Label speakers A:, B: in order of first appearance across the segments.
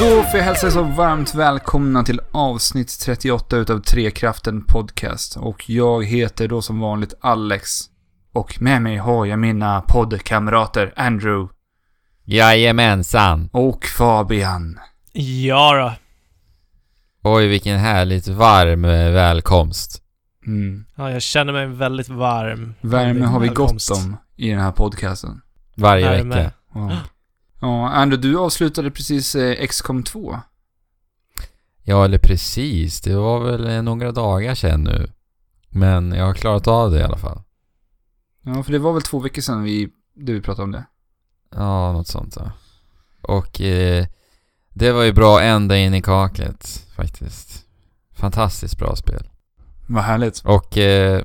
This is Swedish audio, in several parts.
A: Då får jag hälsa er så varmt välkomna till avsnitt 38 utav Trekraften Podcast. Och jag heter då som vanligt Alex. Och med mig har jag mina poddkamrater Andrew
B: Jajamensan!
A: och Fabian.
C: Ja då.
B: Oj, vilken härligt varm eh, välkomst.
A: Mm.
C: Ja, jag känner mig väldigt varm.
A: Värme har vi
C: Välkomst.
A: gott om i den här podcasten.
B: Varje
C: Värme.
B: vecka.
A: Ja. ja, Andrew, du avslutade precis eh, XCOM 2.
B: Ja, eller precis. Det var väl eh, några dagar sedan nu. Men jag har klarat av det i alla fall.
A: Ja, för det var väl två veckor sedan vi, du pratade om det.
B: Ja, något sånt ja. Och eh, det var ju bra ända in i kaklet faktiskt. Fantastiskt bra spel.
A: Vad härligt.
B: Och eh,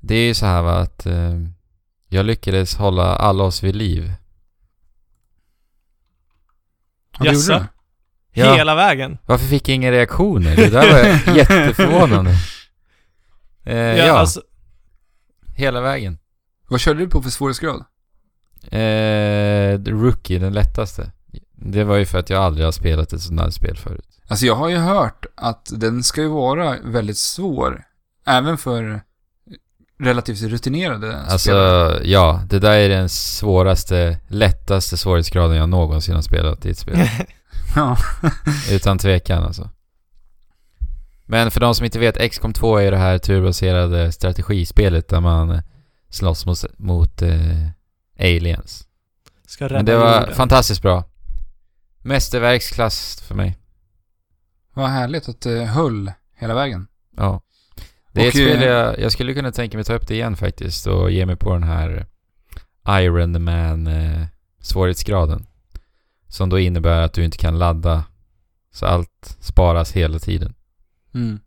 B: det är ju så här va att eh, jag lyckades hålla alla oss vid liv.
A: Ja, det
C: Jaså?
A: gjorde du.
B: Ja.
C: Hela vägen.
B: Varför fick jag inga reaktioner? Det där var jätteförvånande. Eh, ja,
C: alltså,
B: hela vägen.
A: Vad körde du på för svårighetsgrad?
B: Eh, rookie, den lättaste. Det var ju för att jag aldrig har spelat ett sånt här spel förut.
A: Alltså jag har ju hört att den ska ju vara väldigt svår. Även för relativt rutinerade
B: Alltså,
A: spelare.
B: ja, det där är den svåraste, lättaste svårighetsgraden jag någonsin har spelat i ett spel.
A: Ja.
B: Utan tvekan alltså. Men för de som inte vet, XCOM 2 är ju det här turbaserade strategispelet där man slåss mot, mot eh, aliens.
C: ska rädda
B: Men det var
C: jorden.
B: fantastiskt bra. Mästerverksklass för mig.
A: Vad härligt att det höll hela vägen.
B: Ja. Det är
A: Och,
B: ett spel
A: eh,
B: jag, jag skulle kunna tänka mig ta upp det igen faktiskt och ge mig på den här Iron Man eh, svårighetsgraden. Som då innebär att du inte kan ladda. Så allt sparas hela tiden.
A: Mm.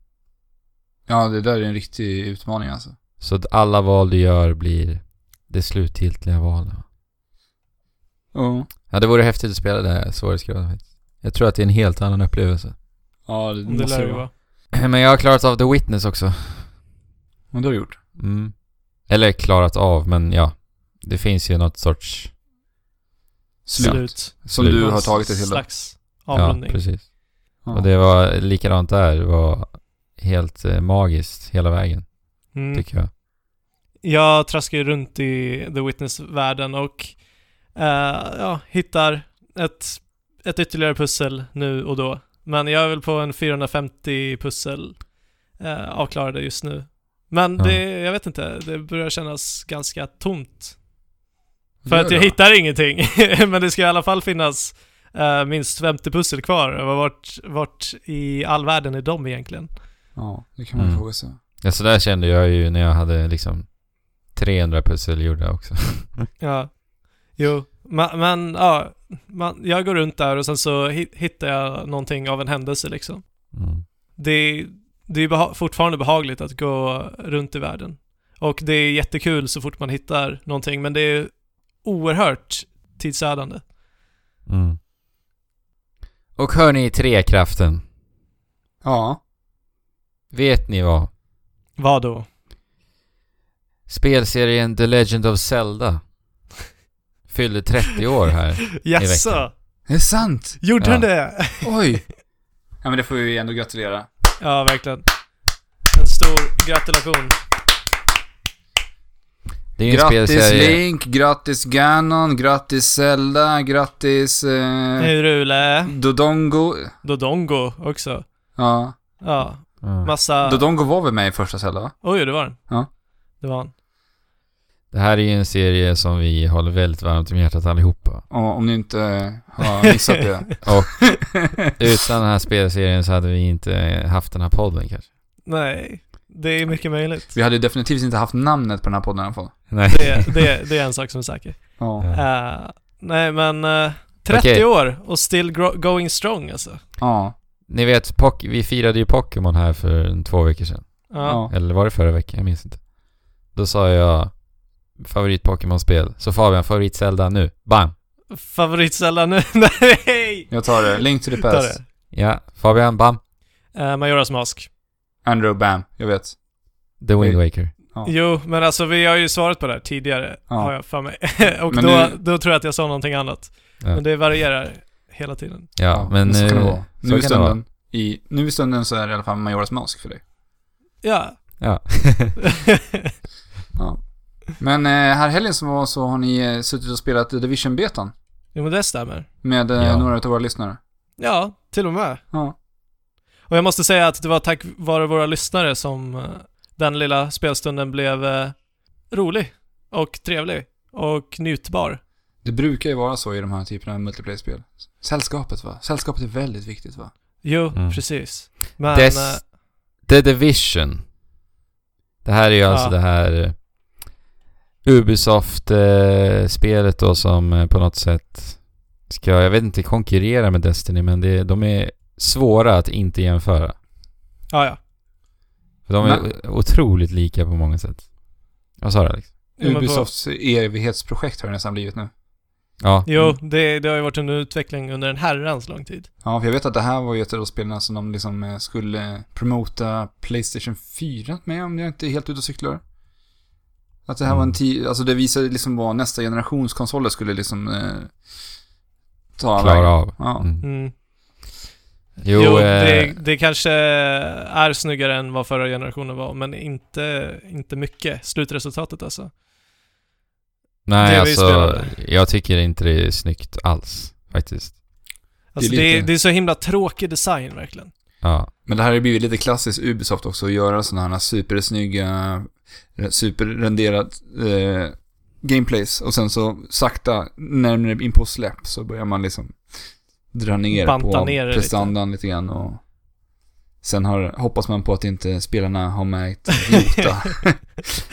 A: Ja, det där är en riktig utmaning alltså.
B: Så att alla val du gör blir det slutgiltiga valet.
A: Ja.
B: Ja, det vore häftigt att spela det här svårighetsgraden faktiskt. Jag tror att det är en helt annan upplevelse.
A: Ja, det,
C: Om det lär ju vara.
B: Men jag har klarat av The Witness också.
A: Men det har du gjort.
B: Mm. Eller klarat av, men ja. Det finns ju något sorts...
A: Slut.
C: Slut.
A: Som
B: slut.
A: du har tagit dig till. då.
C: Slags
B: Ja,
C: avrundning.
B: precis.
A: Ja.
B: Och det var likadant där. Det var helt eh, magiskt hela vägen,
C: mm.
B: tycker jag.
C: Jag traskar ju runt i The Witness-världen och eh, ja, hittar ett, ett ytterligare pussel nu och då. Men jag är väl på en 450 pussel eh, avklarade just nu. Men
B: Ja.
C: det, jag vet inte, det börjar kännas ganska tomt. För
A: Gör
C: att jag
A: det.
C: hittar ingenting. Men det ska i alla fall finnas eh, minst 50 pussel kvar. Vart, vart i all världen är de egentligen?
A: Ja, det kan man
B: Mm.
A: fråga sig.
B: Ja, så där kände jag ju när jag hade liksom 300 pussel gjorda också.
C: Ja. Jo, ma- men ja. Man, jag går runt där och sen så hi- hittar jag någonting av en händelse liksom.
B: Mm.
C: Det, är- det är beha- fortfarande behagligt att gå runt i världen. Och det är jättekul så fort man hittar någonting, men det är oerhört tidsödande.
B: Mm. Och hör ni trekraften.
A: Ja.
B: Vet ni vad?
C: Vad då?
B: Spelserien The Legend of Zelda fyllde 30 år här.
C: Jaså?
B: veckan.
A: Det är sant!
C: Gjorde
B: Ja.
C: den det?
A: Oj! ja, men det får vi ju ändå gratulera.
C: Ja, verkligen. En stor gratulation.
B: Det är ju en
A: Grattis
B: spelserie...
A: Link, grattis Ganon, grattis Zelda, grattis...
B: Mm.
A: Eh,
C: Hej Rule.
A: Dodongo.
C: Dodongo också.
A: Ja.
C: Ja,
B: Ja.
C: massa...
A: Dodongo var väl med i första Zelda va?
C: Oj, det var den.
A: Ja.
C: Det var han.
B: Det här är ju en serie som vi håller väldigt varmt om hjärtat allihopa.
A: Ja, Om ni inte eh, har missat det.
B: Utan den här spelserien så hade vi inte haft den här podden kanske.
C: Nej, det är mycket möjligt.
A: Vi hade ju definitivt inte haft namnet på den här podden i alla fall.
B: Nej.
C: Det, det, det är en sak som är säker.
A: Ja.
B: Ja.
C: Eh, nej, men eh, 30
B: Okej.
C: år och still gro- going strong alltså.
A: Ja.
B: Ni vet, Pock- vi firade ju Pokémon här för en- två veckor sedan.
C: Ja.
A: ja.
B: Eller var det förra veckan? Jag minns inte. Då sa jag favorit Pokémon-spel. Så Fabian, favorit Zelda nu. Bam!
C: Favoritsälla nu? nej!
A: Jag tar det. Link to the
C: Ta
A: past.
C: det.
B: Ja, Fabian, bam!
C: Eh, Majoras mask.
A: Andrew Bam. Jag vet.
B: The Wind
A: Okej.
B: Waker.
A: Ja.
C: Jo, men alltså vi har ju svarat på det här tidigare,
A: Ja.
C: har jag för mig. och
A: Men
C: då,
A: nu-
C: då tror jag att jag sa någonting annat.
B: Ja.
C: Men det varierar hela tiden.
B: Ja, men...
A: så kan det
B: eh,
A: vara.
B: så
A: Nu i,
B: kan det vara.
A: stunden, i, nu i stunden så är det i alla fall Majoras Mask för dig.
C: Ja.
B: Ja.
A: Ja. Men eh, här helgen som var så har ni eh, suttit och spelat Division-betan
C: jo men det stämmer.
A: med eh,
B: Ja.
A: några av våra lyssnare.
C: Ja, till och med.
A: Ja.
C: Och jag måste säga att det var tack vare våra lyssnare som eh, den lilla spelstunden blev eh, rolig och trevlig och njutbar.
A: Det brukar ju vara så i de här typerna av multiplayer-spel. Sällskapet va? Sällskapet är väldigt viktigt va?
C: Jo,
B: Mm.
C: precis. Men...
B: Des-
C: eh,
B: The Division. Det här är ju alltså
C: Ja.
B: det här eh, Ubisoft-spelet då som eh, på något sätt ska, jag vet inte, konkurrera med Destiny men det, de är svåra att inte jämföra.
C: ja, ja.
B: För de är
A: Men-
B: o- otroligt lika på många sätt. Vad sa du Alex?
C: Jo, men på-
A: Ubisofts evighetsprojekt har det nästan blivit nu.
B: Ja.
C: Jo, det, det har ju varit en utveckling under en herrans lång tid.
A: Ja, för jag vet att det här var ju ett av de spelen som de liksom eh, skulle promota Playstation 4 med om jag inte är helt ute och cyklar. Att det här var en
B: Mm.
A: tid, alltså det visade liksom vad nästa generations konsoler skulle liksom eh, ta vägen.
B: Klara av.
A: Ja.
B: Mm.
C: Mm.
B: Jo,
C: Jo,
B: eh,
C: det, det kanske är snyggare än vad förra generationen var, men inte, inte mycket. Slutresultatet alltså.
B: nej
C: det vi
B: alltså,
C: spelade.
B: jag tycker inte det är snyggt alls faktiskt.
C: alltså det,
A: lite-
C: är det, är så himla tråkig design verkligen.
B: Ja.
A: Men det här har ju blivit lite klassiskt Ubisoft också att göra sådana här supersnygga, superrenderat eh, gameplays och sen så sakta närmare in på släpp så börjar man liksom dra ner
C: Banta
A: på
C: ner det
A: prestandan lite. grann och sen har, hoppas man på att inte spelarna har märkt nota.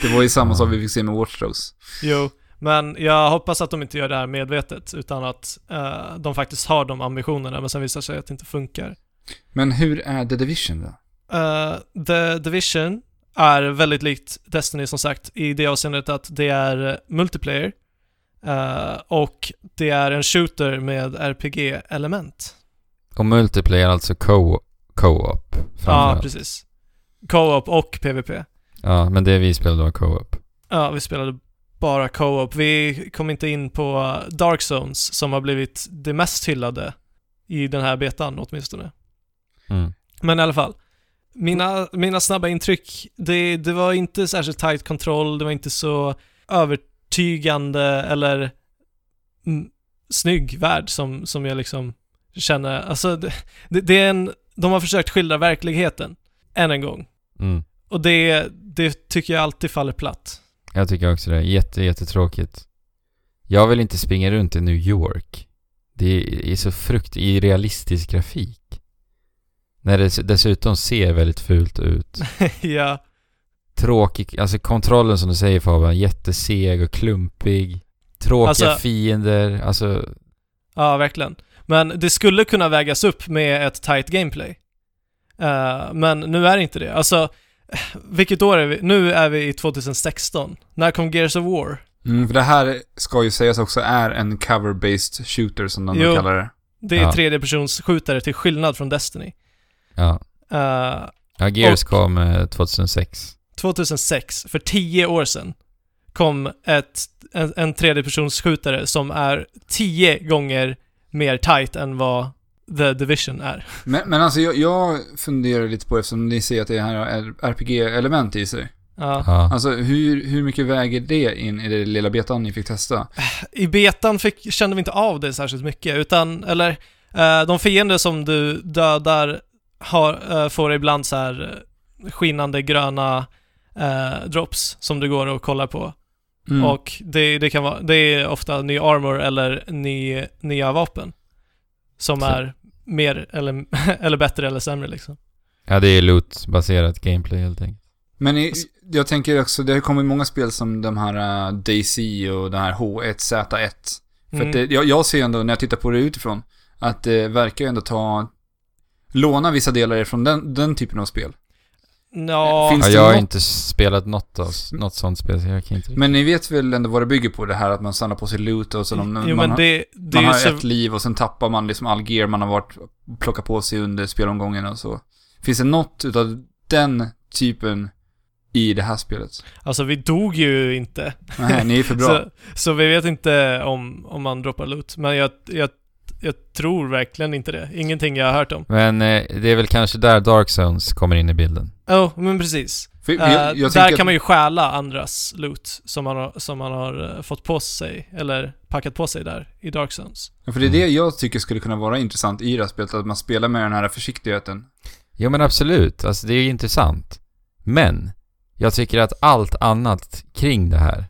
A: det var ju samma sak vi fick se med Watch Dogs.
C: Jo, men jag hoppas att de inte gör det här medvetet, utan att eh, de faktiskt har de ambitionerna, men sen visar det sig att det inte funkar.
A: Men hur är The Division då?
C: Eh, The Division är väldigt likt Destiny som sagt i det avseendet att det är multiplayer eh, och det är en shooter med RPG-element.
B: Och multiplayer, alltså co- co-op.
C: Ja,
B: framförallt.
C: precis. Co-op och PVP.
B: ja, men det vi spelade var co-op.
C: Ja, vi spelade bara co-op. Vi kom inte in på Dark Zones som har blivit det mest hyllade i den här betan åtminstone.
B: Mm.
C: Men i alla fall. Mina, mina snabba intryck, det, det var inte särskilt tight kontroll, det var inte så övertygande eller mm, snygg värld som, som jag liksom känner. Alltså, det, det, det är en, de har försökt skildra verkligheten, än en gång.
B: Mm.
C: Och det, det tycker jag alltid faller platt.
B: Jag tycker också det. Jätte, jättetråkigt. Jag vill inte springa runt i New York. Det är så frukt i realistisk grafik. När det dessutom ser väldigt fult ut.
C: ja,
B: Tråkig, alltså kontrollen som du säger Fabian, jätteseg och klumpig. Tråkiga
C: Alltså-
B: fiender, alltså...
C: ja, verkligen. Men det skulle kunna vägas upp med ett tight gameplay. Eh, men nu är det inte det. Alltså, vilket år är vi? Nu är vi i 2016. När kom Gears of War?
A: Mm, för det här ska ju sägas också är en cover-based shooter som de
C: Jo.
A: kallar det.
C: Det är
B: Ja.
C: tredjepersonsskjutare till skillnad från Destiny.
B: Ja.
C: Eh,
B: ja Gears
C: Och-
B: kom eh, 2006.
C: 2006, för 10 år sedan, kom ett, en, en tredjepersonsskjutare som är 10 gånger mer tight än vad The Division är.
A: Men, men alltså jag, jag funderar lite på, eftersom ni säger att det här har RPG-element i sig.
C: Ja.
B: Ja.
A: Alltså hur, hur mycket väger det in i det lilla betan ni fick testa?
C: I betan fick, kände vi inte av det särskilt mycket, utan, eller, eh, de fiender som du dödar har, eh, får ibland så här eh, skinande gröna eh, drops som du går och kollar på.
A: Mm.
C: Och det, det, kan vara, det är ofta ny armor eller ny, nya vapen. Som
B: Så-
C: är mer eller, eller bättre eller sämre liksom.
B: ja, det är loot-baserat gameplay helt enkelt.
A: Men i, jag tänker också, det har kommit många spel som de här uh, DayZ och den här H1Z1. För
C: Mm.
A: att det, jag, jag ser ändå, när jag tittar på det utifrån, att det verkar ju ändå ta... Låna vissa delar från den, den typen av spel.
C: Nå,
A: Finns-
B: Ja,
A: det
B: jag har
A: något-
B: inte spelat något, av, något sånt spel, så jag kan
C: Mm.
B: inte...
A: Men ni vet väl ändå vad det bygger på, det här att man samlar på sig loot och så de, man,
C: jo, men
A: har-
C: det, det
A: man
C: är ju
A: har
C: så,
A: ett liv och sen tappar man liksom all gear man har varit plockat på sig under spelomgången och så. Finns det något utav den typen i det här spelet?
C: alltså vi dog ju inte.
A: Nej, ni är för bra.
C: Så, så vi vet inte om, om man droppar loot. Men jag, jag jag tror verkligen inte det. Ingenting jag har hört om.
B: Men eh, det är väl kanske där Dark Zones kommer in i bilden.
C: Ja, men precis.
A: För
C: Eh,
A: jag, jag tänker
C: där kan
A: att
C: man ju stjäla andras loot som man, har, som man har eh, fått på sig, eller packat på sig där i Dark Zones.
A: Ja, För det är det jag tycker skulle kunna vara intressant i det här spelet, att man spelar med den här försiktigheten.
B: Jo men absolut, alltså det är ju intressant. Men, jag tycker att allt annat kring det här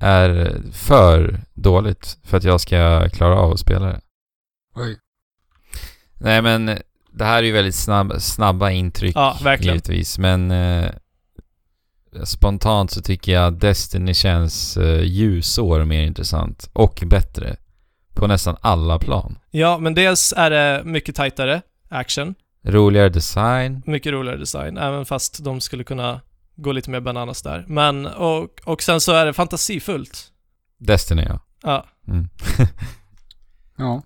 B: är för dåligt för att jag ska klara av att spela det.
A: Oj.
B: Nej men, det här är ju väldigt snabb, snabba intryck
C: Ja, verkligen.
B: givetvis. Men eh, spontant så tycker jag Destiny känns eh, ljusår mer intressant och bättre. På nästan alla plan.
C: Ja, men dels är det mycket tajtare action,
B: Roligare design.
C: mycket roligare design, även fast de skulle kunna gå lite mer bananas där. Men, och, och sen så är det fantasifullt.
B: Destiny ja.
C: Ja,
B: Mm.
A: Ja.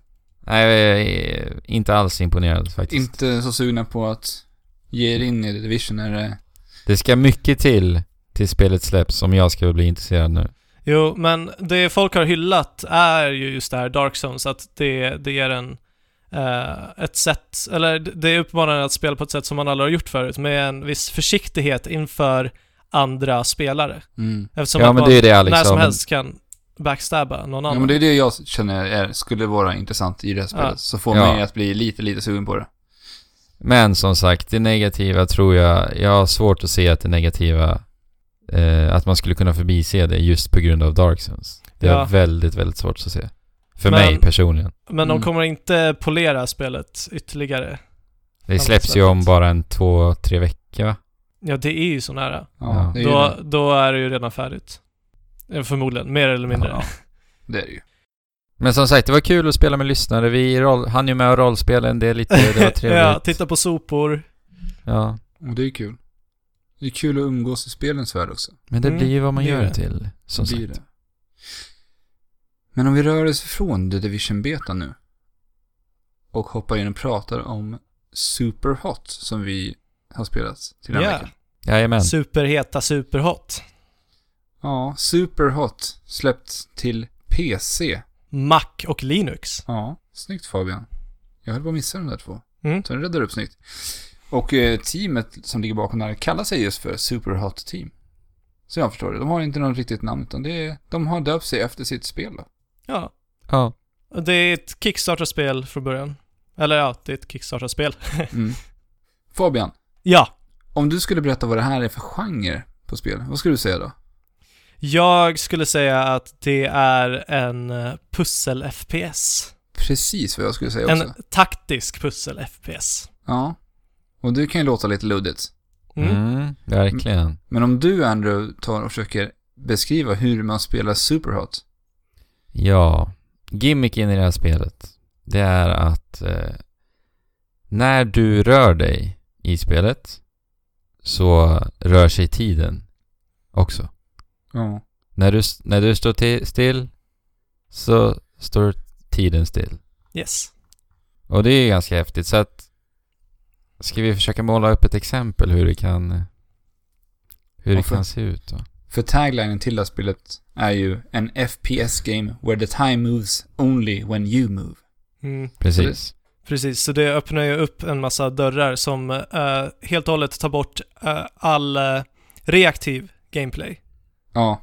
B: Nej, jag är eh, inte alls imponerad faktiskt.
A: Inte så sugna på att ge er in i The Division när det...
B: Det ska mycket till till spelet släpps om jag ska bli intresserad nu.
C: jo, men det folk har hyllat är ju just det här Dark Zones, att det, det är en eh, ett sätt, eller d- det är uppmanande att spela på ett sätt som man aldrig har gjort förut, med en viss försiktighet inför andra spelare.
A: Mm.
C: Eftersom
B: ja
C: att
B: men
C: man
B: det är ju det Alex
C: när
B: sa,
C: som
B: men
C: helst kan backstabba någon
A: liksom. Ja,
C: annan.
A: men det är det jag känner är, skulle vara intressant i det här spelet.
C: Ja.
A: Så får
B: Ja.
A: mig att bli lite, lite sugen på det.
B: Men som sagt, det negativa tror jag, jag har svårt att se att det negativa, eh, att man skulle kunna förbise det just på grund av Dark Zones. Det
C: Ja.
B: är väldigt, väldigt svårt att se. För
C: Men-
B: mig personligen.
C: Men de
A: Mm.
C: kommer inte polera spelet ytterligare.
B: Det släpps ju om bara en två, tre veckor va?
C: Ja, det är ju så nära.
A: Ja,
B: Ja.
A: Det, är ju
C: Då,
A: det.
C: då är det ju redan färdigt. Eh, Förmodligen, mer eller mindre.
B: Ja.
A: det är det ju.
B: Men som sagt, det var kul att spela med lyssnare. Vi roll, hann ju med att rollspela en del lite, det var trevligt.
C: ja, titta på sopor.
B: ja.
A: Och det är kul. Det är kul att umgås i spelens värld också.
B: Men det
C: Mm,
B: blir ju vad man
C: det är
B: gör
C: det.
B: det till, som
A: Det blir
B: sagt.
A: det. Men om vi rör oss från The Division Beta nu och hoppar in och pratar om Superhot som vi har spelat till den här
C: Ja,
A: veckan.
B: Jajamän.
C: superheta, superhot.
A: Ja, Superhot släppt till PC.
C: Mac och Linux.
A: Ja, snyggt Fabian. Jag höll på att missa de där två.
C: Mm.
A: Så den räddade du upp snyggt. Och eh, teamet som ligger bakom det här kallar sig just för Superhot Team. Så jag förstår det. De har inte något riktigt namn utan det är, de har döpt sig efter sitt spel då.
C: Ja.
B: Ja.
C: Och Det är ett Kickstarter-spel från början. Eller ja, det är ett Kickstarter-spel.
A: Mm. Fabian,
C: ja,
A: Om du skulle berätta vad det här är för genre på spel, vad skulle du säga då?
C: jag skulle säga att det är en eh, pussel-FPS.
A: Precis vad jag skulle säga
C: En
A: också.
C: taktisk pussel-FPS.
A: Ja. Och det kan ju låta lite luddigt.
C: Mm.
B: Mm, verkligen.
A: Men om du, Andrew, tar och försöker beskriva hur man spelar Superhot.
B: Ja, gimmicken i det här spelet, det är att eh, när du rör dig i spelet så rör sig tiden också.
A: Ja.
B: När du, s- när du står ti- still så står tiden still.
C: Yes.
B: Och det är ju ganska häftigt så att ska vi försöka måla upp ett exempel hur det kan hur det
A: Varför?
B: kan se ut då?
A: För taglinen till det här spelet är ju en FPS-game where the time moves only when you move.
C: Mm.
B: Precis.
C: Precis, så det öppnar ju upp en massa dörrar som eh, helt och hållet tar bort eh, all eh, reaktiv gameplay.
A: Ja.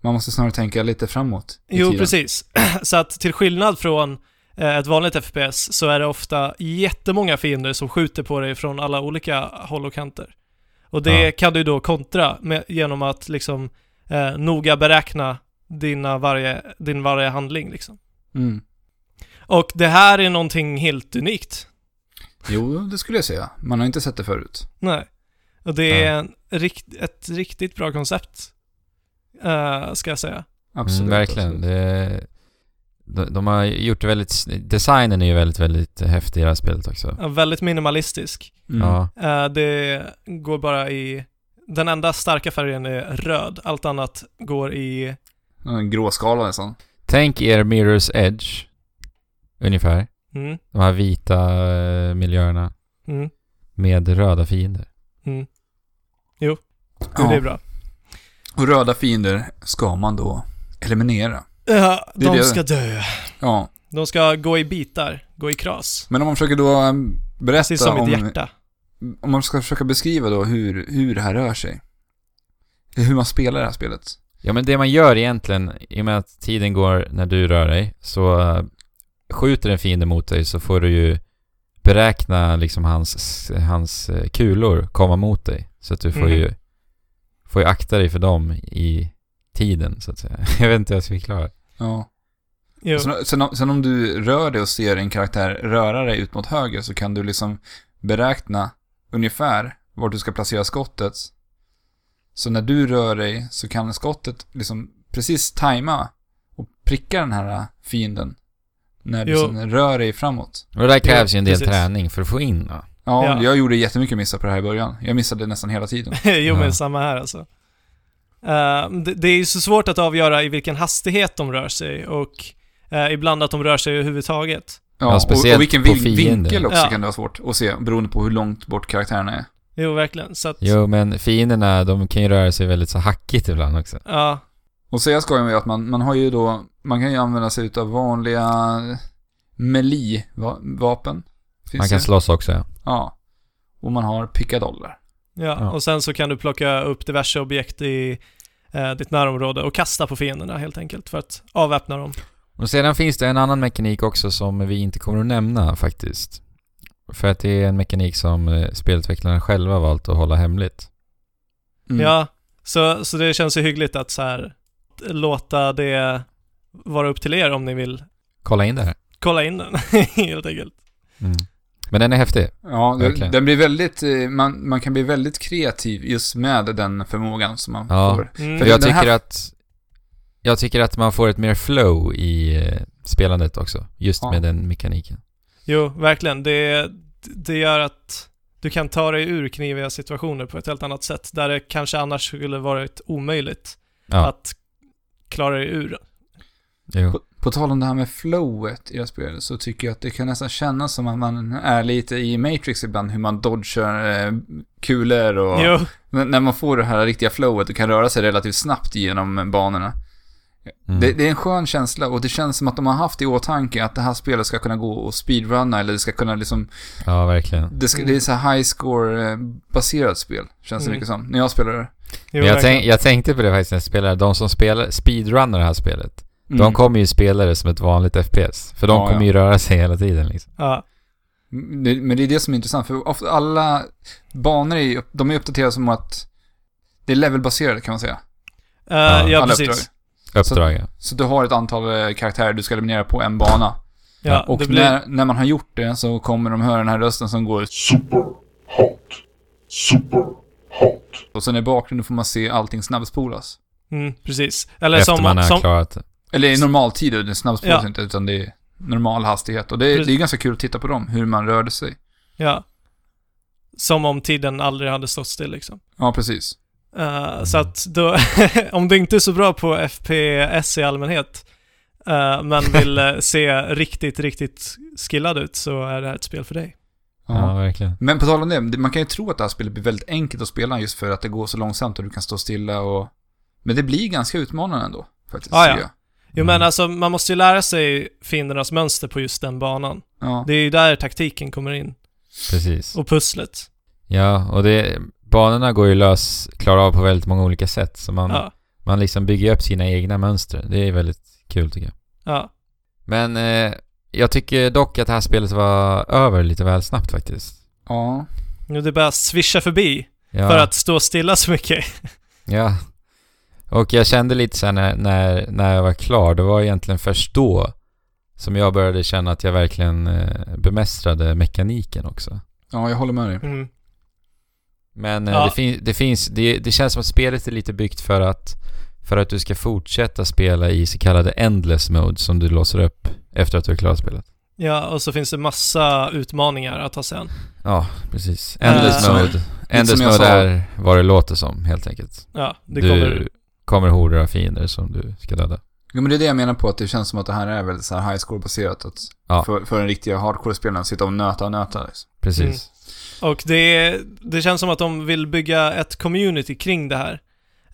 A: Man måste snarare tänka lite framåt i
C: Jo,
A: tiden.
C: precis. så att till skillnad från eh, ett vanligt FPS så är det ofta jättemånga fiender som skjuter på dig från alla olika håll och kanter. Och det
B: Ja.
C: kan du då kontra med, genom att liksom eh, noga beräkna dina varje, din varje handling liksom.
A: Mm.
C: Och det här är någonting helt unikt.
A: Jo, det skulle jag säga. Man har inte sett det förut.
C: Nej. Och det är
B: Ja.
C: en, rikt, ett riktigt bra koncept. eh, ska jag säga.
A: Absolut. alltså.
B: mm, verkligen.
A: absolut.
B: Det, de, de har gjort det väldigt... sn- Designen är ju väldigt, väldigt häftig i det här spelet också.
C: Ja, väldigt minimalistisk.
A: Mm.
B: Ja.
C: Eh, det går bara i... Den enda starka färgen är röd. Allt annat går i...
A: En gråskala nästan.
B: Tänk er Mirror's Edge, ungefär.
C: Mm,
B: De här vita eh, miljöerna
C: mm,
B: med röda fiender.
C: mm. Jo, jo
A: Ja.
C: det är bra.
A: Och röda fiender ska man då eliminera.
C: Ja,
A: Det är
C: Eh, de
A: det.
C: ska dö.
A: Ja,
C: De ska gå i bitar, gå i kras.
A: Men om man försöker då um,
C: Precis
A: berätta
C: som mitt
A: om,
C: hjärta.
A: om man ska försöka beskriva då hur, hur det här rör sig. Hur man spelar det här spelet.
B: Ja men det man gör egentligen, i och med att tiden går när du rör dig, så eh, skjuter en fiende mot dig så får du ju beräkna liksom hans, hans eh, kulor komma mot dig. Så att du får,
C: Mhm.
B: ju, får ju akta dig för dem i tiden så att säga. Jag vet inte hur jag ska förklara.
A: Ja.
C: Jo.
A: Sen, sen, om- sen om du rör dig och ser en karaktär röra dig ut mot höger så kan du liksom beräkna ungefär vart du ska placera skottet. Så när du rör dig så kan skottet liksom precis tajma och pricka den här fienden. När du
C: Jo.
A: sen rör dig framåt.
B: Och det där krävs ju en del
C: precis.
B: träning för att få in. va?
A: Ja,
C: Ja.
A: jag gjorde jättemycket missar på det här i början. Jag missade nästan hela tiden.
C: jo,
B: Ja.
C: men samma här alltså. Eh, det, det är ju så svårt att avgöra i vilken hastighet de rör sig och eh, ibland att de rör sig överhuvudtaget.
B: Ja,
A: och,
B: speciellt
A: och vilken
B: på
A: vin-
B: fiender.
A: vinkel också
C: Ja.
A: kan det vara svårt att se beroende på hur långt bort karaktärerna är.
C: Jo, verkligen. Så att,
B: Jo men fienderna, de kan ju röra sig väldigt så hackigt ibland också.
C: ja,
A: Och så jag skojar med att man, man har ju då, man kan ju använda sig utav vanliga melee-vapen. Finns
B: Man kan
A: det?
B: slåss också ja.
A: Ja. Och man har pickadoller.
C: ja.
B: Ja.
C: och sen så kan du plocka upp diverse objekt i eh, ditt närområde och kasta på fienderna helt enkelt för att avväpna dem.
B: Och sedan finns det en annan mekanik också som vi inte kommer att nämna faktiskt. För att det är en mekanik som eh, spelutvecklarna själva valt att hålla hemligt.
A: Mm.
C: Ja, så, så det känns ju hyggligt att så här låta det vara upp till er om ni vill
B: Kolla in det här.
C: kolla in den helt enkelt.
B: Men den är
A: Mm.
B: häftig.
A: Ja, den,
B: Verkligen.
A: den blir väldigt, eh, man, man kan bli väldigt kreativ just med den förmågan som man
B: Ja.
A: får.
C: Mm.
B: För
A: det-
B: jag
A: den här-
B: tycker att jag tycker att man får ett mer flow i eh, spelandet också. Just
A: Ja.
B: med den mekaniken.
C: Jo, verkligen. Det, det gör att du kan ta dig ur kniviga situationer på ett helt annat sätt, där det kanske annars skulle varit omöjligt
B: Ja,
C: att klara dig ur.
B: jo.
A: På, på tal om det här med flowet i det här spelet så tycker jag att det kan nästan kännas som att man är lite i Matrix ibland, hur man dodgar eh, kulor och...
C: Jo,
A: N- när man får det här riktiga flowet och kan röra sig relativt snabbt genom banorna.
B: Mm.
A: Det, det är en skön känsla och det känns som att de har haft i åtanke att det här spelet ska kunna gå och speedrunna eller det ska kunna liksom...
B: Ja, verkligen.
A: Det, ska,
C: Mm.
A: det är så här high score-baserat spel, känns det
C: Mm.
A: mycket som. När jag spelar det.
C: jo
B: Men jag,
C: verkligen.
B: tänk, jag tänkte på det faktiskt när jag spelade. De som spelar, speedrunnar det här spelet.
A: Mm.
B: De kommer ju spela det som ett vanligt FPS. För de
A: Ja,
B: kommer
A: ja.
B: ju röra sig hela tiden liksom.
C: Ja,
A: Mm, det- Men det är det som är intressant, för ofta alla banor är, ju upp- de är uppdaterade som att det är levelbaserat kan man säga.
C: Eh,
B: Ja,
C: ja
A: alla
C: precis.
A: uppdrag.
B: Uppdrag, ja.
A: Så du har ett antal eh, karaktärer du ska eliminera på en bana.
C: Ja,
A: Och
C: det blir,
A: när, när man har gjort det så kommer de höra den här rösten som går
D: Super hot. Super hot.
A: Och sen i bakgrunden får man se allting snabbspolas.
C: mm, precis. Eller
B: Efter
C: som,
B: man har
C: som,
B: klarat det.
A: Eller i normaltid, det snabbspolas
C: Ja.
A: inte, utan det är normal hastighet. Och det är,
C: Precis.
A: det är ganska kul att titta på dem, hur man rörde sig.
C: ja, som om tiden aldrig hade stått still liksom.
A: Ja, precis.
C: Eh,
B: Mm.
C: Så att då, om du inte är så bra på FPS i allmänhet, eh, men vill eh, se riktigt, riktigt skillad ut så är det här ett spel för dig.
B: Ja,
A: Ja.
B: verkligen.
A: Men på tal om det, man kan ju tro att det här spelet blir väldigt enkelt att spela just för att det går så långsamt och du kan stå stilla och... Men det blir ganska utmanande ändå, faktiskt.
C: Ja,
A: tycker
C: ja.
A: jag.
C: Jo
B: Mm.
C: men alltså, man måste ju lära sig fiendernas mönster på just den banan.
A: ja.
C: Det är ju där taktiken kommer in,
B: Precis.
C: och pusslet.
B: Ja, och det, banorna går ju lös, klara av på väldigt många olika sätt. Så man,
C: Ja,
B: man liksom bygger upp sina egna mönster. Det är väldigt kul tycker jag.
C: ja.
B: Men eh, jag tycker dock att det här spelet var över lite väl snabbt faktiskt.
A: ja.
C: Nu det bara svischa förbi,
B: Ja,
C: för att stå stilla så mycket.
B: Ja. Och jag kände lite sen när, när, när jag var klar, det var egentligen först då som jag började känna att jag verkligen eh, bemästrade mekaniken också.
A: Ja, jag håller med dig.
C: Mm.
B: Men eh,
C: Ja.
B: det, fin- det finns, det, det känns som att spelet är lite byggt för att, för att du ska fortsätta spela i så kallade endless mode som du låser upp efter att du har klarat spelet.
C: Ja, och så finns det massa utmaningar att ta sig an.
B: Ja, precis. Endless
C: Äh,
B: mode. Endless
A: som jag sa.
B: mode är vad det låter som helt enkelt.
C: Ja, det
B: du
C: kommer... Mm.
B: kommer horder av fiender som du ska döda.
A: Jo, men det är det jag menar på, att det känns som att det här är väldigt så här high score-baserat. Att
B: Ja.
A: för, för den riktiga hardcore-spelaren, sitta och nöta och nöta. Liksom.
B: Precis.
C: Och det, det känns som att de vill bygga ett community kring det här.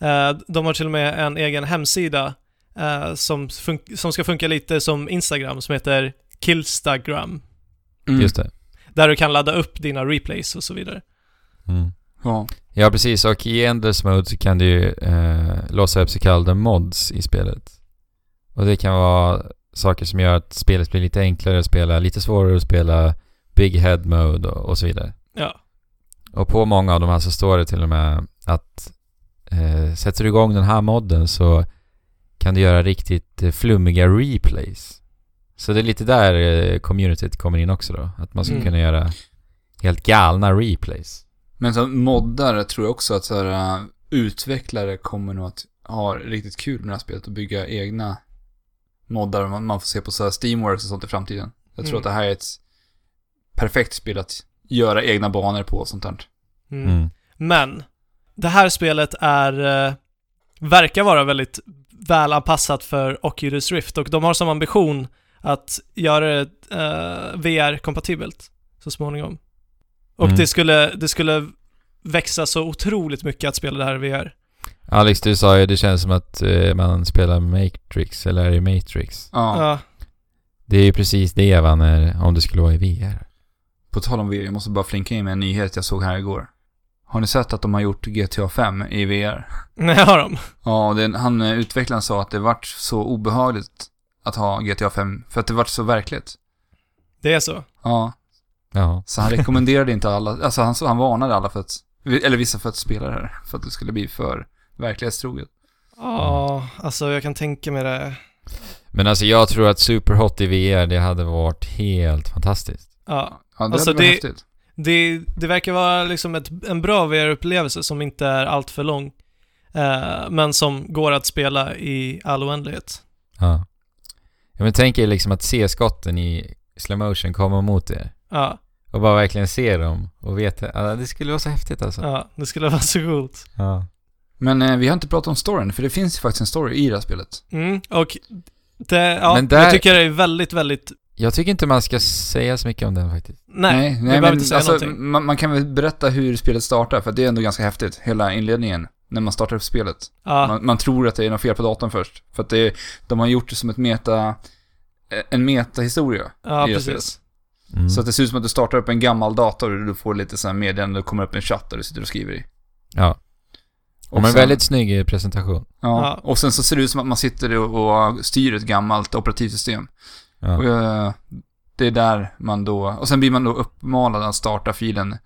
C: Eh, De har till och med en egen hemsida eh, som, fun- som ska funka lite som Instagram, som heter Killstagram.
A: Mm.
B: Just det.
C: Där du kan ladda upp dina replays och så vidare.
B: Mm.
A: Ja.
B: Ja, precis. Och i Endless Mode så kan du ju eh, låsa upp så kallade mods i spelet. Och det kan vara saker som gör att spelet blir lite enklare att spela, lite svårare att spela, Big Head Mode och, och så vidare.
C: Ja.
B: Och på många av de här så står det till och med att eh, sätter du igång den här modden så kan du göra riktigt eh, flummiga replays. Så det är lite där eh, communityt kommer in också då. Att man ska
C: Mm.
B: kunna göra helt galna replays.
A: Men som moddar tror jag också att så här, äh, utvecklare kommer nog att ha riktigt kul med det här spelet och bygga egna moddar man man får se på så här Steamworks och sånt i framtiden. Jag tror
C: Mm.
A: att det här är ett perfekt spel att göra egna banor på och sånt där.
C: Mm.
B: Mm.
C: Men det här spelet är, eh, verkar vara väldigt väl anpassat för Oculus Rift och de har som ambition att göra det eh, VR-kompatibelt så småningom. Och
B: Mm.
C: det, skulle, det skulle växa så otroligt mycket att spela det här i VR.
B: Alex, du sa ju det känns som att eh, man spelar Matrix, eller är det Matrix?
A: Ja,
C: Ja.
B: Det är ju precis det va, när, om det skulle vara i VR.
A: på tal om VR, jag måste bara flinka in med en nyhet jag såg här igår. Har ni sett att de har gjort GTA 5 i VR?
C: Nej, har de?
A: Ja, den, han eh, utvecklaren sa att det vart så obehagligt att ha GTA 5 för att det vart så verkligt.
C: Det är så.
A: Ja,
B: Ja.
A: Så han rekommenderade inte alla, alltså han, han varnade alla för att, eller vissa för att spela det här, för att det skulle bli för verklighetstroget.
C: Ja, alltså jag kan tänka mig det.
B: Men alltså jag tror att Superhot i VR, det hade varit helt fantastiskt.
C: Ja.
A: Ja, det
C: Alltså,
A: hade varit
C: det-
A: häftigt.
C: Det, det verkar vara liksom ett, en bra VR-upplevelse som inte är allt för lång, eh, men som går att spela i all oändlighet.
B: Ja. ja men tänk er liksom att se skotten i slow motion komma mot er.
C: Ja,
B: Och bara verkligen se dem och veta, ja, det skulle vara så häftigt alltså.
C: ja det skulle vara så coolt.
B: Ja.
A: Men eh, vi har inte pratat om storyn, för det finns ju faktiskt en story i det här spelet.
C: Mm, och det, ja,
B: Men där-
C: jag tycker det är väldigt, väldigt...
B: Jag tycker inte man ska säga så mycket om den faktiskt.
C: Nej, vi
A: nej alltså,
C: behöver inte säga någonting.
A: man, man kan väl berätta hur spelet startar, för det är ändå ganska häftigt, hela inledningen, när man startar upp spelet.
C: Ja,
A: Man, man tror att det är något fel på datorn först, för att det, är- de har gjort det som ett meta, eh, en metahistoria.
C: ja
A: i det
C: precis.
A: spelet.
B: Mm.
A: Så att det ser ut som att du startar upp en gammal dator och du får lite sådana meddelanden, det kommer upp en chatt där du sitter och skriver i.
B: Ja. Och men
A: sen-
B: väldigt snygg presentation.
A: Ja.
C: Ja.
A: och sen så ser det ut som att man sitter och, och styr ett gammalt operativsystem.
B: Ja.
A: Och, eh, det är där man då, och sen blir man då uppmanad att starta filen.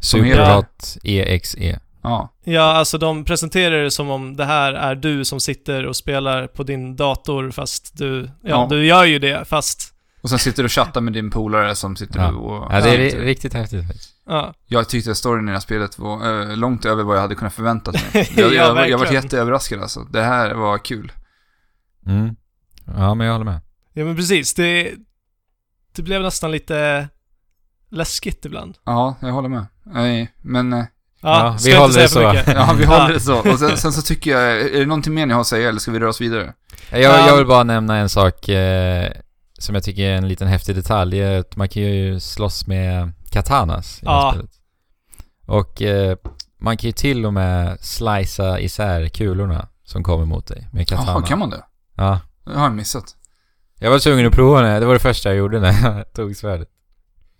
A: som heter-
B: Superhot E EXE.
A: Ja,
C: Ja, alltså de presenterar det som om det här är du som sitter och spelar på din dator fast du... Ja,
A: Ja.
C: du gör ju det fast...
A: och sen sitter du och chattar med din polare som sitter
B: Ja.
A: och...
B: Ja, det är ri- riktigt häftigt faktiskt.
C: Ja,
A: Jag tyckte att storyn i det här spelet var eh, långt över vad jag hade kunnat förvänta mig. Jag,
C: Ja,
A: jag, jag, jag var
C: verkligen.
A: jätteöverraskad alltså. Det här var kul.
B: Mm. Ja, men jag håller med.
C: ja men precis. Det, det blev nästan lite läskigt ibland.
A: Ja, jag håller med. Nej, men... eh,
B: Ja,
C: Ja,
B: vi
C: ska vi
B: håller
C: håller
B: det
C: inte säga för
B: så.
C: mycket.
A: Ja, vi håller
C: Ja.
A: det så. Och sen, sen så tycker jag, är det någonting mer ni har att säga eller ska vi röra oss vidare?
B: Jag, jag vill bara nämna en sak eh, som jag tycker är en liten häftig detalj. Det är att Man kan ju slåss med katanas i det
C: Ja.
B: här spelet. Och eh, man kan ju till och med slicea isär kulorna som kommer mot dig med katana.
A: Jaha, kan man det?
B: Ja.
A: Det har jag missat.
B: Jag var tvungen att prova det. Det var det första jag gjorde när jag tog svärdet.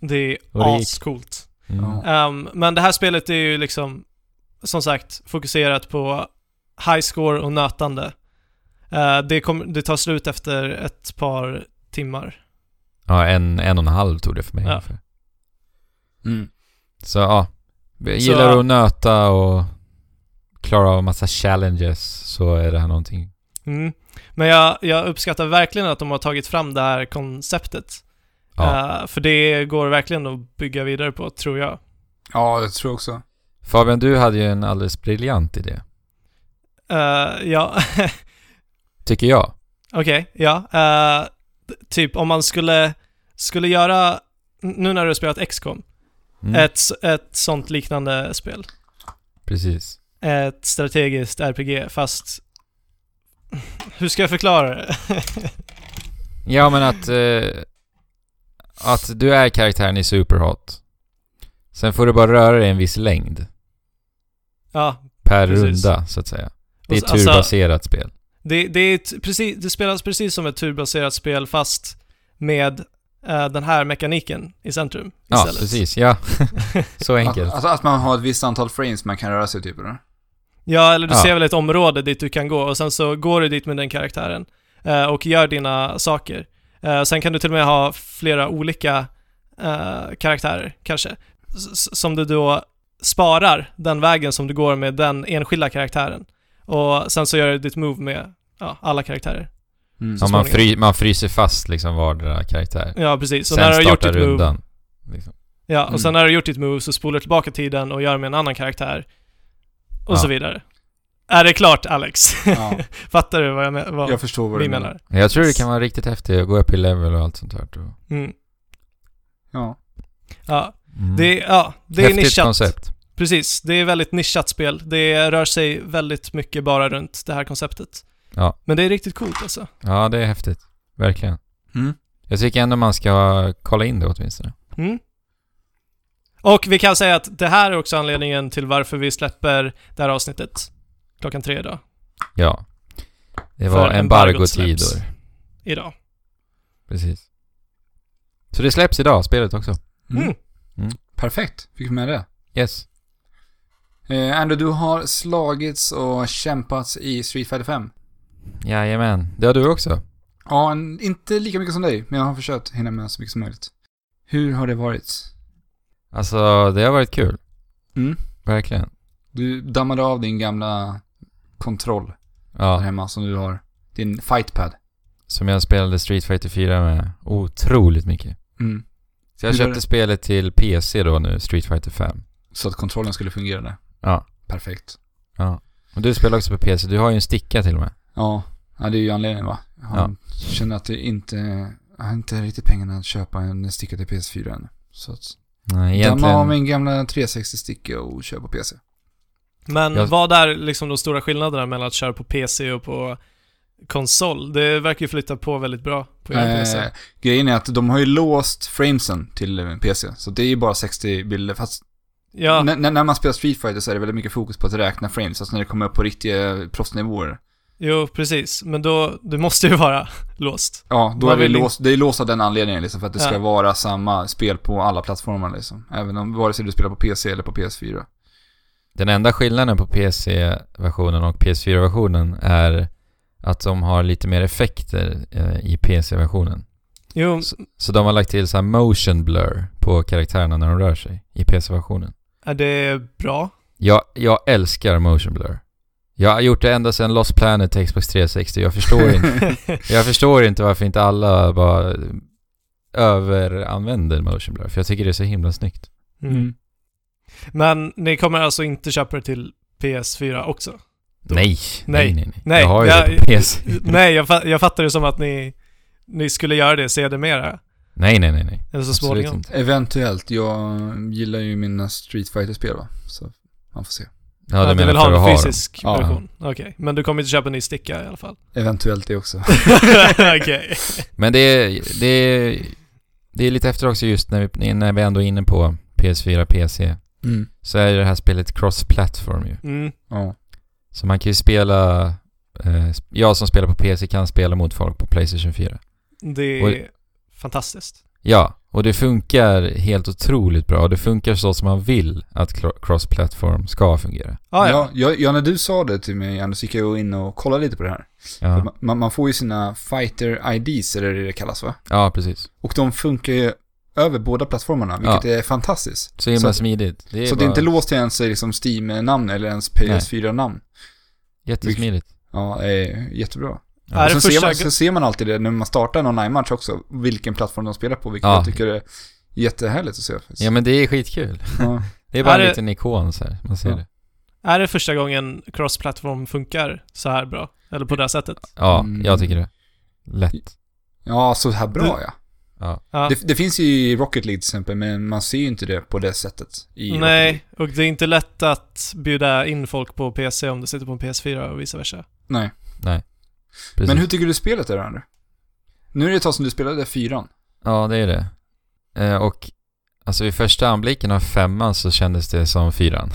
C: Det är
B: Och det gick.
C: ascoolt.
B: Mm.
A: Ja.
C: Ehm, men det här spelet är ju liksom, som sagt, fokuserat på high score och nötande. Eh, det, kom, det tar slut efter ett par timmar.
B: Ja, en, en och en halv tog det för mig
C: Ja.
B: ungefär.
A: Mm.
B: Så ja, jag gillar
C: Så-
B: att nöta och klara av massa challenges så är det här någonting.
C: Mm. Men jag, jag uppskattar verkligen att de har tagit fram det här konceptet.
B: Ja.
C: Eh, för det går verkligen att bygga vidare på, tror jag.
A: Ja, det tror jag också.
B: Fabian, du hade ju en alldeles briljant idé,
C: Eh, ja,
B: tycker jag.
C: Okej, ja. Eh, d- typ om man skulle, skulle göra, nu när du har spelat XCOM,
B: Mm,
C: ett, s- ett sånt liknande spel.
B: Precis.
C: Ett strategiskt RPG, fast... Hur ska jag förklara det?
B: Ja, men att, eh, att du är karaktären i Superhot. Sen får du bara röra dig en viss längd
C: ja,
B: per
C: Precis.
B: runda, så att säga. Det är ett
C: alltså,
B: turbaserat spel.
C: Det, det, är ett, precis, det spelas precis som ett turbaserat spel fast med eh, den här mekaniken i centrum
B: Ja,
C: istället.
B: precis. Ja, så enkelt.
A: Att, alltså att man har ett visst antal frames man kan röra sig typ eller?
C: Ja, eller du
B: Ja.
C: ser väl ett område dit du kan gå och sen så går du dit med den karaktären eh, och gör dina saker. Eh, Sen kan du till och med ha flera olika eh, karaktärer kanske, s- s- som du då sparar den vägen som du går med den enskilda karaktären. Och sen så gör du ditt move med ja, alla karaktärer.
A: Mm.
B: Ja, man,
C: småningom.
B: fry, man fryser fast liksom vardera karaktär.
C: Ja, precis. Och
B: Sen
C: när du har gjort
B: startar
C: ditt move,
B: rundan. Liksom.
C: ja, och
A: Mm.
C: sen när du har gjort ditt move så spolar du tillbaka tiden och gör med en annan karaktär. Och
B: Ja.
C: så vidare. Är det klart Alex?
A: Ja,
C: Fattar du vad jag, men- vad
A: jag förstår vad
C: vi
A: du
C: menar?
B: Jag tror det kan vara riktigt häftigt att gå upp i level och allt sånt där. Mm.
C: Mm.
A: Ja.
C: Ja, det, är- ja, det är
B: Mm. häftigt
C: nischat.
B: koncept.
C: Precis, det är väldigt nischat spel. Det rör sig väldigt mycket bara runt det här konceptet.
B: Ja.
C: Men det är riktigt coolt alltså.
B: Ja, det är häftigt. Verkligen.
A: Mm.
B: Jag tycker ändå man ska kolla in det åtminstone.
C: Mm. Och vi kan säga att det här är också anledningen till varför vi släpper det här avsnittet klockan tre idag.
B: Ja. Det
C: För
B: var
C: embargot släpps.
B: embargotidor.
C: Idag.
B: Precis. Så det släpps idag, spelet också.
C: Mm.
A: Perfekt, fick vi med det.
B: Yes.
A: Eh, Andrew, du har slagits och kämpats i Street Fighter 5.
B: Jajamän. Det har du också.
A: Ja, en, inte lika mycket som dig, men jag har försökt hinna med så mycket som möjligt. Hur har det varit?
B: Alltså, det har varit kul.
A: Mm.
B: Verkligen.
A: Du dammade av din gamla kontroll där
B: Ja,
A: hemma som du har. Din fightpad.
B: som jag spelade Street Fighter 4 med otroligt mycket.
A: Mm.
B: Så jag
A: Hur var
B: köpte
A: det?
B: spelet till PC då nu, Street Fighter 5.
A: Så att kontrollen skulle fungera där.
B: Ja.
A: Perfekt.
B: Och du spelar också på PC, du har ju en sticka till och med.
A: Ja, ja det är ju anledningen va? Jag
B: Ja.
A: känner att det inte... Jag har inte riktigt pengarna att köpa en sticka till PS4 än. Så att...
B: Nej,
A: Damma av
B: egentligen...
A: min gamla 360-sticka och köpa PC.
C: Men
B: Jag-
C: vad är liksom de stora skillnaderna mellan att köra på PC och på konsol? Det verkar ju flytta på väldigt bra på er
A: Eh,
C: PC.
A: grejen är att de har ju låst framesen till eh, PC. Så det är ju bara 60 bilder. Fast
C: Ja,
A: N- n- när man spelar Street Fighter så är det väldigt mycket fokus på att räkna frames, alltså när det kommer upp på riktiga proffsnivåer.
C: jo precis. Men då, det måste ju vara låst.
A: Ja, då
C: Man
A: är vi
C: vill in-
A: låst, det är låst av den anledningen liksom, för att det ska
C: Ja.
A: vara samma spel på alla plattformar liksom. Även om, vare sig du spelar på PC eller på PS4.
B: Den enda skillnaden på PC-versionen och PS4-versionen är att de har lite mer effekter eh, i PC-versionen.
C: Jo,
B: Så de har lagt till så här motion blur på karaktärerna när de rör sig i PC-versionen.
C: är det bra?
B: Jag, jag älskar motion blur. Jag har gjort det ända sedan Lost Planet till Xbox 360. Jag förstår inte, jag förstår inte varför inte alla bara överanvänder motion blur. För jag tycker det är så himla snyggt.
A: Mm.
C: Men ni kommer alltså inte köpa det till PS4 också? Då-
B: Nej, nej,
C: Nej,
B: nej, nej.
C: nej,
B: jag har ju det
C: jag-
B: på PC.
C: Nej, jag, fa- jag fattar det som att ni, ni skulle göra det sedermera.
B: Nej, nej, nej, nej.
C: Eller så
B: Absolut
C: småningom.
B: inte.
A: Eventuellt, jag gillar ju mina Street Fighter-spel va, så man får se.
B: Ja, du
C: du vill
B: menar
C: ha
B: för att ha
C: en
B: dem.
C: fysisk
A: Ja.
C: version? Okej, men du kommer inte köpa en ny sticka i alla fall?
A: Eventuellt det också.
C: Okej.
B: Men det är, det är, det är lite efter också just när vi, när vi ändå är inne på PS4, PC.
A: Mm.
B: Så är det här spelet cross-platform ju.
C: Mm.
A: Ja.
B: Så man kan ju spela, eh, sp- jag som spelar på PC kan spela mot folk på Playstation 4.
C: Det är fantastiskt.
B: Ja, och det funkar helt otroligt bra. Det funkar så som man vill att cro- cross-platform ska fungera.
C: Ah, ja,
A: ja, ja, ja, när du sa det till mig, Anders, gick jag ju in och kollade lite på det här.
B: Ja,
A: Man, man får ju sina fighter-IDs, eller det det kallas va?
B: ja precis.
A: Och de funkar ju över båda plattformarna, vilket är fantastiskt.
B: Så himla
A: Så-
B: smidigt. Det är,
A: så
B: bara
A: det är inte låst till ens liksom Steam-namn eller ens PS4-namn.
B: jättesmidigt.
A: Ja, eh, jättebra.
B: Ja.
C: Är
A: Och sen,
C: det
A: ser
C: första...
A: man, sen ser man alltid det när man startar en online-match också, vilken plattform de spelar på, vilket
B: Ja.
A: jag tycker är jättehärligt att se. faktiskt.
B: Ja men det är skitkul.
A: Ja.
B: Det är bara
C: Är det-
B: en liten ikon så här. Man ser
A: Ja.
B: det.
C: Är det första gången cross-platform funkar så här bra? Eller på det här sättet?
B: Ja,
A: Mm.
B: jag tycker det. Lätt.
A: ja, så här bra ja.
B: Ja.
C: Ja.
A: Det, det finns ju i Rocket League till exempel, men man ser ju inte det på det sättet. I Rocket League.
C: Nej, och det är inte lätt att bjuda in folk på PC om du sitter på en PS4 och vice versa.
A: Nej.
B: Precis.
A: Men hur tycker du spelet är, Andrew? Nu är det ett tag sedan du spelade fyran.
B: Ja, det är det. Eh, och alltså vid första anblicken av femman så kändes det som fyran.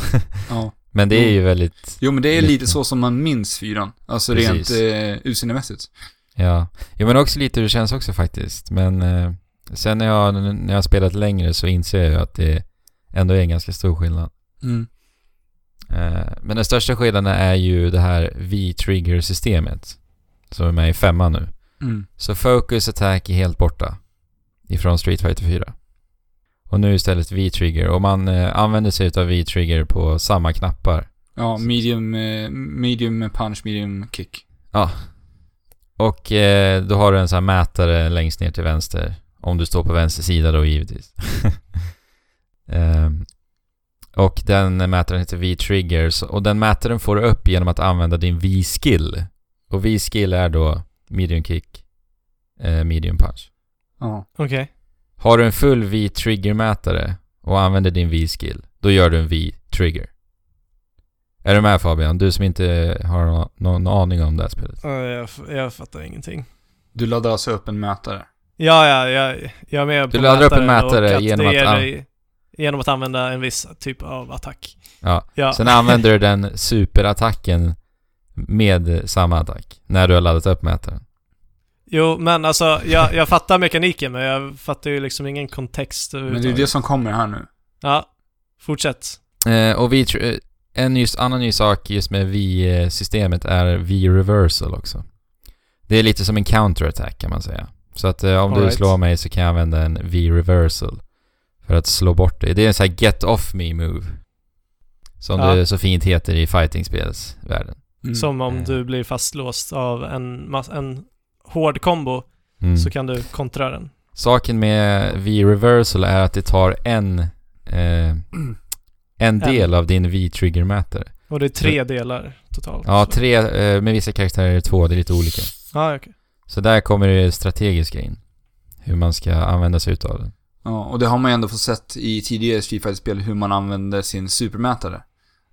A: Ja.
B: Men det är ju väldigt,
A: Jo, men det är
B: Lite.
A: lite så som man minns fyran. Alltså
B: Precis.
A: rent eh, utseendemässigt.
B: ja. Jo men också lite hur det känns också faktiskt. Men eh, sen när jag, när jag har spelat längre så inser jag ju att det ändå är en ganska stor skillnad.
A: Mm.
B: Eh, men den största skillnaden är ju det här V-trigger-systemet. Som är med i femman nu.
A: Mm.
B: Så Focus Attack är helt borta ifrån Street Fighter 4. Och nu istället V-trigger och man eh, använder sig av V-trigger på samma knappar.
A: Ja, medium, eh, medium punch, medium kick.
B: Och eh, då har du en sån här mätare längst ner till vänster. Om du står på vänster sida då givetvis. Ehm, och den mätaren heter V-trigger så- och den mätaren får du upp genom att använda din V-skill. Och V-skill är då medium kick, eh, medium punch.
A: Ja.
C: Okej.
B: Har du en full V-trigger-mätare och använder din V-skill, då gör du en V-trigger. Är du med Fabian? Du som inte har nå- någon aning om det här spelet.
C: Ja, Jag, f- jag fattar ingenting.
A: Du laddar alltså upp en mätare.
C: Ja, ja, jag, jag är med
B: Du
C: på
B: laddar upp en
C: mätaren och
B: mätare
C: att
B: genom
C: det
B: att
C: ger
B: an-
C: dig- Genom att använda en viss typ av attack.
B: Ja.
C: Ja,
B: Sen använder du den superattacken med samma attack, när du har laddat upp mätaren.
C: jo men alltså jag, jag fattar mekaniken men jag fattar ju liksom ingen kontext
A: Men det är ju det som kommer här nu.
C: Ja, fortsätt.
B: Eh, och vi, tr- eh, en just, annan ny sak just med V-systemet är V-reversal också. Det är lite som en counterattack kan man säga. Så att eh, om
C: All
B: du
C: right.
B: slår mig så kan jag använda en V-reversal för att slå bort dig. Det är en sån här get off me move. Som
C: Ja.
B: det så fint heter i fightingspelsvärlden.
A: Mm.
C: Som om
B: Mm.
C: du blir fastlåst av en, mass- en hård kombo
B: Mm.
C: så kan du kontra den.
B: Saken med V-reversal är att det tar en, eh, en del av din V-trigger-mätare.
C: Och det är tre delar totalt.
B: Ja,
C: så.
B: tre, eh, med vissa karaktärer är det två, det är lite olika.
C: Ja, okej.
B: Så där kommer det strategiska in. Hur man ska använda sig utav den.
A: Ja, och det har man ju ändå fått sett i tidigare Street fighter spel hur man använder sin supermätare.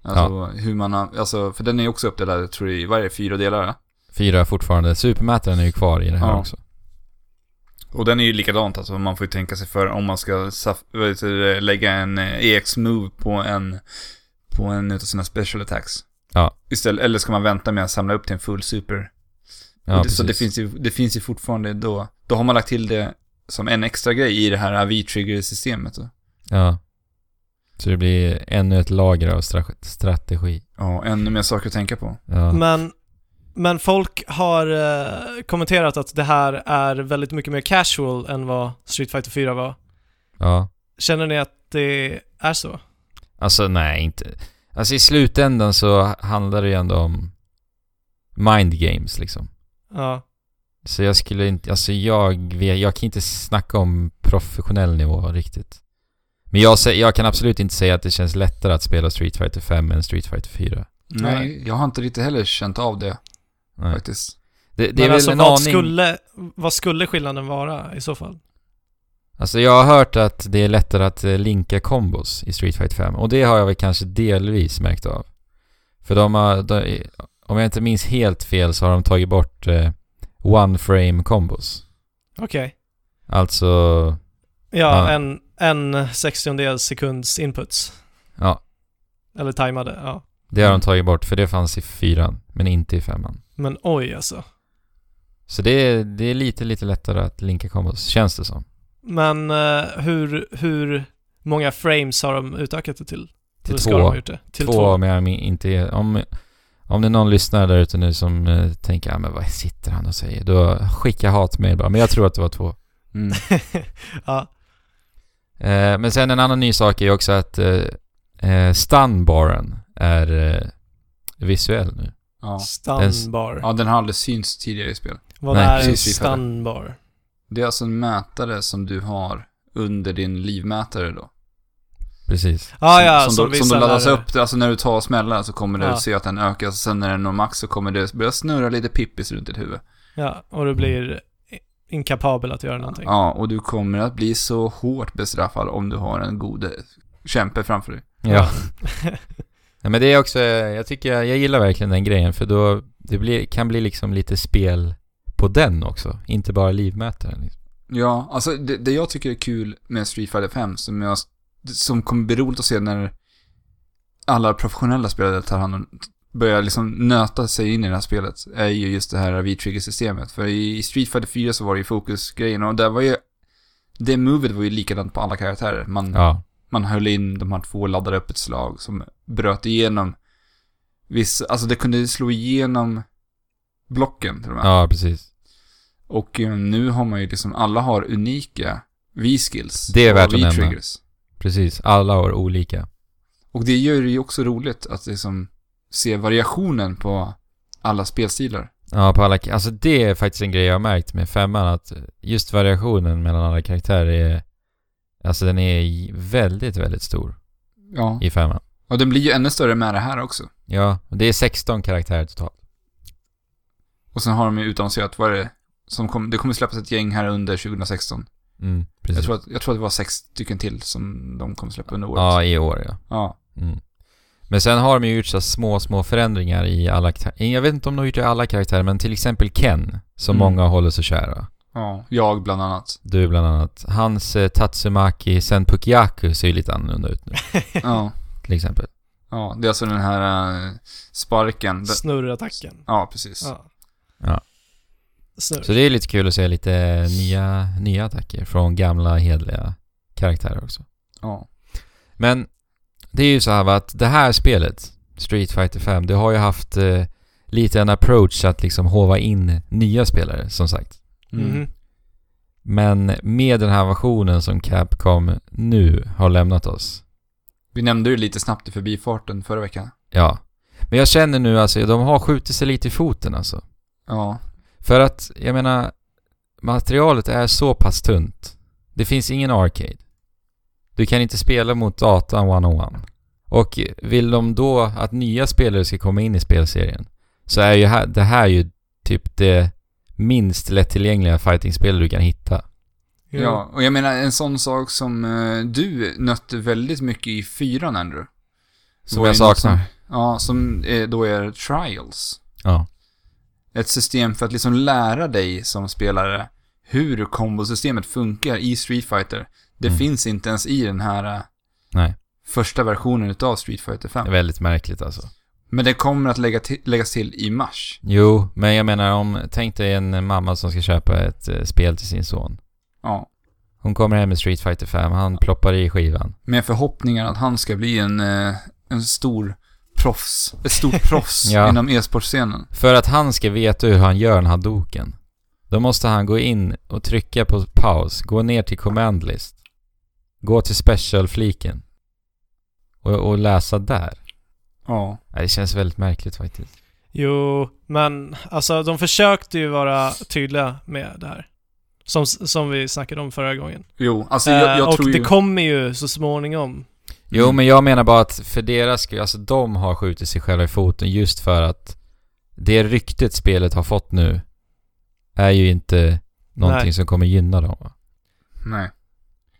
A: Alltså hur man, an- alltså, för den är ju också uppdelad, jag tror i, vad är det, fyra delar? ja?
B: Fyra fortfarande. Supermätaren är ju kvar i det här
A: Ja.
B: också.
A: Och den är ju likadant alltså, man får ju tänka sig för om man ska saf- vad heter det, lägga en eh, EX-move på en, på en utav sina special attacks.
B: Ja.
A: Istället, eller ska man vänta med att samla upp till en full super?
B: Ja,
A: det, så det
B: precis.
A: finns, ju, det finns ju fortfarande då, då har man lagt till det som en extra grej i det här V-trigger-systemet. då.
B: Ja. Så det blir ännu ett lager av stra- strategi.
A: Ja, ännu mer saker att tänka på.
B: Ja.
C: Men, men folk har eh, kommenterat att det här är väldigt mycket mer casual än vad Street Fighter 4 var.
B: ja.
C: Känner ni att det är så?
B: Alltså nej, inte... Alltså i slutändan så handlar det ju ändå om mind games liksom.
C: Ja.
B: Så jag skulle inte, alltså jag, vet- jag kan inte snacka om professionell nivå riktigt. Men jag, sä- jag kan absolut inte säga att det känns lättare att spela Street Fighter 5 än Street Fighter 4.
A: Nej, jag har inte riktigt heller känt av det
B: Nej.
A: faktiskt.
B: Det, det är
C: Men
B: väl
C: alltså
B: en
C: vad
B: aning.
C: skulle, vad skulle skillnaden vara i så fall?
B: Alltså jag har hört att det är lättare att eh, linka kombos i Street Fighter 5 och det har jag väl kanske delvis märkt av. För de har, de, om jag inte minns helt fel så har de tagit bort eh, one frame kombos.
C: Okej.
B: Alltså, Ja.
C: Ja, en, en sextiondels sekunds inputs.
B: ja,
C: Eller tajmade, ja.
B: det har de tagit bort för det fanns i fyran men inte i femman.
C: Men oj alltså.
B: Så det är, det är lite, lite lättare att linka kombos, känns det som.
C: Men eh, hur, hur många frames har de utökat det till?
B: Till
C: Eller ska de
B: två,
C: ha gjort det? Till
B: två,
C: två.
B: om jag min- inte är- om, om det är någon lyssnare där ute nu som eh, tänker, ja men vad sitter han och säger? Då skicka hatmejl bara, men jag tror att det var två.
A: Mm.
C: ja.
B: Eh, men sen en annan ny sak är ju också att eh, eh, stunbaren är eh, visuell nu.
A: Ja.
C: Stunbar.
A: ja, den har aldrig synts tidigare i spel.
C: Vad
B: Nej,
C: är en
A: precis, vi fattar.
C: stunbar?
A: Det är alltså en mätare som du har under din livmätare då.
B: Precis.
C: Ah, ja,
A: som,
C: som,
A: som, då, som
C: vissa
A: då laddas
C: lärare.
A: upp, alltså när du tar och smäller så kommer du
C: Ja.
A: se att den ökar, sen när den når max så kommer det börja snurra lite pippis runt ditt huvud.
C: Ja, och du blir i- inkapabel att göra någonting.
A: Ja, och du kommer att bli så hårt bestraffad om du har en god eh, kämpe framför dig.
B: Ja. Nej, men det är också, eh, jag tycker, jag, jag gillar verkligen den grejen för då, det blir, kan bli liksom lite spel på den också, inte bara livmätaren. Liksom.
A: Ja, alltså det, det jag tycker är kul med Street Fighter 5 som jag, som kommer bli roligt att se när alla professionella spelare tar hand om, börjar liksom nöta sig in i det här spelet, är ju just det här V-trigger-systemet. För i Street Fighter 4 så var det ju fokusgrejen och där var ju, det movet var ju likadant på alla karaktärer. Man,
C: Mm.
B: Ja,
A: man höll in de här två laddade upp ett slag som bröt igenom vissa, alltså det kunde slå igenom blocken till och med.
B: ja precis.
A: Och eh, nu har man ju liksom, alla har unika V-skills.
B: Det är
A: och
B: värt att nämna.
A: V-triggers.
B: Precis, alla har olika.
A: Och det gör det ju också roligt att liksom se variationen på alla spelstilar.
B: Ja, på alla, alltså det är faktiskt en grej jag har märkt med femman att just variationen mellan alla karaktärer är, alltså den är j- väldigt, väldigt stor
A: Ja.
B: i femman.
A: Och den blir ju ännu större med det här också.
B: Ja, och det är 16 karaktärer totalt.
A: Och sen har de ju utannonserat, vad är det som kom, det kommer släppas ett gäng här under 2016.
B: Mm, precis.
A: Jag tror, att, jag tror att det var sex stycken till som de kommer släppa under året.
B: Ja, i år ja.
A: ja.
B: Mm. Men sen har de ju gjort så här små, små förändringar i alla karaktärer. Jag vet inte om de har gjort det i alla karaktärer, men till exempel Ken, som
A: Mm.
B: många håller så kära.
A: Ja, jag bland annat.
B: Du bland annat. Hans eh, Tatsumaki Senpukiyaku ser ju lite annorlunda ut nu,
A: Ja,
B: till exempel.
A: ja det är alltså den här eh, sparken. Den,
C: Snurrattacken.
A: ja, precis.
C: Ja.
B: Ja.
C: Snurr.
B: Så det är lite kul att se lite nya, nya attacker från gamla hedliga karaktärer också.
A: Ja.
B: Men det är ju så här va, att det här spelet, Street Fighter 5, det har ju haft eh, lite en approach att liksom hova in nya spelare, som sagt.
A: Mm.
C: Mhm.
B: Men med den här versionen som Capcom nu har lämnat oss.
A: Vi nämnde ju lite snabbt i förbifarten förra veckan.
B: Ja. Men jag känner nu alltså, de har skjutit sig lite i foten alltså.
A: Ja,
B: För att, jag menar, materialet är så pass tunt. Det finns ingen arcade. Du kan inte spela mot datan one-on-one. Och vill de då att nya spelare ska komma in i spelserien så är ju här, det här ju typ det minst lättillgängliga fighting-spel du kan hitta.
C: Jo.
A: Ja, och jag menar en sån sak som eh, du nötte väldigt mycket i fyran, Andrew.
B: Som
A: Var
B: jag
A: ju något
B: saknar.
A: Som, ja, som eh, då är trials.
B: Ja.
A: Ett system för att liksom lära dig som spelare hur kombosystemet funkar i Street Fighter. Det
B: Mm.
A: finns inte ens i den här eh,
B: Nej.
A: första versionen utav Street Fighter 5.
B: Det är väldigt märkligt alltså.
A: Men det kommer att lägga ti- läggas till i mars.
B: Jo, men jag menar om, tänk dig en mamma som ska köpa ett eh, spel till sin son.
A: Ja.
B: Hon kommer hem med Street Fighter 5, han ploppar i skivan.
A: Med förhoppningar att han ska bli en, eh, en stor proffs. Ett stort proffs
B: Ja.
A: inom e-sportscenen.
B: För att han ska veta hur han gör den här doken, då måste han gå in och trycka på paus, gå ner till command list, gå till special-fliken och, och läsa där.
A: Ja.
B: Nej, Det känns väldigt märkligt faktiskt.
C: Jo, men alltså de försökte ju vara tydliga med det här. Som, som vi snackade om förra gången.
A: Jo, alltså jag, jag
C: Eh, och
A: tror
C: det
A: ju...
C: kommer ju så småningom.
B: Jo,
A: Mm.
B: men jag menar bara att för deras skull, alltså de har skjutit sig själva i foten just för att det ryktet spelet har fått nu är ju inte någonting
C: Nej.
B: som kommer gynna dem. va?
A: Nej.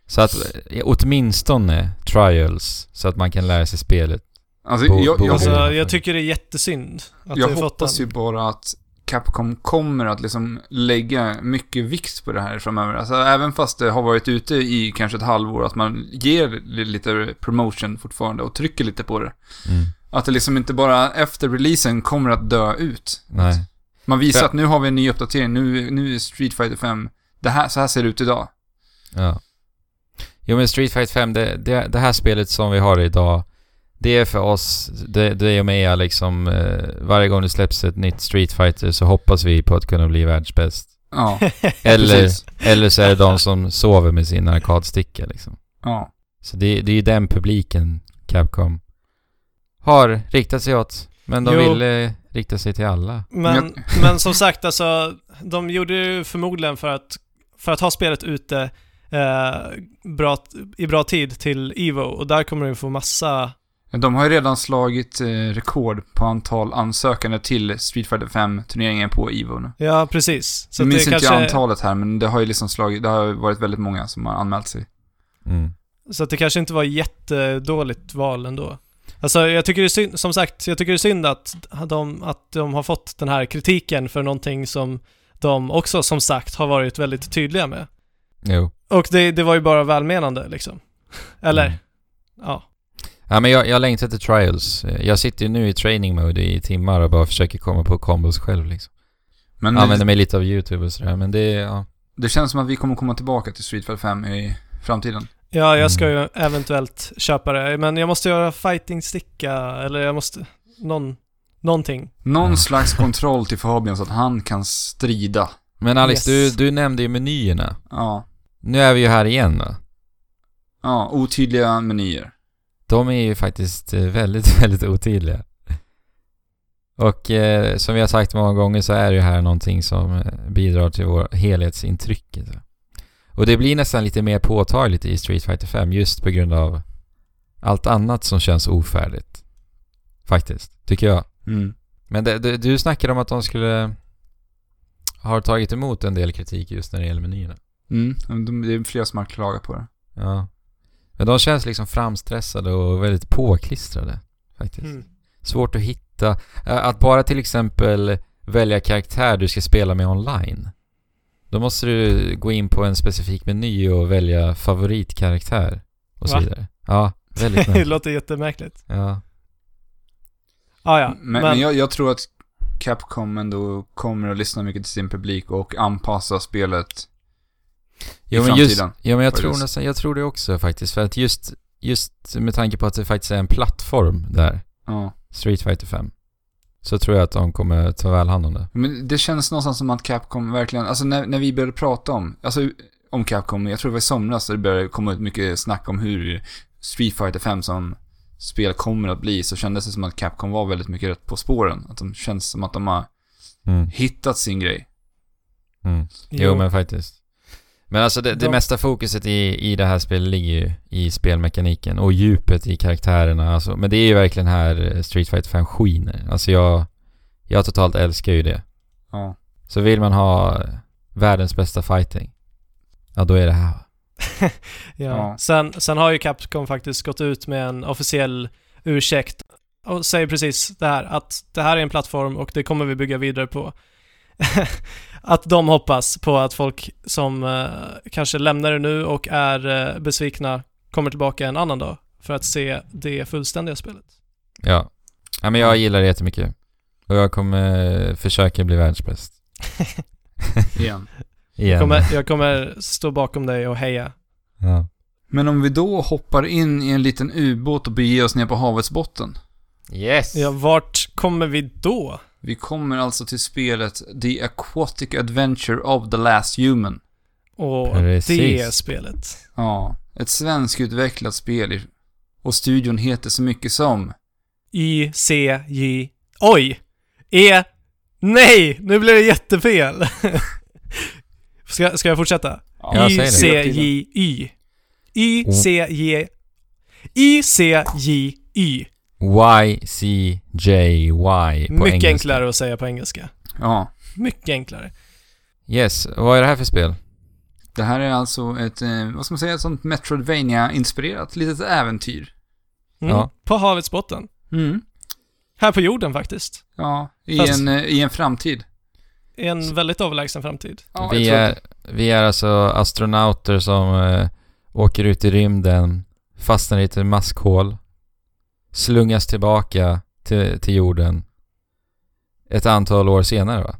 B: Så att eh, åtminstone trials, så att man kan lära sig spelet.
A: Alltså,
B: Bo-
A: jag, jag,
B: Bo-
C: Alltså,
A: jag,
B: Bo-
C: jag tycker det är jättesynd att
A: jag
C: vi har fått den.
A: hoppas ju bara att Capcom kommer att liksom lägga mycket vikt på det här framöver. Alltså även fast det har varit ute i kanske ett halvår, att man ger li- lite promotion fortfarande och trycker lite på det. Att det liksom inte bara efter releasen kommer att dö ut.
B: Nej.
A: Man visar
B: För-
A: att nu har vi en ny uppdatering, nu, nu är Street Fighter 5, det här, så här ser det ut idag.
B: Ja. Jo men Street Fighter 5, det, det, det här spelet som vi har idag, det är för oss, det, det och mig är liksom, eh, varje gång det släpps ett nytt Street Fighter så hoppas vi på att kunna bli världsbäst.
A: Ja,
B: Eller,
A: precis.
B: eller så är det de som sover med sin arkadsticka liksom.
A: Ja.
B: Så det, det är ju den publiken Capcom har riktat sig åt. Men de
C: Jo.
B: ville rikta sig till alla.
C: Men, men som sagt, alltså, de gjorde ju förmodligen för att, för att ha spelet ute eh, bra, i bra tid till Evo och där kommer du få massa...
A: De har ju redan slagit eh, rekord på antal ansökande till Street Fighter 5-turneringen på Evo nu.
C: Ja, precis. Så
A: jag
C: att
A: minns
C: det
A: inte
C: kanske,
A: antalet här, men det har ju liksom slagit, det har ju varit väldigt många som har anmält sig.
B: Mm.
C: Så att det kanske inte var jättedåligt val ändå. Alltså jag tycker det är synd, som sagt, jag tycker det är synd att de, att de har fått den här kritiken för någonting som de också som sagt har varit väldigt tydliga med.
B: Jo.
C: Och det, det var ju bara välmenande liksom. Eller,
B: Mm.
C: ja.
B: Ja, men jag, jag längtar till trials. Jag sitter ju nu i training mode i timmar och bara försöker komma på combos själv liksom.
A: Men
B: Jag använder
A: det,
B: mig lite av YouTube och sådär, men det, ja.
A: det känns som att vi kommer komma tillbaka till Street Fighter 5 i framtiden.
C: Ja, jag ska ju eventuellt köpa det, men jag måste göra fighting-sticka, eller jag måste... Någon, någonting.
A: Någon
B: Mm.
A: slags kontroll till Fabian så att han kan strida.
B: Men Alex,
C: Yes.
B: du, du nämnde ju menyerna.
A: Ja.
B: Nu är vi ju här igen va?
A: Ja, otydliga menyer.
B: De är ju faktiskt eh, väldigt, väldigt otydliga. Och eh, som vi har sagt många gånger så är det ju här någonting som eh, bidrar till vår helhetsintryck. alltså. Och det blir nästan lite mer påtagligt i Street Fighter 5 just på grund av allt annat som känns ofärdigt. Faktiskt, tycker jag.
A: Mm.
B: Men det, det, du snackade om att de skulle ha tagit emot en del kritik just när det gäller menyerna.
A: Mm. men de- Det är flera som har klagat på det.
B: Ja. Men de känns liksom framstressade och väldigt påklistrade faktiskt.
C: Mm.
B: Svårt att hitta. Eh, Att bara till exempel välja karaktär du ska spela med online. Då måste du gå in på en specifik meny och välja favoritkaraktär och så
C: Va?
B: vidare. Ja, väldigt
C: det
B: märkligt.
C: låter jättemärkligt.
B: Ja.
C: Ah, ja,
A: Mm, men, men jag, jag tror att Capcom ändå kommer att lyssna mycket till sin publik och anpassa spelet
B: Jo,
A: i
B: men
A: framtiden.
B: just, ja, men jag
A: Vad är
B: tror
A: det?
B: nästan, jag tror det också faktiskt. För att just, just med tanke på att det faktiskt är en plattform där,
A: Ja.
B: Street Fighter 5, så tror jag att de kommer ta väl hand om det.
A: Men det känns någonstans som att Capcom verkligen, alltså när, när vi började prata om, alltså om Capcom, jag tror det var i somras där det började komma ut mycket snack om hur Street Fighter 5 som spel kommer att bli, så kändes det som att Capcom var väldigt mycket rätt på spåren. Att de känns som att de har
B: Mm.
A: hittat sin grej.
B: Mm. Jo, men faktiskt. Men alltså det, det
C: De-
B: mesta fokuset i, i det här spelet ligger ju i spelmekaniken och djupet i karaktärerna. Alltså, men det är ju verkligen här eh, Street Fighter 5 skiner. Alltså jag, jag totalt älskar ju det.
A: Ja.
B: Så vill man ha eh, världens bästa fighting, ja då är det här.
C: Ja.
A: Ja.
C: Sen, sen har ju Capcom faktiskt gått ut med en officiell ursäkt och säger precis det här, att det här är en plattform och det kommer vi bygga vidare på. att de hoppas på att folk som eh, kanske lämnar det nu och är eh, besvikna kommer tillbaka en annan dag för att se det fullständiga spelet.
B: Ja. ja, men jag gillar det jättemycket. Och jag kommer eh, försöka bli världsbäst.
A: Igen.
B: Igen.
C: Jag kommer, jag kommer stå bakom dig och heja.
B: Ja.
A: Men om vi då hoppar in i en liten ubåt och beger oss ner på havets botten.
B: Yes!
C: Ja, vart kommer vi då?
A: Vi kommer alltså till spelet The Aquatic Adventure of the Last Human.
C: Och det
B: Precis.
C: spelet.
A: Ja, ett svenskutvecklat spel i- och studion heter så mycket som...
C: I, C, J... Oj! E... Nej! Nu blev det jättefel! ska, ska jag fortsätta?
B: Ja,
C: I,
B: säg det.
C: C, J, Y. I, C, J... I, C, J, Y.
B: YCJY på
C: Mycket
B: engelska.
C: enklare att säga på engelska.
A: Ja,
C: Mycket enklare.
B: Yes, vad är det här för spel?
A: det här är alltså ett, eh, vad ska man säga, ett sånt Metroidvania-inspirerat litet äventyr.
C: Mm.
B: Ja.
C: På havets botten.
A: Mm.
C: Här på jorden faktiskt.
A: Ja, i,
C: Fast-
A: en, eh, i en framtid.
C: I en väldigt avlägsen framtid.
A: Ja,
B: vi,
A: jag tror
B: är,
A: att-
B: vi är alltså astronauter som eh, åker ut i rymden, fastnar i ett maskhål, slungas tillbaka till, till jorden ett antal år senare va?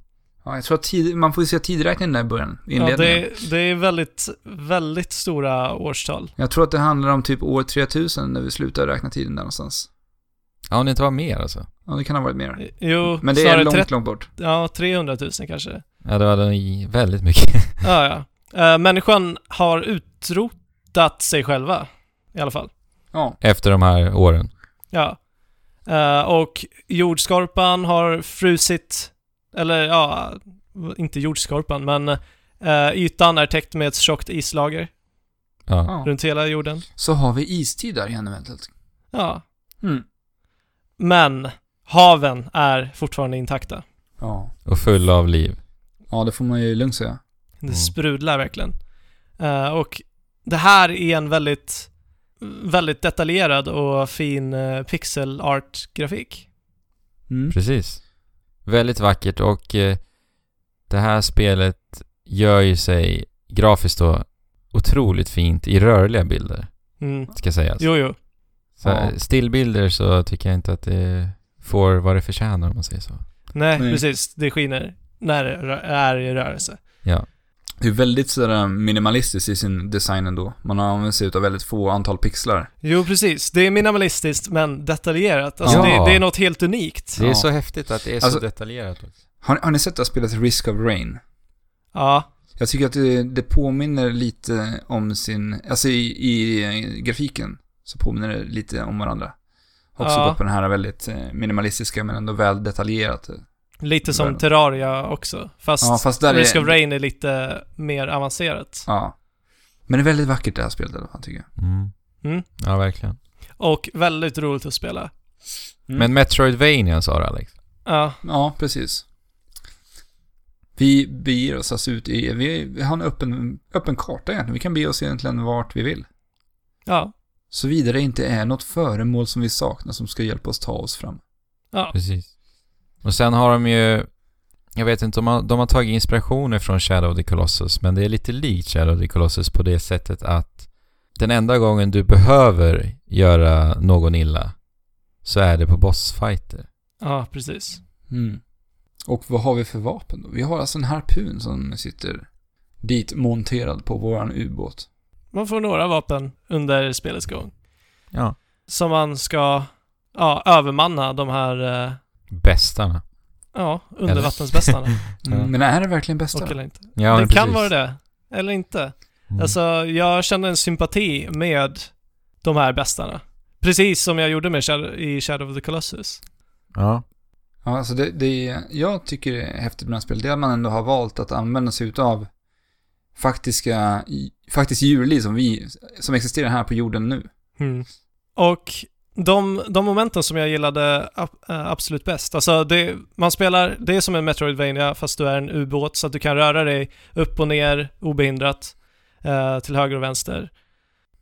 A: ja, jag tror att tid, man får ju se tidräkningen där i början, i
C: Ja,
A: inledningen.
C: det, det är väldigt, väldigt stora årstal.
A: Jag tror att det handlar om typ år 3000 när vi slutar räkna tiden där någonstans.
B: Ja, om det inte var mer alltså.
A: Ja, det kan ha varit mer.
C: Jo,
A: Men det är
C: snarare
A: långt,
C: 30,
A: långt bort.
C: ja, 300 000 kanske.
B: Ja, det var nog i- väldigt mycket.
C: Ja, ja. Eh, människan har utrotat sig själva, i alla fall.
A: Ja,
B: Efter de här åren.
C: Ja. Eh, och jordskorpan har frusit, eller ja, inte jordskorpan, men eh, ytan är täckt med ett tjockt islager
B: Ja.
A: ja.
C: runt hela jorden.
A: Så har vi istid där igen eventuellt.
C: Ja.
A: Mm.
C: Men haven är fortfarande intakta.
A: Ja.
B: Och full av liv.
A: ja, det får man ju lugnt säga.
C: Det
B: Mm.
C: sprudlar verkligen. Eh, och det här är en väldigt, väldigt detaljerad och fin eh, pixel art-grafik.
A: Mm.
B: Precis. Väldigt vackert och eh, det här spelet gör ju sig grafiskt då otroligt fint i rörliga bilder,
C: Mm.
B: ska sägas.
C: Jo, jo.
B: Så här,
A: Ja.
B: Stillbilder så tycker jag inte att det får vad det förtjänar om man säger så.
C: Nej,
A: Nej.
C: precis. Det skiner när det rö- är i rörelse.
B: Ja,
A: Det är väldigt sådär eh, minimalistiskt i sin design ändå. Man har använt sig av väldigt få antal pixlar.
C: Jo, precis. Det är minimalistiskt men detaljerat. Alltså,
B: Ja.
C: det, det är något helt unikt.
B: det
A: Ja.
B: är så häftigt att det är
A: Alltså-
B: så detaljerat också.
A: Har, har ni sett det här spelet Risk of Rain?
C: Ja,
A: Jag tycker att det, det påminner lite om sin, alltså i, i grafiken så påminner det lite om varandra. Också
C: Ja.
A: då på den här väldigt eh, minimalistiska men ändå väl detaljerat.
C: lite som
A: Världen.
C: Terraria också. Fast,
A: Ja, fast där
C: Risk
A: är...
C: of Rain är lite mer avancerat.
A: Ja. Men det är väldigt vackert det här spelet i alla fall tycker jag.
B: Mm.
C: Mm.
B: Ja, verkligen.
C: Och väldigt roligt att spela.
A: Mm.
B: Men Metroidvania sa du Alex?
C: Ja,
A: Ja, precis. Vi beger oss alltså ut i, vi, vi har en öppen, öppen karta egentligen. Vi kan bege oss egentligen vart vi vill.
C: ja,
A: Såvida det inte är något föremål som vi saknar som ska hjälpa oss ta oss fram.
C: ja.
B: Precis. Och sen har de ju... Jag vet inte, de har, de har tagit inspirationer från Shadow of the Colossus, men det är lite likt Shadow of the Colossus på det sättet att den enda gången du behöver göra någon illa så är det på bossfighter.
C: Ja, precis.
A: Hmm. Och vad har vi för vapen då? Vi har alltså en harpun som sitter dit monterad på våran ubåt.
C: Man får några vapen under spelets gång.
B: Ja.
C: Som man ska, ja, övermanna de här, eh,
B: Bästarna.
C: ja, undervattensbästarna.
B: Ja.
A: Men är det verkligen bästa?
C: Och eller inte.
B: Ja,
C: Mm. det
B: men
C: kan
B: precis.
C: vara det, eller inte.
B: Mm.
C: Alltså, jag kände en sympati med de här bästarna. Precis som jag gjorde med Shadow, i Shadow of the Colossus.
B: Ja.
A: Ja, alltså det, det är- jag tycker det är häftigt med det här spelet, det är att man ändå har valt att använda sig utav faktiska, faktiskt djurliv som vi, som existerar här på jorden nu.
C: Mm. Och de, de momenten som jag gillade ab- eh, absolut bäst, alltså det, man spelar, det är som en Metroidvania fast du är en ubåt så att du kan röra dig upp och ner obehindrat eh, till höger och vänster.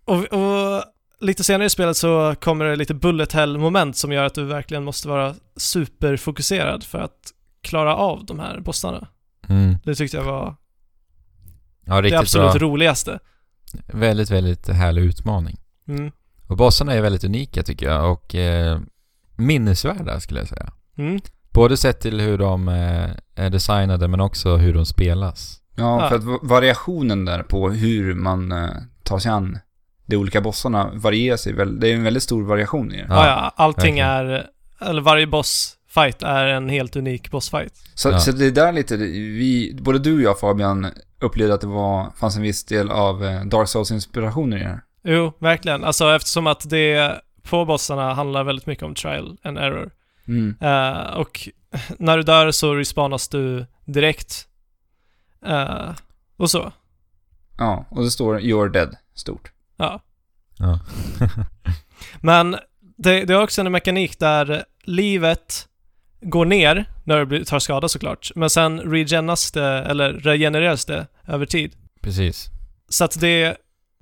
C: Och, och lite senare i spelet så kommer det lite bullet hell moment som gör att du verkligen måste vara superfokuserad för att klara av de här bossarna.
B: Mm.
C: Det tyckte jag var
B: Ja,
C: det
B: riktigt
C: absolut
B: bra.
C: roligaste.
B: Väldigt, väldigt härlig utmaning.
C: Mm.
B: Och bossarna är väldigt unika tycker jag och eh, minnesvärda skulle jag säga.
C: Mm.
B: Både sett till hur de eh, är designade men också hur de spelas.
A: Ja,
C: Ja.
A: för att va- variationen där på hur man eh, tar sig an de olika bossarna varierar sig väl, det är en väldigt stor variation i det.
B: Ja,
C: Ja, ja, allting
B: verkligen.
C: är, eller varje bossfight är en helt unik bossfight.
A: Så,
B: Ja.
A: så det är där lite, vi, både du och jag Fabian upplevde att det var, fanns en viss del av eh, Dark Souls-inspirationer i det här.
C: Jo, verkligen. Alltså eftersom att det på bossarna handlar väldigt mycket om trial and error.
A: Mm.
C: Eh, och när du dör så respawnas du direkt. Eh, och så.
A: Ja, och det står “You're dead” stort.
C: Ja.
B: Ja.
C: Men det, det är också en mekanik där livet går ner när du blir- tar skada såklart. Men sen regeneras det, eller regenereras det över tid.
B: Precis.
C: Så att det,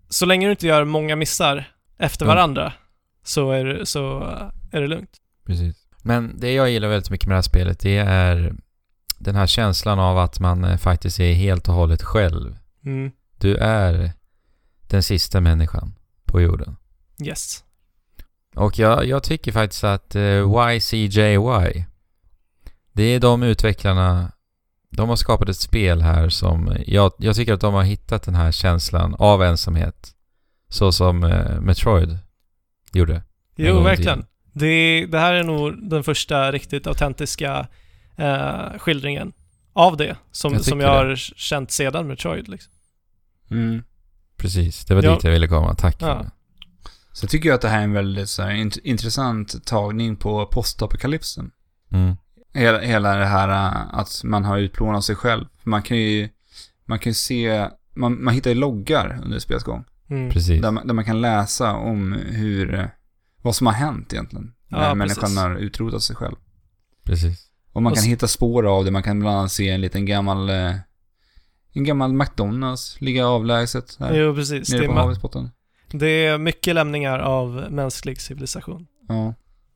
C: så länge du inte gör många missar efter
B: Mm.
C: varandra så, är, det- så är det lugnt.
B: Precis. Men det jag gillar väldigt mycket med det här spelet det är den här känslan av att man eh, faktiskt är helt och hållet själv.
C: Mm.
B: Du är den sista människan på jorden.
C: Yes.
B: Och jag, jag tycker faktiskt att eh, YCJY, det är de utvecklarna, de har skapat ett spel här som, jag, jag tycker att de har hittat den här känslan av ensamhet. Så som eh, Metroid gjorde. En gång
C: Jo,
B: i
C: verkligen.
B: tiden.
C: Det, det här är nog den första riktigt autentiska eh, skildringen av det som
B: Jag
C: jag,
B: tycker
C: som jag har
B: det.
C: känt sedan Metroid. Liksom.
A: Mm.
B: Precis, det var
C: Ja.
B: dit jag ville komma. Tack
C: Ja.
B: för det.
A: Så tycker jag att det här är en väldigt så här, int- intressant tagning på postapokalypsen.
B: Mm.
A: Hela, hela det här äh, att man har utplånat sig själv. Man kan ju, man kan ju se, man, man hittar ju loggar under spelets gång.
C: Mm.
B: Precis.
A: Där man, där man kan läsa om hur, eh, vad som har hänt egentligen.
C: Ja,
A: när
C: precis.
A: människan har utrotat sig själv.
B: Precis.
A: Och man
C: Och
A: kan
C: s-
A: hitta spår av det. Man kan bland annat se en liten gammal, eh, en gammal McDonalds ligga avlägset där.
C: Jo, precis. Det
A: nere
C: är,
A: på
C: ma-
A: havets botten.
C: det är mycket lämningar av mänsklig civilisation.
A: Ja.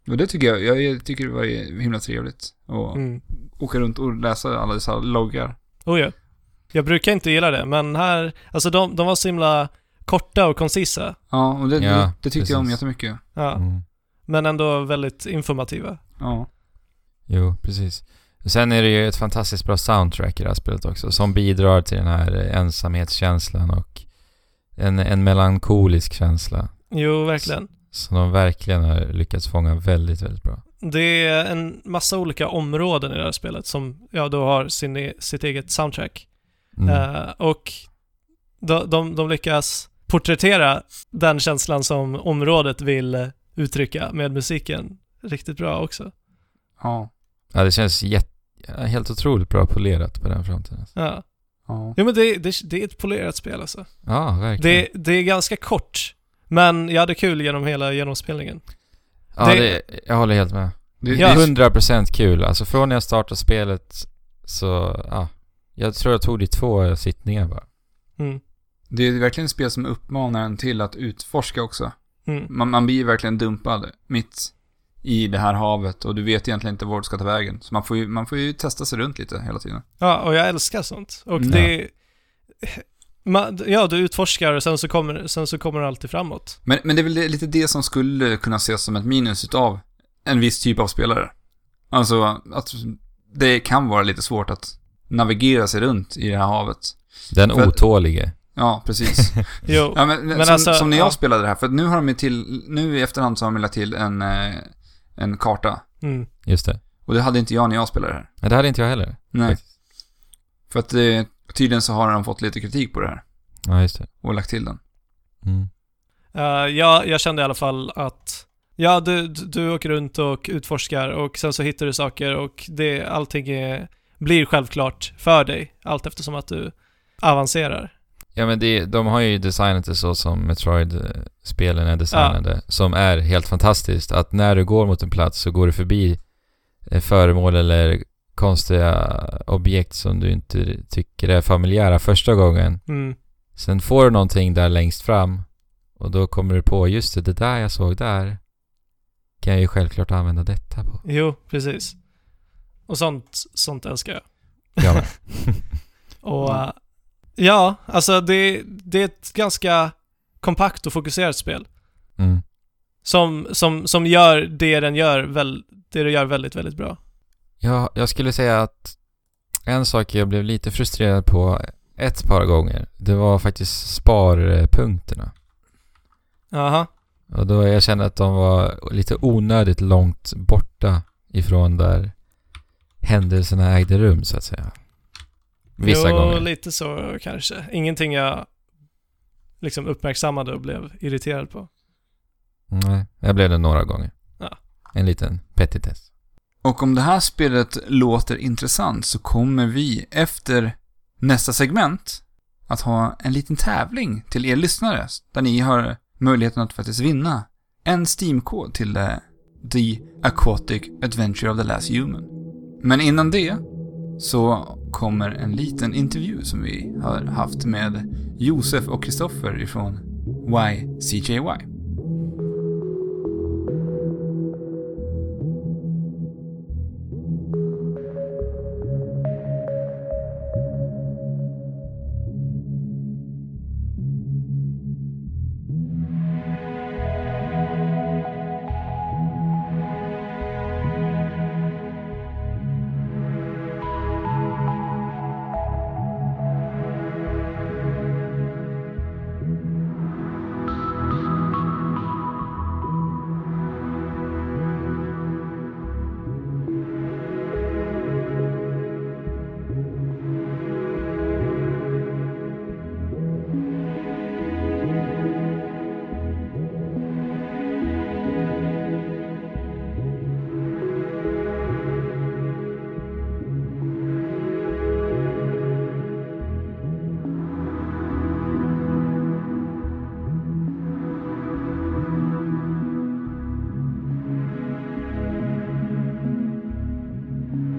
A: Och det tycker jag, jag tycker det var ju himla trevligt. Och
C: Mm.
A: åka runt och läsa alla dessa loggar.
C: Oh ja. Jag brukar inte gilla det, men här, alltså de, de var så himla korta och koncisa.
A: Ja, och det,
B: Ja,
A: det, det tyckte jag om
B: precis.
A: jättemycket.
C: Ja.
B: Mm.
C: Men ändå väldigt informativa.
A: Ja.
B: Jo, precis. Sen är det ju ett fantastiskt bra soundtrack i det här spelet också, som bidrar till den här eh, ensamhetskänslan och en, en melankolisk känsla
C: Jo, verkligen.
B: som de verkligen har lyckats fånga väldigt, väldigt bra.
C: Det är en massa olika områden i det här spelet som ja, då har sin, e- sitt eget soundtrack.
B: Mm.
C: Eh, och de, de, de lyckas porträttera den känslan som området vill eh, uttrycka med musiken riktigt bra också.
A: Ja.
B: Ja, det känns jätt, ja, helt otroligt bra polerat på den fronten. alltså.
C: Ja,
A: Ja.
C: jo, men det, det, det är ett polerat spel alltså.
B: Ja, verkligen.
C: Det, det är ganska kort, men jag hade kul genom hela genomspelningen.
B: ja,
C: det-
B: det, jag håller helt med.
A: Det,
C: Ja.
A: det,
B: 100% kul. Alltså från när jag startade spelet så, ja. Jag tror jag tog det i två sittningar bara.
C: Mm.
A: det är verkligen ett spel som uppmanar en till att utforska också.
C: Mm.
A: Man, man blir verkligen dumpad mitt i det här havet och du vet egentligen inte vart du ska ta vägen. Så man får ju, man får ju testa sig runt lite hela tiden.
C: Ja, och jag älskar sånt. Och
A: Mm.
C: det... Ma, ja, du utforskar och sen så kommer, sen så kommer det alltid framåt.
A: Men, men det är väl det- lite det som skulle kunna ses som ett minus utav en viss typ av spelare. Alltså att det kan vara lite svårt att navigera sig runt i det här havet.
B: Den
A: För-
B: otålige.
A: Ja, precis.
C: Jo,
A: Ja, men, som,
C: alltså,
A: som när jag
C: ja.
A: spelade det här, för nu har de ju till, nu i efterhand så har de ju lagt till en, eh, en karta.
C: mm.
B: Just det.
A: Och det hade inte jag när jag spelade det här.
B: Men det hade inte jag heller.
A: Nej.
B: Faktiskt.
A: För att eh, tydligen så har de fått lite kritik på det här
B: Ja, just det.
A: och lagt till den.
B: Mm.
C: Eh, jag, jag kände i alla fall att ja, du, du- du åker runt och utforskar och sen så hittar du saker och det, allting är, blir självklart för dig allt eftersom att du avancerar.
B: Ja men det, de har ju designat det så som Metroid-spelen är designade. Som är helt fantastiskt. Att när du går mot en plats så går du förbi eh, föremål eller konstiga objekt som du inte tycker är familjära första gången.
C: Mm.
B: Sen får du någonting där längst fram och då kommer du på just det, det där jag såg där kan jag ju självklart använda detta på.
C: Jo, precis. Och sånt, sånt älskar jag.
B: Ja, men.
C: Och
A: Ja.
C: eh, ja, alltså det, det är ett ganska kompakt och fokuserat spel.
B: Mm.
C: Som, som, som gör det den gör, väl, det du gör väldigt, väldigt bra.
B: Ja, jag skulle säga att en sak jag blev lite frustrerad på ett par gånger, det var faktiskt sparpunkterna.
C: Aha.
B: Och då jag kände att de var lite onödigt långt borta ifrån där händelserna ägde rum så att säga. Vissa
C: jo,
B: gånger.
C: lite så kanske. Ingenting jag liksom uppmärksammade och blev irriterad på.
B: Nej, jag blev det några gånger.
C: Ja.
B: En liten petitess.
A: Och om det här spelet låter intressant så kommer vi efter nästa segment att ha en liten tävling till er lyssnare där ni har möjligheten att faktiskt vinna en Steam-kod till eh, The Aquatic Adventure of the Last Human. Men innan det så kommer en liten intervju som vi har haft med Josef och Kristoffer ifrån YCJY.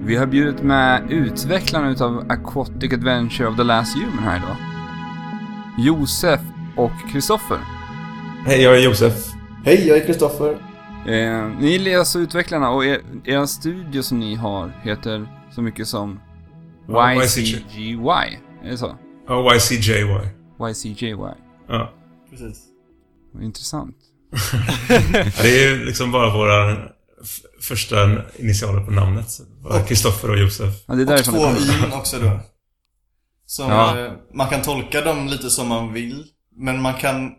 A: Vi har bjudit med utvecklaren utav Aquatic Adventure of the Last Human här idag. Josef och Kristoffer.
E: Hej, jag är Josef.
F: Hej, jag är Kristoffer.
A: Eh, ni är alltså utvecklarna och er, er studio som ni har heter så mycket som
E: Ja,
A: YCGY. Är det så?
E: Ja, YCJY.
A: YCJY.
E: Ja. precis.
A: Intressant.
E: Ja, det är ju liksom bara våra f- första initialer på namnet. så bara
F: Och-
E: Kristoffer och Josef.
A: Ja, det är
F: Och
A: därifrån
F: två
A: det kommer.
F: yn också då. Som,
A: Ja.
F: eh, Man kan tolka dem lite som man vill. Men man kan...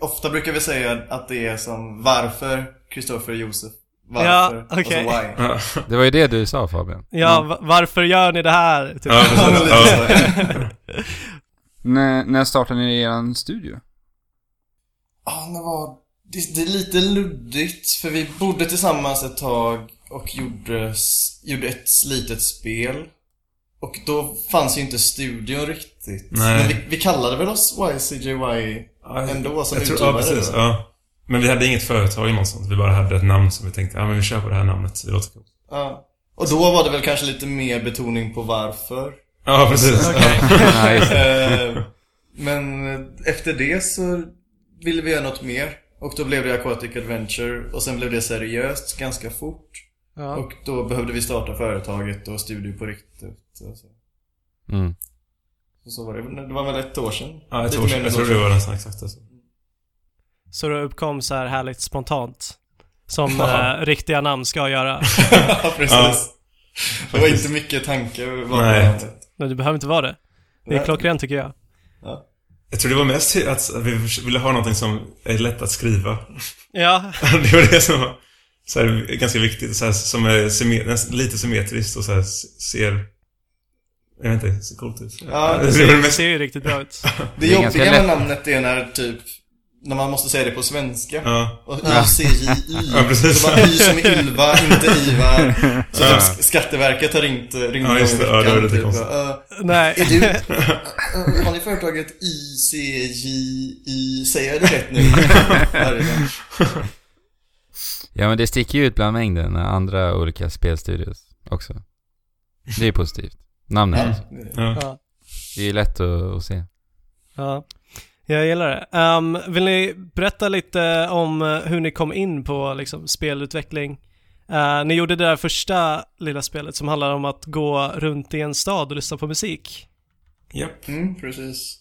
F: Ofta brukar vi säga att det är som varför Kristoffer och Josef. Varför.
C: Ja, okej.
F: Och så why.
E: Ja,
B: Det var ju det du sa Fabian.
C: Ja, va- varför gör ni det här? Typ.
E: ja,
F: Ja, men
E: precis.
F: lite
E: Ja.
F: så, ja.
A: När, när startade ni er studio?
F: Ja, det var... Det, det är lite luddigt, för vi bodde tillsammans ett tag och gjorde, s- gjorde ett litet spel. Och då fanns ju inte studion riktigt.
E: Nej.
F: Men vi, vi kallade väl oss YCJY
E: Ja,
F: ändå som
E: Jag tror, ja,
F: utgivare
E: precis.
F: då?
E: Ja. Men vi hade inget företag eller något sånt. Vi bara hade ett namn som vi tänkte, ja men vi kör på det här namnet. Det låter coolt.
F: Ja. Och då var det väl kanske lite mer betoning på varför.
E: Ja, precis.
A: Nej.
F: Eh, Men efter det så ville vi göra något mer. Och då blev det Aquatic Adventure och sen blev det seriöst ganska fort.
C: Ja.
F: Och då behövde vi starta företaget och studio på riktigt. Och så.
B: Mm.
F: Och så var det. det var väl ett år sedan?
E: Ja, jag
F: Lite
E: tror,
F: mer än
E: jag
F: ett
E: tror
F: år
E: det
F: sedan.
E: var nästan exakt det.
C: Så det uppkom så här härligt spontant. Som
F: Ja.
C: eh, riktiga namn ska göra.
F: ja, precis. det var inte mycket tanke. Var
E: Nej.
F: Nej.
C: Men det behöver inte vara det. Det är klockrent tycker jag.
E: Jag tror det var mest att vi ville ha någonting som är lätt att skriva.
C: Ja,
E: Det var det som var så här, ganska viktigt. Så här, som är symme- nästan lite symmetriskt och så här, ser... Jag vet inte, ser coolt ut.
F: Ja,
E: det var det
C: det
E: mest...
C: ser ju riktigt bra ut.
F: Det
A: Det är ganska
F: jobbiga med
A: lätt.
F: namnet är när typ när man måste säga det på svenska.
E: Ja,
F: Och ICJI.
E: Ja, precis.
F: Så bara Y som är Ylva, inte Ivar. Så
E: Ja.
F: typ Sk- Skatteverket har ringt, ringt
E: Ja, just det. Ja,
F: någon
E: det var
F: veckan,
E: lite
F: typ,
E: konstigt.
F: bara, "Äh,
C: Nej.
F: Är du... Äh, Har ni företaget ICJI? Säger jag det rätt nu? Herregud.
B: Ja men det sticker ju ut bland mängden när andra olika spelstudios också. Det är ju positivt. Namnet alltså.
E: ja.
C: Ja.
B: Det är ju lätt att, att se.
C: Ja, jag gillar det. Ehm, vill ni berätta lite om eh, hur ni kom in på liksom, spelutveckling? Eh, ni gjorde det där första lilla spelet som handlade om att gå runt i en stad och lyssna på musik.
E: Japp.
F: Mm, precis.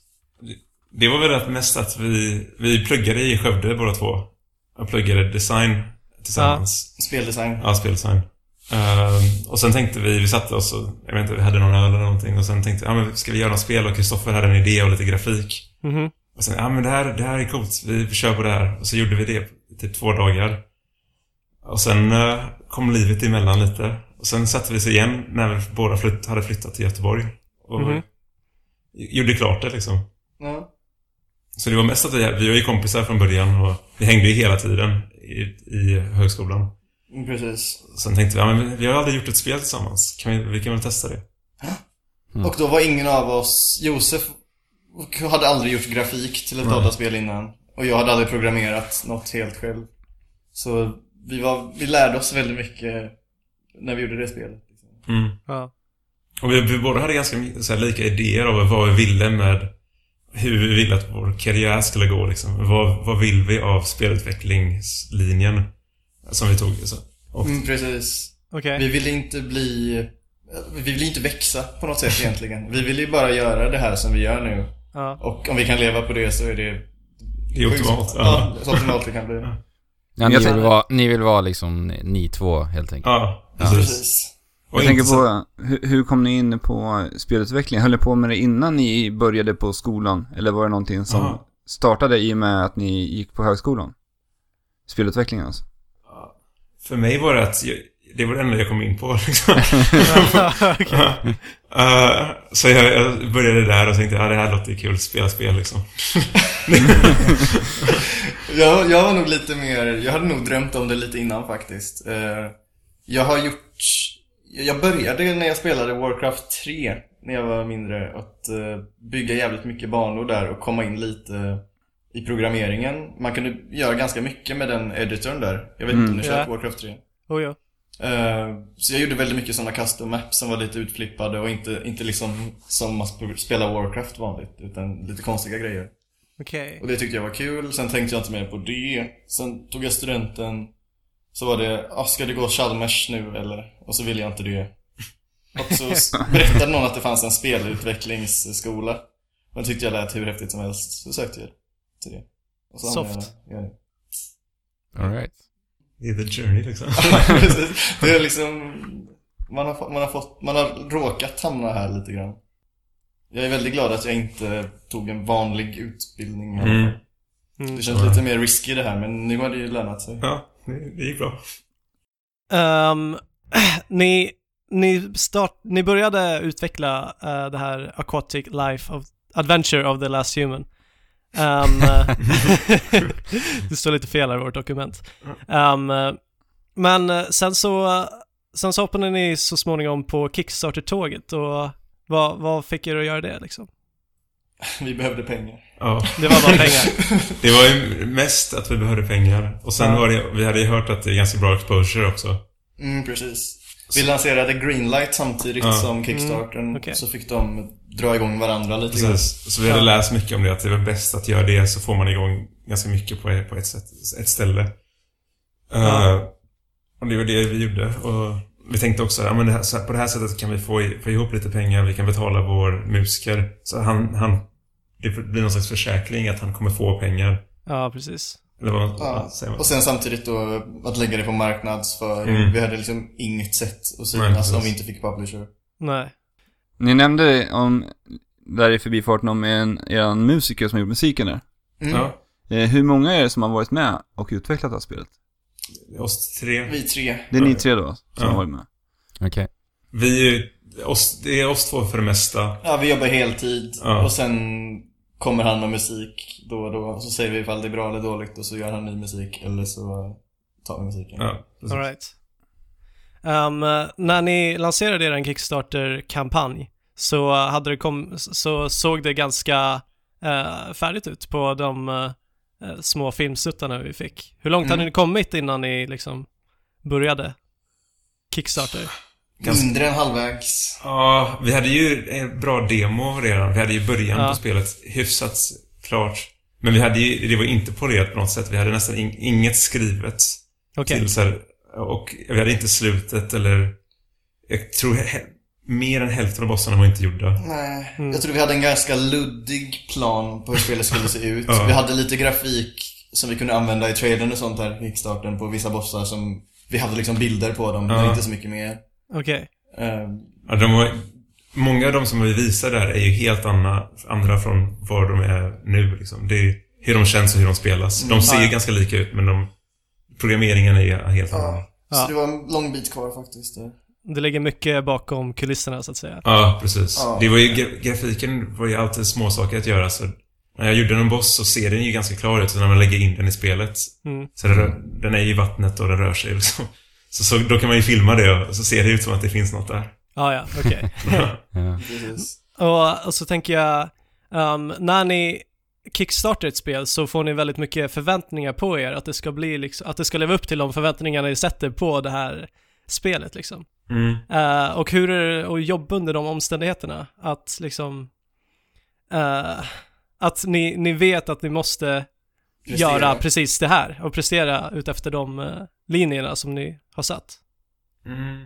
E: Det var väl att mest att vi, vi pluggade i Skövde båda två. Jag pluggade design tillsammans.
F: Speldesign.
E: Ja, speldesign. Ehm, och sen tänkte vi, vi satte oss och, jag vet inte, vi hade någon öl eller någonting och sen tänkte vi, ja men ska vi göra något spel och Kristoffer hade en idé och lite grafik.
C: Mhm.
E: Och sen, ja men det här, det här är coolt, vi kör på det här. Och så gjorde vi det i typ två dagar. Och sen eh, kom livet emellan lite. Och sen satte vi oss igen när vi båda flytt, hade flyttat till Göteborg. Och
C: Mhm.
E: gjorde klart det liksom.
F: Ja.
E: Så det var mest att vi, vi var ju kompisar från början och vi hängde ju hela tiden i, i högskolan.
F: Mm, Precis.
E: Sen tänkte vi, ja, men vi har aldrig gjort ett spel tillsammans. Kan vi, vi kan väl testa det?
B: Mm.
F: Och då var ingen av oss... Josef hade aldrig gjort grafik till ett
E: Nej.
F: dataspel innan. Och jag hade aldrig programmerat något helt själv. Så vi, var, vi lärde oss väldigt mycket när vi gjorde det spelet.
E: Mm.
C: Ja.
E: Och vi, vi båda hade ganska my- så här, lika idéer av vad vi ville med hur vi ville att vår karriär skulle gå. Liksom. Vad, vad vill vi av spelutvecklingslinjen som vi tog? Så. Och,
F: Mm, precis.
C: Okej.
F: Vi ville inte bli... Vi ville inte växa på något sätt egentligen. Vi ville ju bara göra det här som vi gör nu.
C: Ja.
F: Och om vi kan leva på det så är det...
E: Det är optimalt.
F: Ja,
E: Ja.
F: så optimalt det kan bli.
B: Ja, ni,
A: Jag
B: vill
A: tror-
B: vara, ni vill vara liksom ni, ni två helt enkelt.
E: ja, precis.
F: Precis.
E: Och
A: Jag tänker
E: inte så-
A: på, hur, hur kom ni in på spelutveckling? Höll ni på med det innan ni började på skolan? Eller var det någonting som
E: Aha.
A: startade i och med att ni gick på högskolan? Spelutvecklingen alltså.
E: För mig var det att jag, det var det enda jag kom in på. Liksom.
C: Okej.
E: Eh, så jag, jag började där och tänkte, ja det här låter ju kul, spela spel liksom.
F: Jag, jag var nog lite mer, jag hade nog drömt om det lite innan faktiskt. Eh, Jag har gjort, jag började när jag spelade Warcraft 3 när jag var mindre att eh, bygga jävligt mycket banor där och komma in lite i programmeringen. Man kunde göra ganska mycket med den editorn där. Jag vet inte om ni kört
C: Ja.
F: Warcraft 3?
C: Oh, ja.
F: Eh, Så jag gjorde väldigt mycket sådana custom maps som var lite utflippade och inte, inte liksom som man sp- spelar Warcraft vanligt utan lite konstiga grejer.
C: Okej.
F: Och det tyckte jag var kul, sen tänkte jag inte mer på det. Sen tog jag studenten. Så var det, ah, ska det gå Chalmers nu eller? Och så ville jag inte det. Och så s- berättade någon att det fanns en spelutvecklingsskola. Och det tyckte jag lät hur häftigt som helst, så sökte jag till det. Och så hamnade
C: Soft.
F: Jag, där.
B: All right.
E: Det är the journey liksom.
F: ja, precis. Det är liksom... Man har, fått- man, har fått, man har råkat hamna här lite grann. Jag är väldigt glad att jag inte tog en vanlig utbildning. i alla fall.
E: Mm.
C: Mm.
F: Det känns lite mer risky det här, men nu har det ju lönat sig.
E: Ja, det, det gick bra.
C: Ehm, ni, ni, start, ni började utveckla eh, det här Aquatic Life of Adventure of the Last Human. Ehm, eh, det står lite fel här i vårt dokument. Ehm, eh, men eh, sen så, sen så hoppade ni så småningom på Kickstarter-tåget och vad, vad fick er att göra det liksom?
F: Vi behövde pengar.
E: Ja.
C: Det var bara pengar.
E: Det var ju mest att vi behövde pengar. Och sen
C: Ja.
E: var det, vi hade ju hört att det är ganska bra exposure också.
F: Mm, precis. Vi lanserade Greenlight samtidigt
E: Ja. Mm,
F: som Kickstartern,
C: okej.
F: så fick de dra igång varandra lite grann.
E: Precis. Så vi hade
C: Ja.
E: läst mycket om det, att det var bäst att göra det så får man igång ganska mycket på, på ett, sätt, ett ställe. Eh,
C: Ja.
E: och det var det vi gjorde. Och vi tänkte också, ja, men det här, så här, på det här sättet kan vi få, i- få ihop lite pengar, vi kan betala vår musiker. Så han, han, det blir någon slags försäkring att han kommer få pengar.
C: Ja, precis.
E: Eller vad man,
F: Ja,
E: vad säger man?
F: och sen samtidigt då att lägga det på marknadsföring.
E: Mm.
F: Vi hade liksom inget sätt att
E: Nej,
F: synas
E: precis.
F: om vi inte fick publisher.
C: Nej.
A: Ni nämnde om, där i förbifarten, om en, er musiker som gjort musiken där.
F: Mm.
E: Ja,
A: Eh, hur många är det som har varit med och utvecklat det här spelet?
E: oss tre.
F: Vi tre.
A: Det är ni tre då, som
E: Ja.
A: har varit med?
B: Okej.
E: Vi är ju, oss, det är oss två för det mesta.
F: Ja, vi jobbar heltid
E: Ja.
F: och sen kommer han med musik då och då. Och så säger vi ifall det är bra eller dåligt och så gör han ny musik eller så tar vi musiken.
E: Ja, precis.
C: All right. Ehm, när ni lanserade er Kickstarter-kampanj så, hade det kom, så såg det ganska eh, färdigt ut på de eh, små filmsuttarna vi fick. Hur långt
E: Mm.
C: hade ni kommit innan ni liksom började Kickstarter?
E: Ganska-
F: Mindre än halvvägs.
E: Ja, vi hade ju en bra demo redan. Vi hade ju början
C: Ja.
E: på spelet hyfsat klart. Men vi hade ju, det var inte polerat på något sätt. Vi hade nästan in, inget skrivet.
C: Okej.
E: Till, så här, och vi hade inte slutet eller... Jag tror he, mer än hälften av bossarna var inte gjorda.
F: Nej.
C: Mm.
F: Jag tror vi hade en ganska luddig plan på hur spelet skulle se ut.
E: Ja.
F: Vi hade lite grafik som vi kunde använda i trailern och sånt där i kickstarten på vissa bossar som vi hade liksom bilder på dem, men
E: Ja.
F: inte så mycket mer.
C: Okej.
F: Eh,
E: Ja, de var, många av de som vi visar där är ju helt andra, andra från var de är nu. Liksom. Det är hur de känns och hur de spelas. De ser
C: Mm. Ja,
E: ju
C: ja.
E: ganska lika ut, men de, programmeringen är ju helt annan.
C: Ja.
F: Så det var en lång bit kvar faktiskt. eh. där.
C: Det ligger mycket bakom kulisserna så att säga.
E: Ja, precis.
F: Ja.
E: Det var ju, gra- grafiken var ju alltid små saker att göra. Så när jag gjorde en boss så ser den ju ganska klar ut. Så när man lägger in den i spelet.
C: Mm.
E: Så den, rör- den är ju i vattnet och den rör sig. Liksom. Så, så då kan man ju filma det och så ser det ut som att det finns något där.
C: Ah, ja, okej.
B: Ja.
F: Precis.
C: Och, och så tänker jag, ehm, när ni kickstartar ett spel så får ni väldigt mycket förväntningar på er, att det ska bli liksom, att det ska leva upp till de förväntningarna ni sätter på det här spelet liksom.
E: Mm.
C: Eh, och hur är det att jobba under de omständigheterna? Att liksom, eh, att ni, ni vet att ni måste
F: Prestera.
C: göra precis det här och prestera utefter de eh, linjerna som ni har satt.
E: Mm.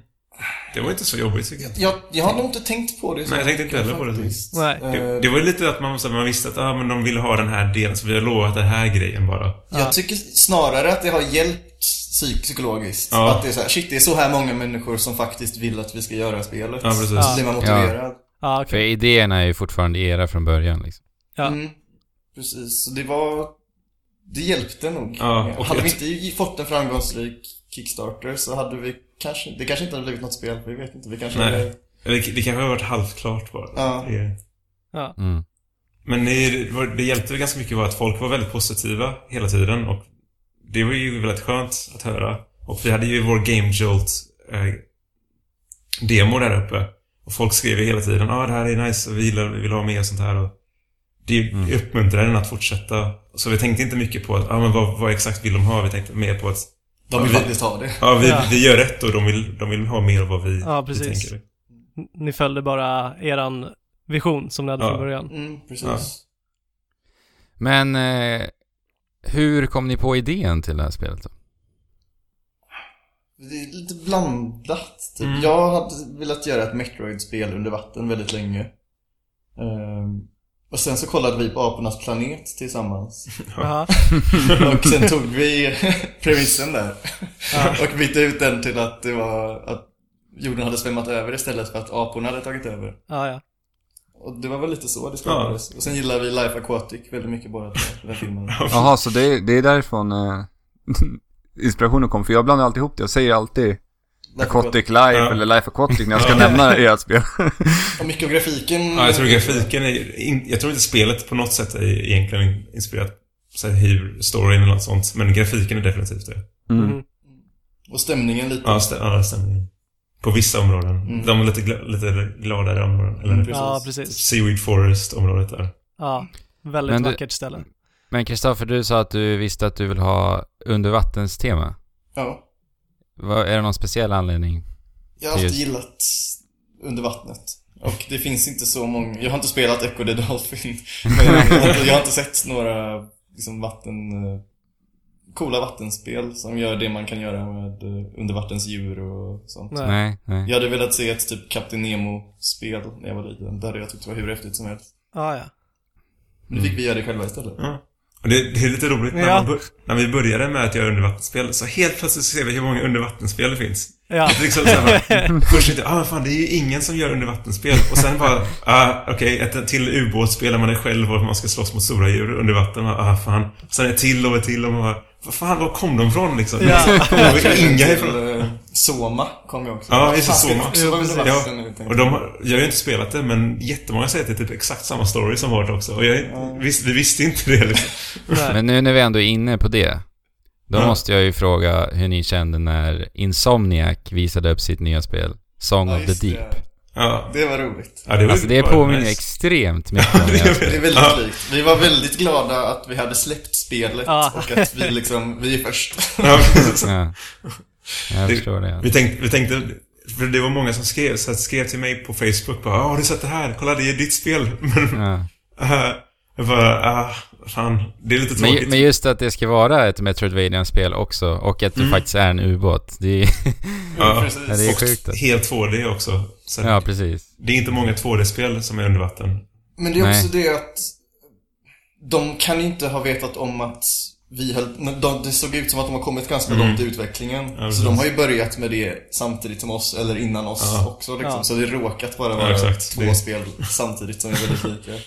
E: Det var inte så jobbigt tycker jag.
F: Jag, jag har nog inte tänkt på det så
E: Nej, jag tänkte inte heller på det.
F: faktiskt.
C: Nej.
F: Eh,
E: Det, det var ju lite att man, så här, man visste att ah, men de ville ha den här delen, så vi har lovat den här grejen bara.
C: Ja.
F: Jag tycker snarare att det har hjälpt psyk- psykologiskt.
E: Ja.
F: Att det är så här, shit, det är så här många människor som faktiskt vill att vi ska göra spelet.
E: Ja, precis.
F: Så blir man motiverad.
C: Ja,
B: För
C: okej.
B: idéerna är ju fortfarande era från början liksom.
C: Ja.
F: Mm, precis, så det var... Det hjälpte nog.
E: Ja, och
F: hade
E: jag-
F: vi inte gi- fått en framgångsrik Kickstarter så hade vi kanske... Det kanske inte hade blivit något spel, vi vet inte. Vi kanske
E: Nej.
F: hade...
E: Eller Det, det kanske har varit halvklart bara.
F: Ja.
E: Det-
C: Ja.
B: Mm.
E: Men det, var- det hjälpte ganska mycket var att folk var väldigt positiva hela tiden och det var ju väldigt skönt att höra. Och vi hade ju vår Game Jolt eh, demo där uppe. Och folk skrev ju hela tiden ah, det här är nice och vi gillar, vi vill ha mer och sånt här. Och det
B: Mm.
E: uppmuntrade den att fortsätta. Så vi tänkte inte mycket på att, ah, men vad, vad exakt vill de ha? Vi tänkte mer på att
F: De vill
E: Ja, vi-
F: faktiskt ha det.
E: ah, vi,
C: Ja.
E: vi gör rätt och de vill, de vill ha mer av vad vi,
C: Ja,
E: vi
C: precis.
E: tänker.
C: N- Ni följde bara eran vision som ni hade
E: Ja.
C: från början.
F: Mm, precis.
E: Ja.
B: Men eh, hur kom ni på idén till det här spelet då?
F: Det är lite blandat. Typ.
E: Mm.
F: Jag hade velat göra ett Metroid-spel under vatten väldigt länge. Ehm, Och sen så kollade vi på Apornas planet tillsammans.
C: Jaha.
F: Och sen tog vi premissen där. Och bytte ut den till att det var att jorden hade svämmat över istället för att aporna hade tagit över.
C: Ja, ja.
F: Och det var väl lite så det skapades. Och sen gillar vi Life Aquatic väldigt mycket bara den här filmen.
A: Jaha, så det, är- det är därifrån eh, inspirationen kom. För jag blandar alltid ihop det. Jag säger alltid
F: Life
A: Aquatic Life
E: Ja.
A: eller Life Aquatic när jag ska
E: Ja.
A: nämna ert spel.
F: Och mycket av grafiken.
E: Ja, jag tror grafiken är... In, jag tror inte spelet på något sätt är egentligen inspirerat så här, hur storyn eller något sånt. Men grafiken är definitivt det.
A: Mm.
F: Och stämningen lite.
E: Ja, stä, ja stämmer. På vissa områden.
F: Mm.
E: De är lite, gla, lite gladare områden. Eller
F: Mm, precis.
C: Ja, precis.
E: Seaweed Forest-området där.
C: Ja. Väldigt
B: Men det-
C: vackert ställe.
B: Men Kristoffer, du sa att du visste att du vill ha undervattenstema.
F: Ja.
B: Vad- Är det någon speciell anledning?
F: Jag har alltid
B: Precis.
F: gillat under vattnet. Och det finns inte så många, jag har inte spelat Echo the Dolphin. Men jag har inte, jag har inte sett några liksom vatten, eh, coola vattenspel som gör det man kan göra med eh, undervattensdjur och sånt.
C: Nej.
B: Nej, nej.
F: Jag hade velat se ett typ Captain Nemo-spel när jag var liten. Det hade jag tyckt var hur häftigt som helst.
C: Ja, ja.
F: Nu fick vi göra det själva istället.
E: Och det, det är lite roligt när,
C: Ja.
E: man bör, när vi började med att göra undervattensspel så helt plötsligt så ser vi hur många undervattensspel det finns.
C: Ja,
E: Det är Liksom så här, bara, först tänkte jag, ah, fan det är ju ingen som gör undervattensspel. Och sen bara, ah, okej, ett till ubåtsspel där man är själv och man ska slåss mot stora djur under vatten. Och, ah, fan. Sen ett till och ett till och man bara, vad fan, var kom de ifrån liksom?
C: Ja.
E: Det var ju inga
F: Till,
E: ifrån.
F: eh, Soma kom ju också.
E: Ja, just det,
F: Fan,
E: Soma.
F: också vara under
E: Ja.
F: vatten nu, tänkte
E: Och de har, jag har ju inte spelat det, men jättemånga säger att det är typ exakt samma story som varit också. Och jag, visst, vi visste inte det liksom.
C: nej.
B: Men nu när vi ändå är inne på det. Då
E: Ja.
B: måste jag ju fråga hur ni kände när Insomniac visade upp sitt nya spel, Song
F: Ja,
B: of the
F: just
B: Deep.
F: Det.
E: Ja.
F: det var roligt.
E: Ja, det, var
B: Alltså
E: ju
B: det
E: bara
B: påminner
E: nice.
B: extremt mycket om det här
F: Det är
B: spelet.
F: väldigt
E: Ja.
F: likt. Vi var väldigt glada att vi hade släppt spelet
C: Ja.
F: och att vi liksom, vi är först.
E: Ja, precis.
B: Ja. Jag
E: Det-
B: förstår det.
E: Vi tänkte, vi tänkte för det var många som skrev, så att skrev till mig på Facebook bara "Ah, har du sett det här? Kolla det är ditt spel. Men
B: Ja.
E: eh, jag bara, ah, fan. Det är lite
B: Men,
E: tråkigt.
B: men just att det ska vara ett Metroidvania-spel också och att det
E: Mm.
B: faktiskt är en ubåt. Det är,
E: ja.
F: Precis.
B: det är
E: Och
B: sjukt. att-
E: Helt 2D också. Så att
B: Ja, precis.
E: Det är inte många 2D-spel som är under vatten.
F: Men det är också
B: Nej.
F: det att de kan inte ha vetat om att vi höll, de, det såg ut som att de har kommit ganska långt i utvecklingen. så
E: Mm. precis.
F: de har ju börjat med det samtidigt som oss, eller innan oss
E: Ja.
F: också liksom.
C: Ja.
F: Så det råkat bara vara
E: exakt.
F: två
E: Det-
F: spel samtidigt som är väldigt lika.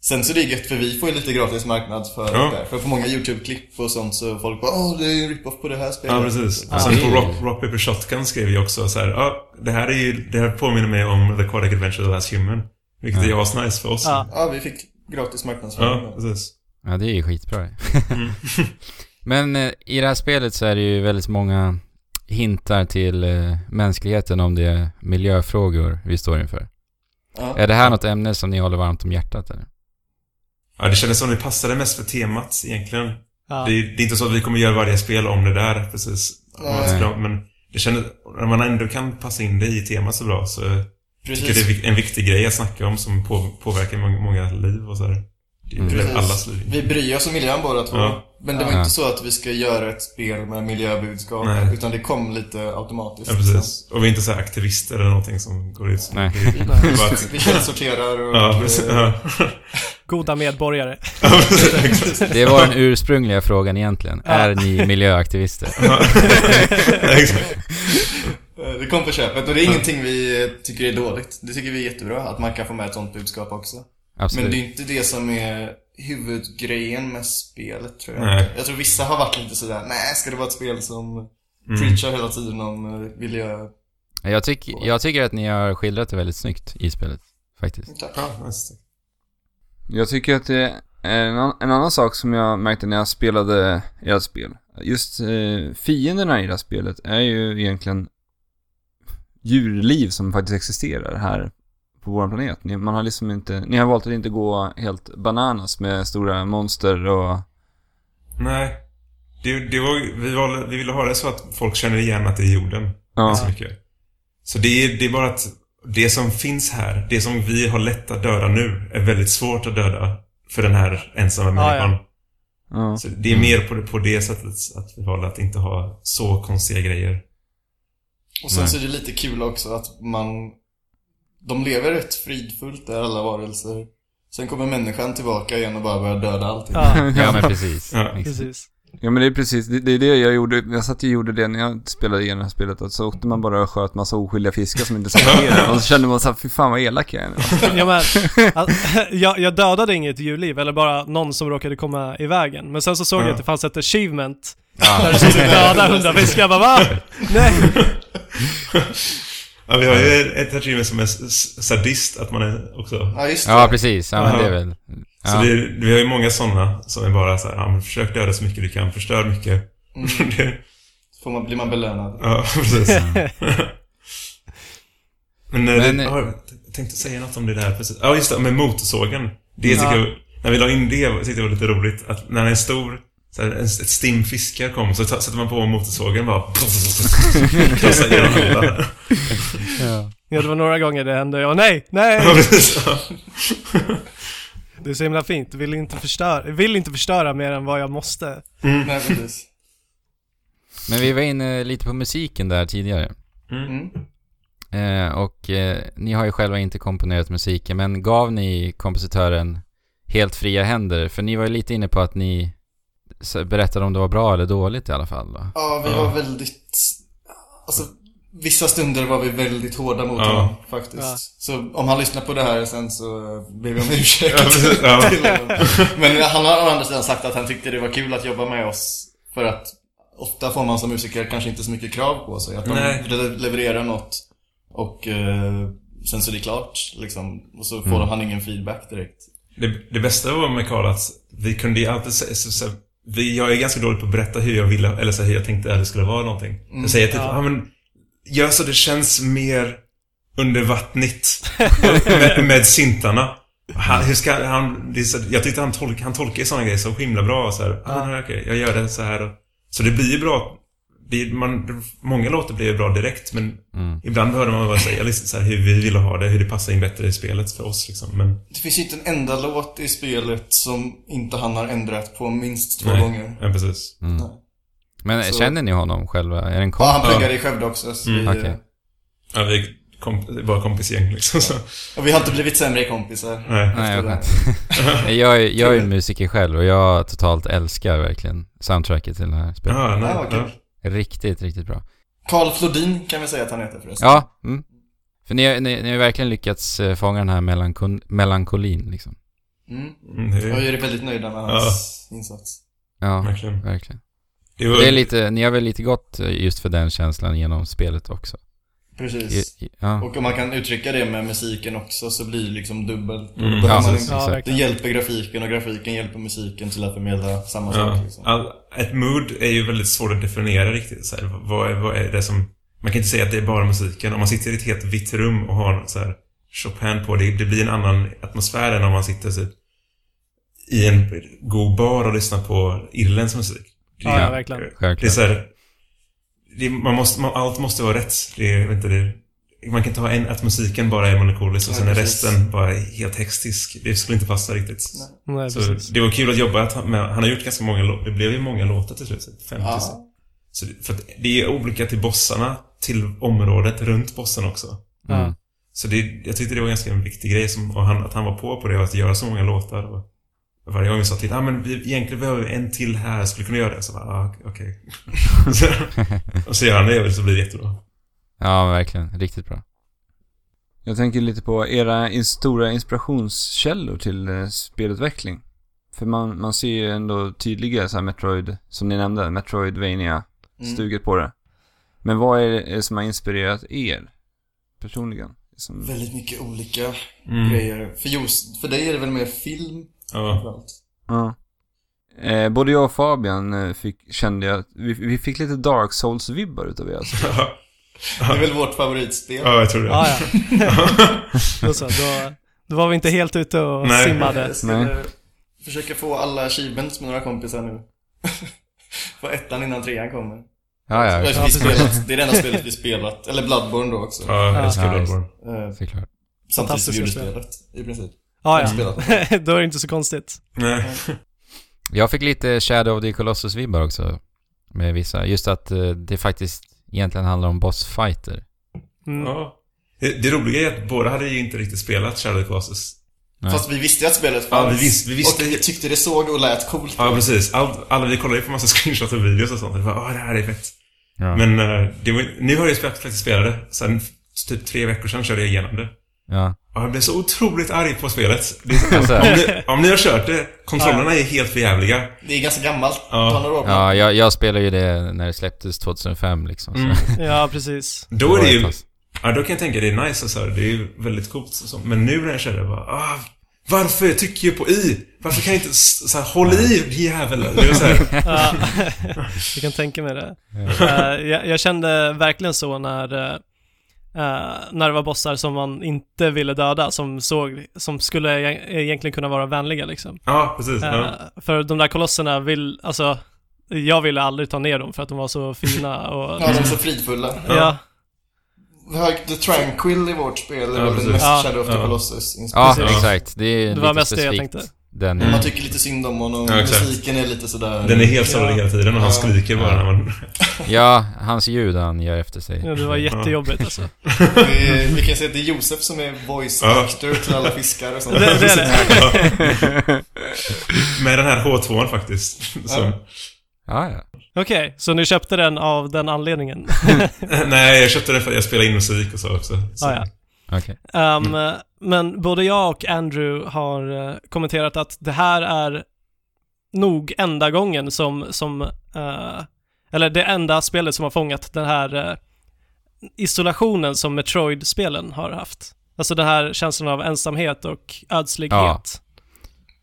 F: Sen så är det gött för vi får ju lite gratis marknad för
E: Ja.
F: det där. För på många YouTube-klipp och sånt så folk bara Åh, det är ju en rip-off på det här spelet.
E: Ja, precis.
B: Ja.
E: Och sen på
B: Det är-
E: Rock, Rock Paper Shotgun skrev jag också så här, ja, det här är ju, det här påminner mig om The Quadic Adventure The Last Human. Vilket är asnice för oss.
C: Ja.
F: Ja, vi fick gratis marknadsföring.
E: Ja, precis.
B: Ja, det är ju skitbra.
E: Mm.
B: Men eh, i det här spelet så är det ju väldigt många hintar till eh, mänskligheten om det miljöfrågor vi står inför.
F: Ja.
B: Är det här något ämne som ni håller varmt om hjärtat eller?
E: Ja, det kändes som det passade mest för temat egentligen.
C: Ja.
E: Det, är, det är inte så att vi kommer göra varje spel om det där precis. Om man
F: Nej.
E: ska- Men det kändes, när man ändå kan passa in det i temat så bra så tycker jag det är
F: Precis.
E: vik- en viktig grej att snacka om som på, påverkar många, många liv och så här. Det är
B: Mm.
E: väl
F: Precis.
E: allas liv.
F: Vi bryr oss om miljön båda två.
E: Ja.
F: Men det var
B: Ja.
F: inte så att vi ska göra ett spel med miljöbudskap.
E: Nej.
F: Utan det kom lite automatiskt.
E: Ja, precis. Och vi är inte så här aktivister eller någonting som går ut.
B: Nej.
E: Det är bara att-
F: liksom. Vi källsorterar och... eh,
E: Ja, precis. Ja,
C: Goda medborgare.
E: Ja, precis. Exakt.
B: Det var den ursprungliga frågan egentligen. Är ni miljöaktivister?
E: Ja, exakt.
F: eh, Det kom på köpet. Och det är ingenting vi eh, tycker är dåligt. Det tycker vi är jättebra. Att man kan få med ett sånt budskap också. Men det är
B: Absolut.
F: ju inte det som är huvudgrejen med spelet tror jag.
E: Nej.
F: Jag tror vissa har varit lite sådär, nej ska det vara ett spel som
E: Mm.
F: preachar hela tiden om eh, miljö...
B: Jag, tyck, jag tycker att ni har skildrat det väldigt snyggt i spelet. Faktiskt.
F: Tack.
E: Ja, nice.
A: Jag tycker att det är en, an- en annan sak som jag märkte när jag spelade ert spel. Just eh, fienderna i det här spelet är ju egentligen djurliv som faktiskt existerar här på vår planet. Ni, man har liksom inte, ni har valt att inte gå helt bananas med stora monster och...
E: Nej. Det, det var, vi, valde, vi ville ha det så att folk känner igen att det är jorden.
A: Ja,
E: så mycket. Så det är, det är bara att det som finns här, det som vi har lätt att döda nu, är väldigt svårt att döda för den här ensamma
C: ja.
E: människan.
A: ja.
E: Så det är mer på det, på det sättet att vi valde att inte ha så konstiga grejer.
F: Och sen
B: Nej.
F: så är det lite kul också att man... De lever rätt fridfullt där, alla varelser. Sen kommer människan tillbaka igen och bara börjar döda allting.
C: Ja,
B: Ja, men precis. Liksom.
E: Ja.
B: Exakt.
C: precis.
A: Ja men det är precis, det, det är det jag gjorde. Jag satt och gjorde det när jag spelade igenom det här spelet. Att så åkte man bara och sköt massa oskyldiga fiskar som inte serverade. Och så kände man såhär, fy fan vad elak jag är nu.
C: Ja, men, all- jag, jag dödade inget djurliv, eller bara någon som råkade komma i vägen. Men sen så såg jag att det fanns ett achievement där det stod döda hundra fiskar. Jag bara va? Nej.
E: Ja, vi har ju ett achievement som är s- s- sadist, att man är också...
F: Ja, just det.
B: Ja, precis. Ja, men det är väl...
E: Så
B: Ja.
E: det, är- vi har ju många sådana som är bara så här, ja, men försök döda så mycket du kan, förstör mycket. Det-
F: Får man, blir man belönad.
E: ja, precis. Men, eh,
B: Men-
E: det, ja, jag tänkte säga något om det där precis. Ja, just det, med motorsågen. Det tycker
C: Ja.
E: jag, när vi la in det tyckte jag var lite roligt. Att när en stor, så här, en, ett stim fiskar kom så ta, satte man på motorsågen och bara... Krossade genom alla.
C: Ja, det var några gånger det hände. Jag nej, nej.
E: Ja, precis. Ja.
C: Det är så himla fint. Vill inte förstöra, vill inte förstöra mer än vad jag måste.
F: Nej, precis.
B: Men vi var inne lite på musiken där tidigare.
F: Mm.
B: Eh, och eh, ni har ju själva inte komponerat musiken, men gav ni kompositören helt fria händer? För ni var ju lite inne på att ni s- berättade om det var bra eller dåligt i alla fall då.
F: Ja, vi var väldigt... Alltså, vissa stunder var vi väldigt hårda mot
E: Ja.
F: honom faktiskt.
C: Ja.
F: Så om han lyssnar på det här sen så ber vi om ursäkt.
E: Ja, precis. Ja.
F: till honom. Men han har å andra sidan sagt att han tyckte det var kul att jobba med oss. För att ofta får man som musiker kanske inte så mycket krav på sig. Att de
E: Nej.
F: le- levererar något och eh, sen så är det klart liksom. Och så
E: Mm.
F: får han ingen feedback direkt.
E: Det, det bästa var med Karl att vi kunde ju alltid säga... Så, så, vi, jag är ganska dålig på att berätta hur jag ville, eller så, här, hur jag tänkte att det skulle vara någonting. jag säger typ, ja.
C: Ja.
E: ah, men gör så det känns mer undervattnigt med, med syntarna. Han, hur ska han... Det är så, jag tyckte han, tolk, han tolkade sådana grejer så himla bra. Så här, ah, men okej, jag gör det så här. Och, så det blir ju bra. Det, man, många låtar blir ju bra direkt, men ibland behöver man bara säga liksom, så här, hur vi ville ha det, hur det passar in bättre i spelet för oss. Liksom. Men,
F: Det finns ju inte en enda låt i spelet som inte han har ändrat på minst två
E: nej.
F: gånger.
E: Ja, precis.
B: Mm. Men eh,
F: Så-
B: känner ni honom själva? Är det en
F: Ja,
B: kompis?
F: han pluggade i Skövde också. Så
E: Mm,
F: vi,
B: okej.
E: Ja, vi är komp- bara kompisgäng liksom. Så.
F: Och vi har inte blivit sämre kompisar.
E: Nej.
B: Nej,
F: efter
B: jag,
F: det här.
B: Nej, jag, är- jag är ju musiker själv och jag totalt älskar verkligen soundtracket till det här spelet.
E: Ja, nej.
F: Ja, vad
E: ja.
F: kul.
B: Riktigt, riktigt bra.
F: Karl Flodin kan vi säga att han heter förresten.
B: Ja, mm. För ni, har- ni, ni har verkligen lyckats eh, fånga den här melankon, melankolin liksom.
F: Mm.
E: Mm, det
F: Jag
E: är,
F: är väldigt nöjda med hans insats.
B: Ja,
E: verkligen.
B: verkligen.
E: Det var,
B: Det är lite, ni har väl lite gått eh, just för den känslan genom spelet också?
F: Precis.
B: I, i, ja.
F: Och om man kan uttrycka det med musiken också så blir det liksom dubbelt.
E: Mm.
F: Då
B: Ja,
F: har man
B: precis.
F: en-
C: Ja,
F: det
C: verkligen.
F: hjälper grafiken och grafiken hjälper musiken till att förmedla samma
E: ja.
F: sak. Liksom.
E: All, ett mood är ju väldigt svårt att definiera riktigt. Så här, vad, är, vad är det som... Man kan inte säga att det är bara musiken. Om man sitter i ett helt vitt rum och har så här, Chopin på, det, det blir en annan atmosfär än om man sitter typ, i en god bar och lyssnar på irländsk musik. Det,
C: Ja, ja, verkligen.
E: Det är
B: Självklart.
E: så här, det, man måste, man, allt måste vara rätt. Det, är- jag vet inte, det, man kan inte ha en, att musiken bara är melankolisk och
F: Nej,
E: sen är
F: precis.
E: resten bara helt häxtisk. Det skulle inte passa riktigt.
C: Nej,
E: Så
C: precis.
E: det var kul att jobba att han, med, han har gjort ganska många låtar. Det blev ju många låtar till slut. 50.
F: Ja.
E: Så det, för att det är olika till bossarna, till området runt bossen också.
B: Mm.
E: Så det, jag tyckte det var ganska en viktig grej som, och han, att han var på på det, att göra så många låtar. Och varje gång vi sa till ah, men vi, egentligen behöver vi en till här, skulle du kunna göra det? Så bara, ah, okej. Så- och så gör han det och så blir det jättebra.
B: Ja, verkligen. Riktigt bra.
A: Jag tänker lite på era in- stora inspirationskällor till eh, spelutveckling. För man, man ser ju ändå tydliga så här Metroid, som ni nämnde, Metroidvania stuget på det. Men vad är det eh, som har inspirerat er personligen? Som,
F: Väldigt mycket olika
E: Mm.
F: grejer. För, just, för dig är det väl mer film
E: Ja.
F: framförallt?
A: ja. eh, både jag och Fabian eh, fick, kände jag att vi, vi fick lite Dark Souls-vibbar utav er. Alltså.
F: Det är väl vårt favoritspel.
E: ja, jag tror det.
C: Ah, Ja, ja. Då så, då, då var vi inte helt ute och
E: Nej.
C: simmade.
F: Jag skulle
A: Nej.
F: försöka få alla achievements med några kompisar nu. få ettan innan trean kommer.
B: Ja, ja,
F: Alltså, vi spelat, det är det enda spelet vi spelat. Eller Bloodborne då också.
E: Ja, jag älskar
B: Ja.
E: Bloodborne.
F: Eh,
B: såklart.
F: samtidigt som
C: Fantastiska
F: julspelet i princip.
C: Ah, Ja,
F: Jag har
C: ja.
F: spelat
E: Mm.
F: det.
C: Då är det inte så konstigt.
E: Nej.
B: Jag fick lite Shadow of the Colossus-vibbar också. Med vissa. Just att eh, det faktiskt egentligen handlar om bossfighter.
C: Mm.
E: Ja. Det, det roliga är att båda hade ju inte riktigt spelat Shadow Colossus.
B: Nej.
F: Fast vi visste ju att spelet
E: Ja,
F: fanns.
E: vi visste- vi visste
F: och
E: ju-
F: tyckte det såg och lät coolt.
E: Ja, precis. Allt, alla, vi kollade ju på massa screenshots och videos och sånt. Och vi bara, ah, det här är fett.
B: Ja.
E: Men eh, det var, nu har jag ju spelat, faktiskt spelat det. Sen typ tre veckor sedan körde jag igenom det.
B: ja.
E: Och jag blev så otroligt arg på spelet. Det är så,
B: Alltså,
E: om, ni, om ni har kört det, kontrollerna är helt förjävliga.
F: Det är ganska gammalt.
E: Ja.
F: Ta några år.
B: ja, jag, jag spelade ju det när det släpptes 2005 liksom. Så.
E: Mm.
C: Ja, precis.
E: Då
B: var
E: är det ju...
B: ett pass.
E: Ja, då kan jag tänka det är nice och så här. Det är ju väldigt coolt och så. Men nu när jag kör det bara, ah, varför trycker jag på i? Varför kan jag inte s- så här, håll i jävel? Det var så här,
C: Ja, jag kan tänka mig det. Eh, jag, jag kände verkligen så när, eh, eh, när det var bossar som man inte ville döda, som, såg, som skulle e- egentligen kunna vara vänliga liksom.
E: ja, precis.
C: Eh,
E: Ja.
C: För de där kolosserna vill, alltså, jag ville aldrig ta ner dem för att de var så fina och...
F: Ja, de är så fridfulla.
C: Ja,
F: Vi har ju The Tranquil i vårt spel,
E: Ja,
F: ja, väl
E: precis.
F: mest
C: Ja.
F: Shadow of the
E: Ja.
F: Colossus
B: Ja,
F: inspirerat.
B: exakt. Det är
C: det var
B: lite
C: mest det jag
B: specifikt.
C: tänkte. Mm.
B: Den,
F: Man tycker lite synd om honom,
E: Ja, exakt.
F: musiken är lite sådär...
E: Den är helt
C: Ja.
E: sållig hela tiden och han
F: Ja.
E: skriker bara när man...
B: Ja, hans ljud han gör efter sig.
C: Ja, det var jättejobbigt alltså.
F: Det är- Vi kan säga att det är Josef som är voice
E: Ja.
F: actor till alla fiskar och sånt. Mm.
C: Det, det är det.
E: Med den här H2 faktiskt. Som,
B: Ja, ja.
C: Okej, så ni köpte den av den anledningen?
E: Nej, jag köpte den för att jag spelar in musik och så också. Så.
C: Ah, ja.
B: Okej.
C: Ehm, Men både jag och Andrew har eh, kommenterat att det här är nog enda gången som, som eh, eller det enda spelet som har fångat den här eh, isolationen som Metroid-spelen har haft. Alltså den här känslan av ensamhet och ödslighet.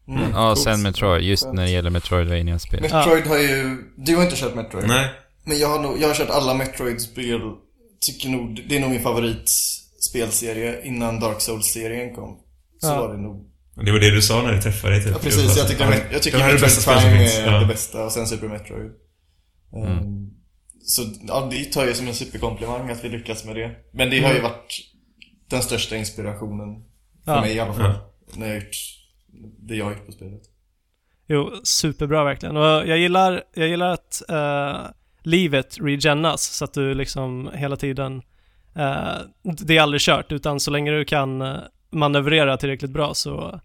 F: Mm,
B: Ja,
F: coolt.
B: sen Metroid. Just
F: Skönt.
B: när det gäller Metroidvania-spel.
F: Metroid har ju... Du har inte kört Metroid.
E: Nej.
F: Men jag har, nog, jag har kört alla Metroid-spel. Tycker nog... Det är nog min favoritspelserie innan Dark Souls-serien kom. Så
C: Ja.
F: var det nog.
E: Det var det du sa när vi träffade dig. Typ.
F: Ja, precis. Jag tycker,
E: Ja,
F: jag tycker
E: det här är det
F: Metroid
E: bästa spelet som
F: Prime
E: finns.
F: är det
E: Ja.
F: bästa och sen Super Metroid. Ehm,
B: Mm.
F: Så ja, det tar jag som en superkomplimang att vi lyckas med det. Men det har ju varit den största inspirationen för
C: Mm. Ja.
F: mig i alla fall. När jag gjort det jag har gjort på spelet.
C: Jo, superbra verkligen. Och jag gillar, jag gillar att eh, livet regenas så att du liksom hela tiden, eh, det är aldrig kört utan så länge du kan eh, manövrera tillräckligt bra så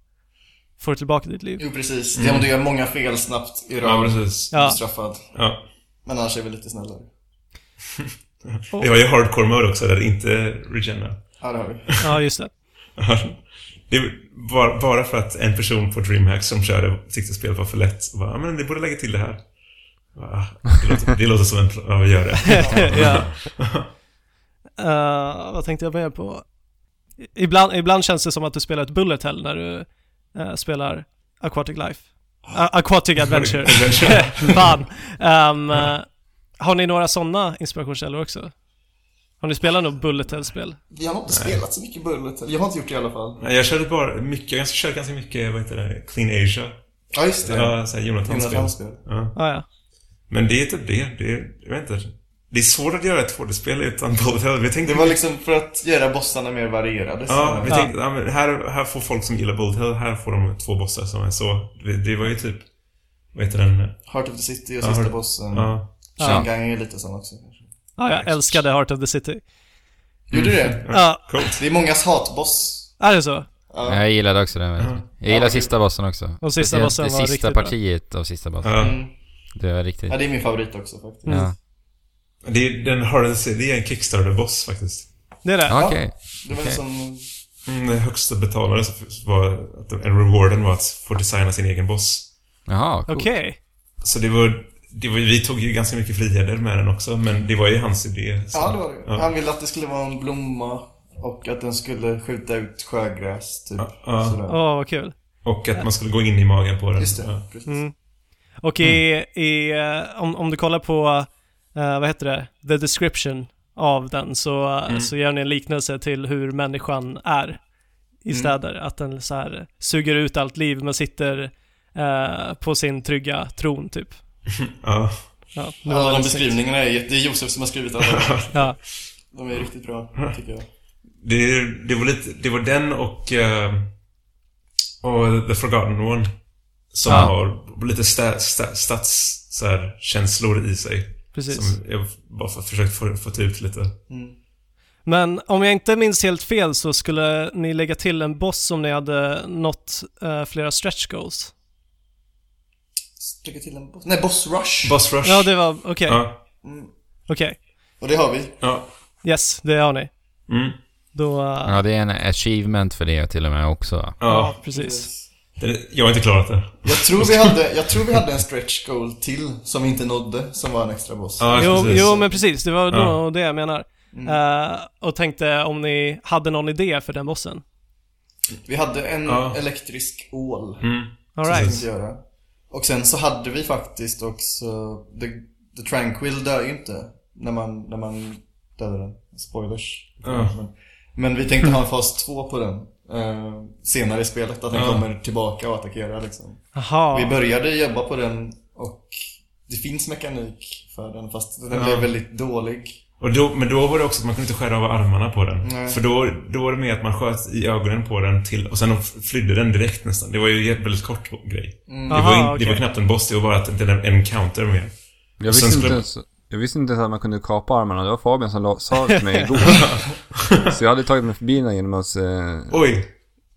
C: får du tillbaka ditt liv.
F: Jo, precis. Det är om du gör många fel snabbt i
E: Ja,
F: rad.
E: precis.
C: Ja.
F: blir straffad.
E: Ja.
F: Men annars är vi lite snällare.
E: Vi har ju hardcore mode också, där det inte regena.
F: Ja, det har vi.
C: Ja, just det.
E: Det är bara, bara för att en person på DreamHack som körde tyckte spelet var för lätt. Och bara, "Ja, men ni borde lägga till det här. Bara, "Ah, Det låter, det låter som en plan. Ja, vi gör det.
C: ja. Eh, vad tänkte jag mer på? I- Ibland, ibland känns det som att du spelar ett bullet hell när du eh, spelar Aquatic Life. A- Aquatic Adventure. Fan. Ehm, eh, har ni några sådana inspirationskällor också? Har ni spelat något bullet hell-spel?
F: Vi har nog inte spelat så mycket Bullet. eller Jag har inte gjort det i alla fall.
E: Nej, jag körde bara mycket, jag körde ganska mycket, vad heter det, Clean Asia.
F: Ja, just det.
E: Ja, såhär Jonathans spel.
F: Jonathans-spel.
E: Ja.
C: Ah, ja.
E: Men det är typ det. det är, jag vet inte. Det är svårt att göra ett 2D-spel utan båda. Vi tänkte
F: Det var liksom för att göra bossarna mer varierade. så-
E: Ja, vi
C: Ja.
E: tänkte, ja. men här, här får folk som gillar Bold Hell, här får de två bossar som är så. Det, det var ju typ, vad heter den?
F: Heart Mm. of the City och
E: Ja,
F: sista
E: Heart-
F: bossen.
E: Ja.
F: Shanghai är lite sån också. kanske.
C: Ah, jag älskade Heart of the City.
F: Gjorde du det?
C: Ja,
E: Coolt.
F: Det är mångas hatboss.
C: är det så?
F: Ja.
B: Jag gillade också den väldigt mycket. Jag gillade sista bossen också.
C: Mm. Och sista
B: Speciellt
C: bossen
B: det
C: var
B: sista
C: riktigt bra.
B: partiet av sista bossen.
E: Ja.
F: Mm.
B: Det var riktigt...
F: Ja, det är min favorit också faktiskt.
B: Ja.
E: Det är, den har, det är en Kickstarter-boss faktiskt.
C: Det är det?
B: Okej.
F: Det var liksom-
B: Okej.
F: som...
E: Mm, den högsta betalaren så var, att en rewarden var att få designa sin egen boss.
B: Jaha, coolt.
C: Okej.
E: Så det var, det var, vi tog ju ganska mycket friheter med den också, men det var ju hans idé. Så,
F: Ja, det var det.
E: Ja.
F: Han ville att det skulle vara en blomma och att den skulle skjuta ut sjögräs, typ.
E: Ja, ja.
F: Sådär.
C: Åh, vad kul.
E: Och att man skulle gå in i magen på den.
F: Just det.
E: Ja.
F: Precis.
C: Mm. Och i, i, eh, om, om du kollar på, eh, vad heter det, the description av den så, eh, så gör ni en liknelse till hur människan är i städer. Att den så här suger ut allt liv men sitter eh, på sin trygga tron typ.
E: Ja.
C: Ja, nu var Mm.
F: Alla
C: det
F: de
C: sagt.
F: beskrivningarna är jätte... Det är Josef som har skrivit alla.
C: Ja,
F: De är riktigt bra, tycker jag.
E: Det, det, var lite, det var den och, eh, och The Forgotten One. Som
B: Ja.
E: har lite sta, sta, stats, så här, känslor i sig.
C: precis.
E: Som jag bara för, försökt få, få ut lite.
C: Men om jag inte minns helt fel så skulle ni lägga till en boss om ni hade nått eh, flera stretch goals.
F: Lägga till en boss. Nej, boss rush.
E: Boss Rush.
C: Ja, det var... Okej.
E: Ja.
C: Okej.
F: Och det har vi.
E: ja.
C: Yes, det har ni.
E: Mm.
C: Då... eh,
B: Ja, det är en achievement för det till och med också.
E: ja.
C: ja, precis.
E: Det, jag har inte klarat det.
F: Jag tror, vi hade, jag tror vi hade en stretch goal till som vi inte nådde, som var en extra boss.
E: Ja,
C: Jo,
E: precis.
C: jo, men precis. Det var
E: Ja.
C: nog det jag menar. Eh, och tänkte om ni hade någon idé för den bossen.
F: Vi hade en
E: Ja.
F: elektrisk ål.
E: Mm.
C: All
F: som vi
C: right.
F: tänkte göra. Och sen så hade vi faktiskt också... The, the Tranquil dör ju inte när man, när man dödar den. Spoilers.
E: Ja.
F: Men, men vi tänkte ha en fas 2 på den. eh, senare i spelet, att den
E: Ja.
F: kommer tillbaka och attackerar liksom.
C: Jaha.
F: Vi började jobba på den och det finns mekanik för den fast den
E: Ja.
F: blev väldigt dålig.
E: Och då, men då var det också att man kunde inte skära av armarna på den.
F: Nej.
E: För då, då var det mer att man sköt i ögonen på den till... Och sen flydde den direkt nästan. Det var ju en väldigt kort grej. Det, var
C: Aha,
E: in, det var
C: okej.
E: knappt en boss, det var bara att det var en counter mer.
A: Jag
E: Sen
A: visste,
E: skulle-
A: inte ens, jag visste inte ens att man kunde kapa armarna. Det var Fabian som la, sa det till mig igår. så jag hade tagit mig förbi den genom att eh,
E: Oj!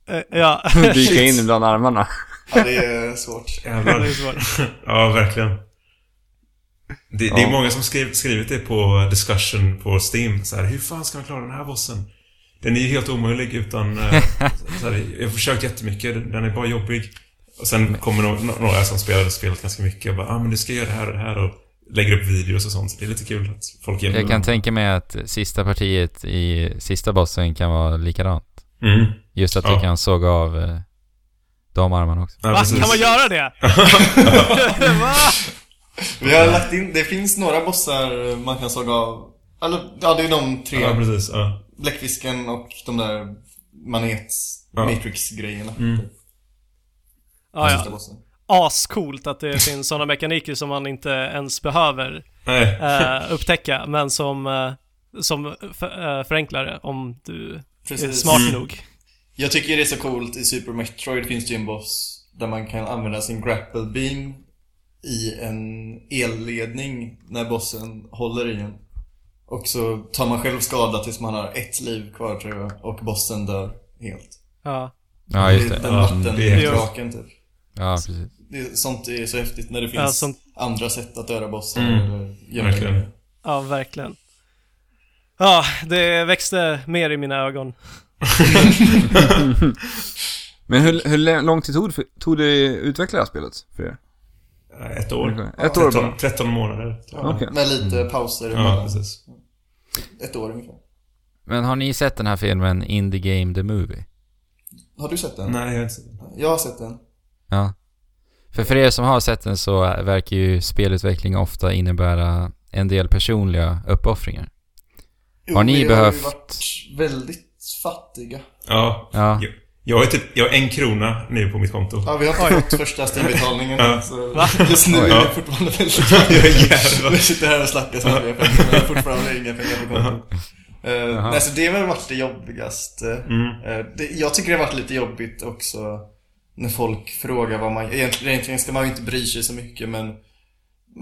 C: Eh, ja.
A: dyka in bland armarna.
F: Ja, det är svårt.
E: Jävlar.
C: Det är svårt.
E: ja, verkligen. Det, det
A: Ja.
E: är många som skriv, skrivit det på discussion på Steam. Så här, hur fan ska man klara den här bossen? Den är ju helt omöjlig utan... eh, så här, jag har försökt jättemycket, den är bara jobbig. Och sen kommer no- no- några som spelade spelet ganska mycket och bara ah, men du ska göra det här och det här och lägger upp videos och sånt. Det är lite kul att folk hjälper
B: Jag kan
C: Mm.
E: dem.
B: tänka mig att sista partiet i sista bossen kan vara likadant.
E: Mm.
B: Just att du
E: Ja.
B: kan såga av eh, de armarna också.
E: Ja,
C: Va?
E: precis.
C: Kan man göra det? Va?
F: Vi har lagt in, det finns några bossar man kan såga av. Eller, ja det är de tre.
E: Ja, precis. Ja.
F: Bläckfisken och de där manet
E: Ja. Mm.
F: Matrix-grejerna. Typ,
C: Ja,
F: Sista
C: ja.
F: bossen.
C: Ascoolt att det finns sådana mekaniker som man inte ens behöver
E: Nej.
C: eh, upptäcka, men som, eh, som för, eh, förenklar det om du är
F: Precis.
C: Eh,
F: Mm.
C: smart nog.
F: Jag tycker det är så coolt i Super Metroid finns det ju en boss där man kan använda sin grapple beam i en elledning när bossen håller i en. Och så tar man själv skada tills man har ett liv kvar tror jag och bossen dör helt.
C: Ja.
B: Ja, just det.
F: Den vatten,
E: det är häftigt.
F: draken typ.
B: Ja, precis.
F: Det är, sånt är så häftigt när det finns
C: Ja, sånt-
F: andra sätt att döda bossen
E: Mm.
F: eller gömma
E: Verkligen.
F: den.
C: ja, verkligen. Ja, det växte mer i mina ögon.
A: Men hur, hur lä- lång tid tog, det för- tog det att utveckla det här spelet för er?
E: Ett år.
A: Ett år bara?
E: 13, 13 månader.
F: Ja,
A: Okej.
F: Med lite pauser
E: Ja,
F: emellan.
E: precis.
F: Ett år ungefär.
B: Men har ni sett den här filmen Indie Game The Movie?
F: Har du sett den?
E: Nej, jag har inte sett det.
F: Jag har sett den.
B: Ja. För, för er som har sett den så eh, verkar ju spelutveckling ofta innebära en del personliga uppoffringar.
F: Jo,
B: Har ni
F: vi
B: behövt-
F: Har ju varit väldigt fattiga.
E: Ja.
B: Ja,
E: Jag, jag har typ, jag har en krona nu på mitt konto.
F: Ja, vi har inte fått första Steam-betalningen
E: Ja.
F: än, så just nu är
E: Ja.
F: det fortfarande väldigt fattiga.
E: Jag är jävla-
F: Vi sitter här och snackar som att vi har pengar, men jag har fortfarande inga pengar på kontot. Uh, nej, så det har väl varit det jobbigaste.
E: Mm.
F: Eh, det, jag tycker det har varit lite jobbigt också när folk frågar vad man... Egentligen, egentligen ska man ju inte bry sig så mycket, men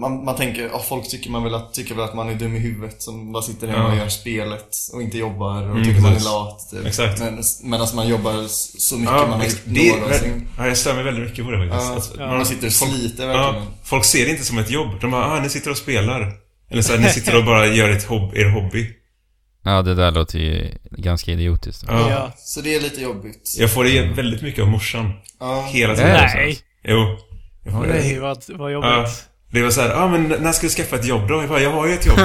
F: man, man tänker, ja folk tycker, man väl att, tycker väl att man är dum i huvudet som bara sitter hemma och
E: Ja.
F: gör spelet och inte jobbar och
E: Mm,
F: tycker man är
E: precis.
F: lat. typ.
E: Exakt.
F: Men, medan man jobbar s- så mycket man
E: Ja,
F: har
E: ex-
F: gjort
E: det,
F: någonsin.
E: ja, jag stör mig väldigt mycket på det faktiskt.
F: Ja,
E: Alltså,
F: ja. Man sitter och sliter
E: ja,
F: verkligen.
E: folk ser det inte som ett jobb. De bara, ah, ni sitter och spelar. Eller så här, ni sitter och bara gör ett hob- er hobby.
B: ja det där låter ju ganska idiotiskt.
E: Ja.
C: Ja.
F: Så det är lite jobbigt.
E: Jag får det väldigt mycket av morsan.
F: Ja.
E: Hela tiden.
B: Nej.
E: Så. Jo. Jag får det.
C: Nej, vad, vad jobbigt.
E: Ja. Det var så här, ah, men när ska du skaffa ett jobb då? Jag bara, jag har ju ett jobb.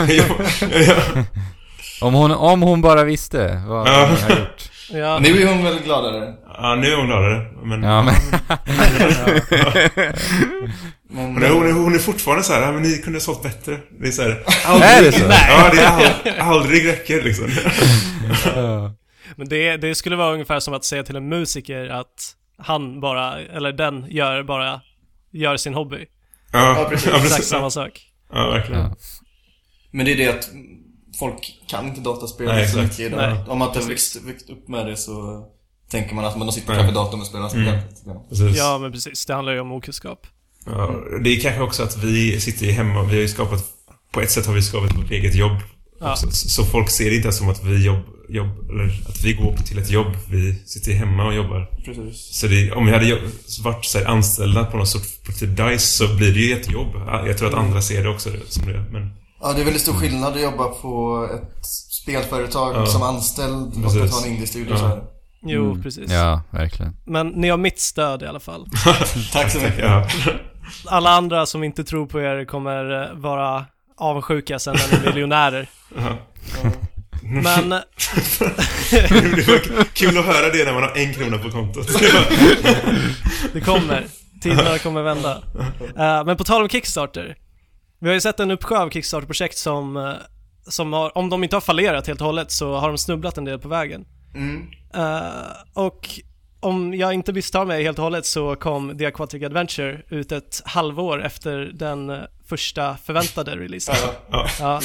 E: ja.
B: Om hon, om hon bara visste vad
E: Ja.
B: hon har gjort.
C: Ja.
F: Nu är hon väl gladare.
E: Ja, nu är hon gladare. Men,
B: Ja, men,
F: Men,
E: men hon, är, hon är fortfarande så här, ah, men ni kunde ha sålt bättre. Det är så här,
B: är det så?
E: ja, det är aldrig, aldrig räcker liksom.
B: Ja.
C: Men det, det skulle vara ungefär som att säga till en musiker att han bara, eller den, gör bara, gör sin hobby.
E: Ja,
F: Ja, precis.
C: Exakt samma sak.
E: Ja, verkligen.
B: Ja.
F: men det är det att folk kan inte dataspel
E: Nej,
F: så
E: exakt.
F: mycket idag.
C: Nej.
F: Om man inte har växt, växt upp med det så tänker man att man sitter
E: Nej.
F: framför datorn och spelar
E: Mm.
F: spel. Ja.
E: Precis.
C: Ja, men precis. Det handlar ju om okunskap.
E: Ja, det är kanske också att vi sitter ju hemma. Vi har ju skapat... På ett sätt har vi skapat vårt eget jobb.
C: Ja.
E: Så, så folk ser det inte som att vi jobb, jobb, eller att vi går till ett jobb. Vi sitter hemma och jobbar.
F: Precis.
E: Så det, om vi hade jobb, varit så här, anställda på någon sorts på typ DICE så blir det ju ett jobb. Jag tror att andra ser det också det- som det. Men
F: Ja, det är väldigt stor skillnad att jobba på ett spelföretag
E: Ja.
F: som anställd och att
E: Precis.
F: ha en indiestudio
E: Ja.
F: så här.
C: Jo,
B: Mm.
C: precis.
B: Ja, verkligen.
C: Men ni har mitt stöd i alla fall.
F: Tack så mycket.
E: ja.
C: Alla andra som inte tror på er kommer eh, vara avundsjuka sen när ni är miljonärer. Men, eh,
E: det var kul att höra det när man har en krona på kontot.
C: Det kommer. Tiderna kommer vända. Eh, men på tal om Kickstarter. Vi har ju sett en uppsjö av Kickstarter-projekt som, eh, som har, om de inte har fallerat helt och hållet så har de snubblat en del på vägen.
F: Mm.
C: Eh, och om jag inte misstar mig helt och hållet så kom The Aquatic Adventure ut ett halvår efter den eh, första förväntade releasen.
E: Ja.
C: Ja.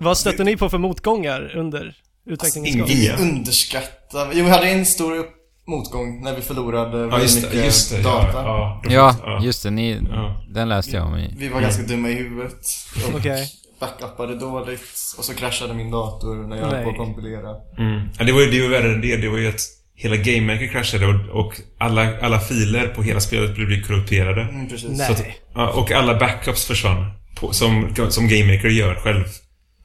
C: Vad stötte ni på för motgångar under utvecklingens gång?
E: Alltså, ingen-
F: Vi
E: Ja.
F: underskattar... Jo, vi hade en stor upp- motgång när vi förlorade
E: Ja,
F: väldigt
E: just det.
F: mycket
E: Just det
F: data.
E: ja, ja,
B: Ja, just det. Ni,
E: Ja.
B: den läste jag om i...
F: Vi var ganska dumma i huvudet och
C: Okej.
F: backuppade dåligt och så kraschade min dator när jag höll på
C: Nej.
F: att kompilera.
E: Mm. Ja, det var ju det var ju värre än det. Det var ju att hela GameMaker kraschade och, och alla, alla filer på hela spelet blev korrumperade.
F: Mm, precis.
E: Så att,
C: Nej.
E: ja, och alla backups försvann. På, som, som GameMaker gör själv.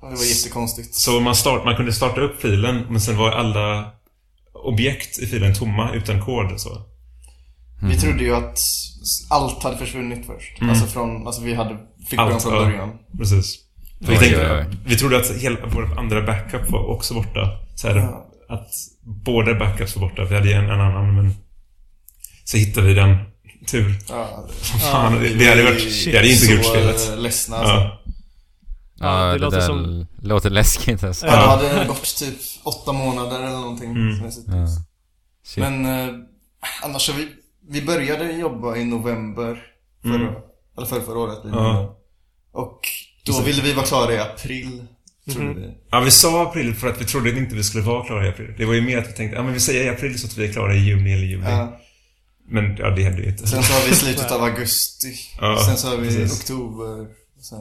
F: Ja, Det var jättekonstigt.
E: Så man, start, man kunde starta upp filen, men sen var alla objekt i filen tomma utan kod. Så. Mm.
F: Vi trodde ju att allt hade försvunnit först. Alltså från, alltså vi hade, fick börja
E: Allt,
F: från
E: ja.
F: början.
E: Precis. Vi,
B: Oj,
E: tänkte,
B: oj,
E: vi trodde att hela vår andra backup var också borta. Så här,
F: Ja.
E: Att båda backups var borta. Vi hade ju en, en annan, men... Så hittade vi den. Tur.
F: Ja,
E: Som fan. det, det hade varit...
C: shit.
E: Det hade inte
F: så
E: gjort spelet.
F: eh, ledsna alltså.
E: Ja.
B: Ja, det,
C: låter
B: där
C: som-
B: låter läskigt alltså.
F: Ja, det hade gått typ åtta månader eller någonting.
E: Mm.
F: som jag suttit.
B: Ja. Shit.
F: Men eh, annars så vi, vi började jobba i november förra,
E: Mm.
F: eller förra, förra året. blir det
E: Ja.
F: nu. Och då ville vi vara klara i april, trodde
C: Mhm.
F: vi.
E: Ja, vi sa april för att vi trodde inte vi skulle vara klara i april. Det var ju mer att vi tänkte, ja men vi säger i april så att vi är klara i juni eller juli.
F: Ja.
E: Men ja, det hände ju inte.
F: Sen så har vi slutet av augusti.
E: Ja,
F: sen så har vi
E: precis.
F: oktober. och Sen...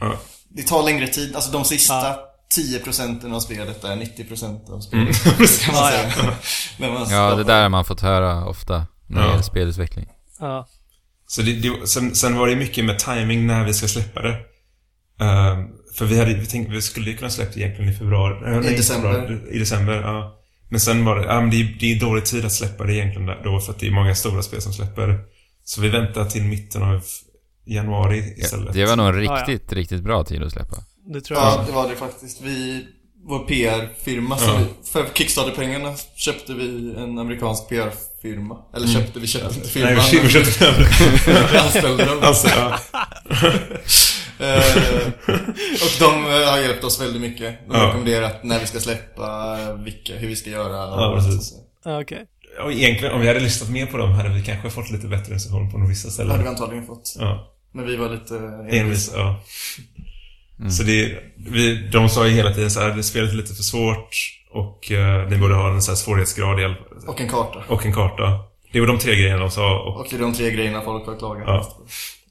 E: Ja.
F: Det tar längre tid. Alltså de sista
C: Ja.
F: 10 procenten av spelet är 90 procent av spelet.
E: Mm.
F: Kan man
C: Ja,
F: säga. När man
B: Ja,
F: skapar-
B: det där har man fått höra ofta när det
E: Ja.
B: gäller spelutveckling.
C: Ja.
E: Så det, det, sen, sen var det ju mycket med timing när vi ska släppa det. Ehm, för vi, hade, vi tänkte vi skulle ju kunna släppa det egentligen i februari. eh, nej, inte
F: december.
E: februari, I december, ja. Men sen var det, ja men det, är- det är dålig tid att släppa det egentligen där då för att det är många stora spel som släpper. Så vi väntar till mitten av januari istället.
B: Det var nog en
C: Ja, ja.
B: riktigt, riktigt bra tid att släppa.
C: Det tror jag.
F: Ja, det var det faktiskt. Vi, vår PR-firma, som
E: Ja.
F: vi- för Kickstarter-pengarna köpte vi en amerikansk PR-firma. Eller köpte, vi köpte inte firman.
E: Mm. Nej, vi- vi köpte den.
F: men vi anställde dem.
E: Alltså, ja.
F: Eh, och de eh, har hjälpt oss väldigt mycket. De har
E: Ja.
F: rekommenderat när vi ska släppa, eh, vilka, hur vi ska göra. och
E: Ja,
F: allt
E: precis.
F: sånt där.
C: Ja, Okej.
E: Och egentligen, om vi hade lyssnat mer på dem hade vi kanske fått lite bättre recension på vissa
F: Det hade
E: ställen.
F: vi antagligen fått.
E: Ja,
F: Men vi var lite
E: envis, ja. Så det, vi, de sa ju hela tiden så här, det spelet är lite för svårt och eh, ni borde ha en så här svårighetsgrad i alla fall.
F: Och en karta.
E: Och en karta. Det var de tre grejerna de sa. Och,
F: Och det är de tre grejerna folk har klagat
E: Ja.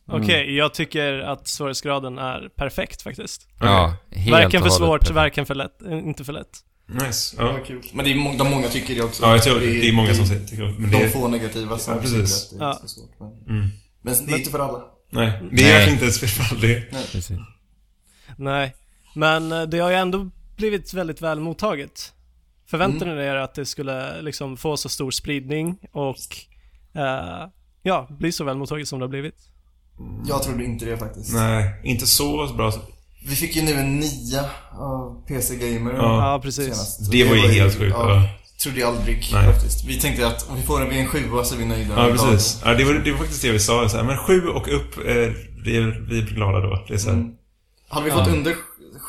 F: på.
B: Mm.
C: Okej, jag tycker att svårighetsgraden är perfekt faktiskt.
B: Ja, helt
C: Varken för
B: och hållet
C: svårt,
B: perfekt.
C: varken för lätt, eh, inte för lätt.
E: Nice.
F: Det
E: Ja.
F: var kul. Men det är må- de många tycker det också.
E: ja, jag tror det är många som säger tycker jag, Men det
F: De
E: är,
F: få negativa som
E: Ja, precis.
F: tycker att det är
C: Ja.
F: så svårt. Men,
E: Mm.
F: men det är inte för alla.
E: nej, det är
B: Nej.
E: verkligen inte ett spel för all del.
B: Precis.
C: Nej, men eh, det har ju ändå blivit väldigt väl mottaget. Förväntade
B: Mm.
C: ni er att det skulle liksom få så stor spridning och eh, ja, bli så väl mottaget som det har blivit?
F: Jag trodde inte det faktiskt.
E: Nej, inte så bra.
F: Vi fick ju nu en nia av PC Gamer
E: Ja.
C: Ja, precis.
F: senast. Så
E: Det var ju helt sjukt, ja.
F: Trodde jag aldrig
E: Nej.
F: faktiskt. Vi tänkte att om vi får en V7 så är vi nöjda.
E: Ja, precis. Ja, det, var, det var faktiskt det vi sa. Så här, men sju och upp, eh, det är, vi är glada då. Det är så här,
F: Mm. Hade vi fått under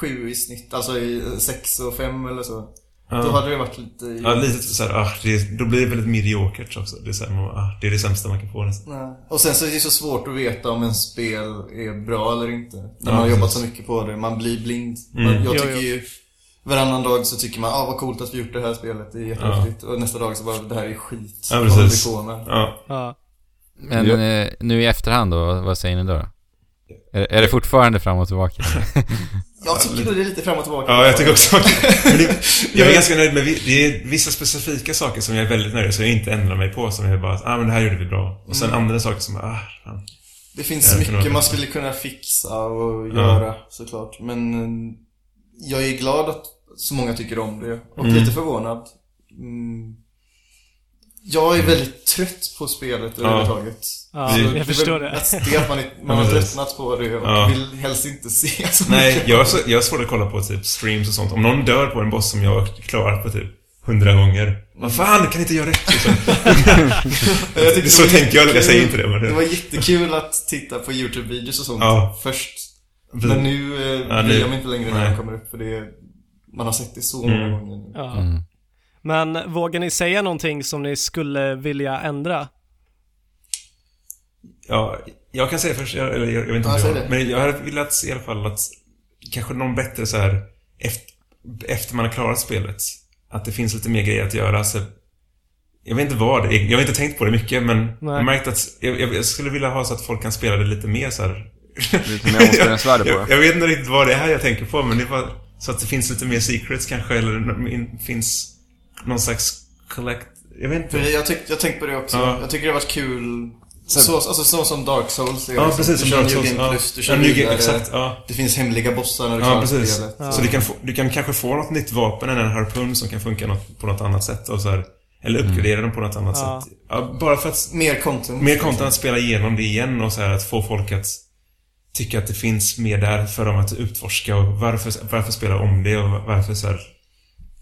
F: sju i snitt, alltså i sex och fem eller så,
E: ja.
F: då hade det varit lite...
E: Ja, lite såhär, ah, det, då blir det väldigt mediokert också. Det är, såhär, man, bara, ah, det är det sämsta man kan få nästan.
F: Nej. Och sen så är det så svårt att veta om en spel är bra eller inte. När man har
E: precis.
F: jobbat så mycket på det. Man blir blind.
E: Mm.
F: Man, jag
C: Jo,
F: tycker
C: jo.
F: ju... Varannan dag så tycker man ah vad coolt att vi gjort det här spelet, det är jättehäftigt. Och nästa dag så bara det här är skit.
E: Ja,
F: Vad håller
E: precis.
F: vi på med?
E: Ja.
C: Ja.
B: Men
A: Ja.
B: eh, nu i efterhand då, vad- vad säger ni då? då? Är, är det fortfarande fram och tillbaka?
F: Jag tycker det är lite fram och tillbaka.
E: Ja, jag tycker också Men det, Jag är ganska nöjd med... vi- Det är vissa specifika saker som jag är väldigt nöjd med, som jag inte ändrar mig på. Som jag bara, ah men det här gjorde vi bra. Och
F: Mm.
E: sen andra saker som, ah, fan.
F: Det finns
E: Ja, det kan vara
F: mycket man
E: bättre.
F: skulle kunna fixa och göra såklart. Men eh, jag är glad att så många tycker om det. Och
E: Mm.
F: lite förvånad. Mm. Jag är
E: Mm.
F: väldigt trött på spelet överhuvudtaget.
C: Ja,
E: Det-
F: är
C: jag förstår
F: väl
C: det.
F: mest Det att man, är- man har
E: Ja, precis.
F: tröttnat på det och
E: Ja.
F: vill helst inte se så
E: Nej,
F: mycket.
E: jag har, så, jag har svårt att kolla på typ streams och sånt. Om någon dör på en boss som jag har klarat på typ hundra gånger. Vad fan, kan inte jag rätt liksom?
F: Jag tyckte
E: så
F: det var
E: tänker jag, jag säger inte
F: jättekul.
E: det. Men
F: Det var
E: det
F: jättekul att titta på YouTube-videos och sånt
E: Ja.
F: först. Men nu eh,
E: Ja,
F: bryr
E: nu-
F: jag mig inte längre när de
E: nej.
F: kommer upp för det man har sett det så många
E: Mm.
F: gånger nu.
C: Ja.
B: Mm.
C: Men vågar ni säga någonting som ni skulle vilja ändra?
E: ja, jag kan säga först, jag, eller jag, jag vet inte
F: Ja,
E: om
F: säg
E: jag,
F: det.
E: Men jag hade velat se i alla fall att kanske någon bättre så här efter, efter man har klarat spelet. Att det finns lite mer grejer att göra. Så, jag vet inte vad det är. Jag har inte tänkt på det mycket, men jag har märkt att jag, jag, jag skulle vilja ha så att folk kan spela det lite mer så här
A: Lite mer återställningsvärde på
E: jag,
A: det.
E: jag vet inte riktigt vad det är jag tänker på, men det är bara så att det finns lite mer secrets kanske, eller n- in- finns någon slags collect... Jag vet
F: För
E: inte.
F: jag, tyck, jag tänkte på det också.
E: Ja.
F: Jag tycker det har varit kul. Så,
E: Sen-
F: alltså, så som Dark Souls är.
E: Ja,
F: liksom.
E: precis. som
F: Du kör
E: Dark
F: New
E: Souls.
F: Game
E: Ja.
F: Plus, du
E: Ja,
F: kör
E: New Game-
F: vidare.
E: Exakt, ja.
F: Det finns hemliga bossar när du
E: Ja,
F: klarar
E: precis.
F: spelet.
E: Så du kan, få, du kan kanske få något nytt vapen eller en harpun som kan funka något, på något annat sätt. Och så här, eller uppgradera den på något annat
C: Ja.
E: sätt. Ja, bara för att...
F: Mer content.
E: Mer content att spela igenom det igen och så här att få folk att tycka att det finns mer där för dem att utforska och varför, varför spela om det och varför så här...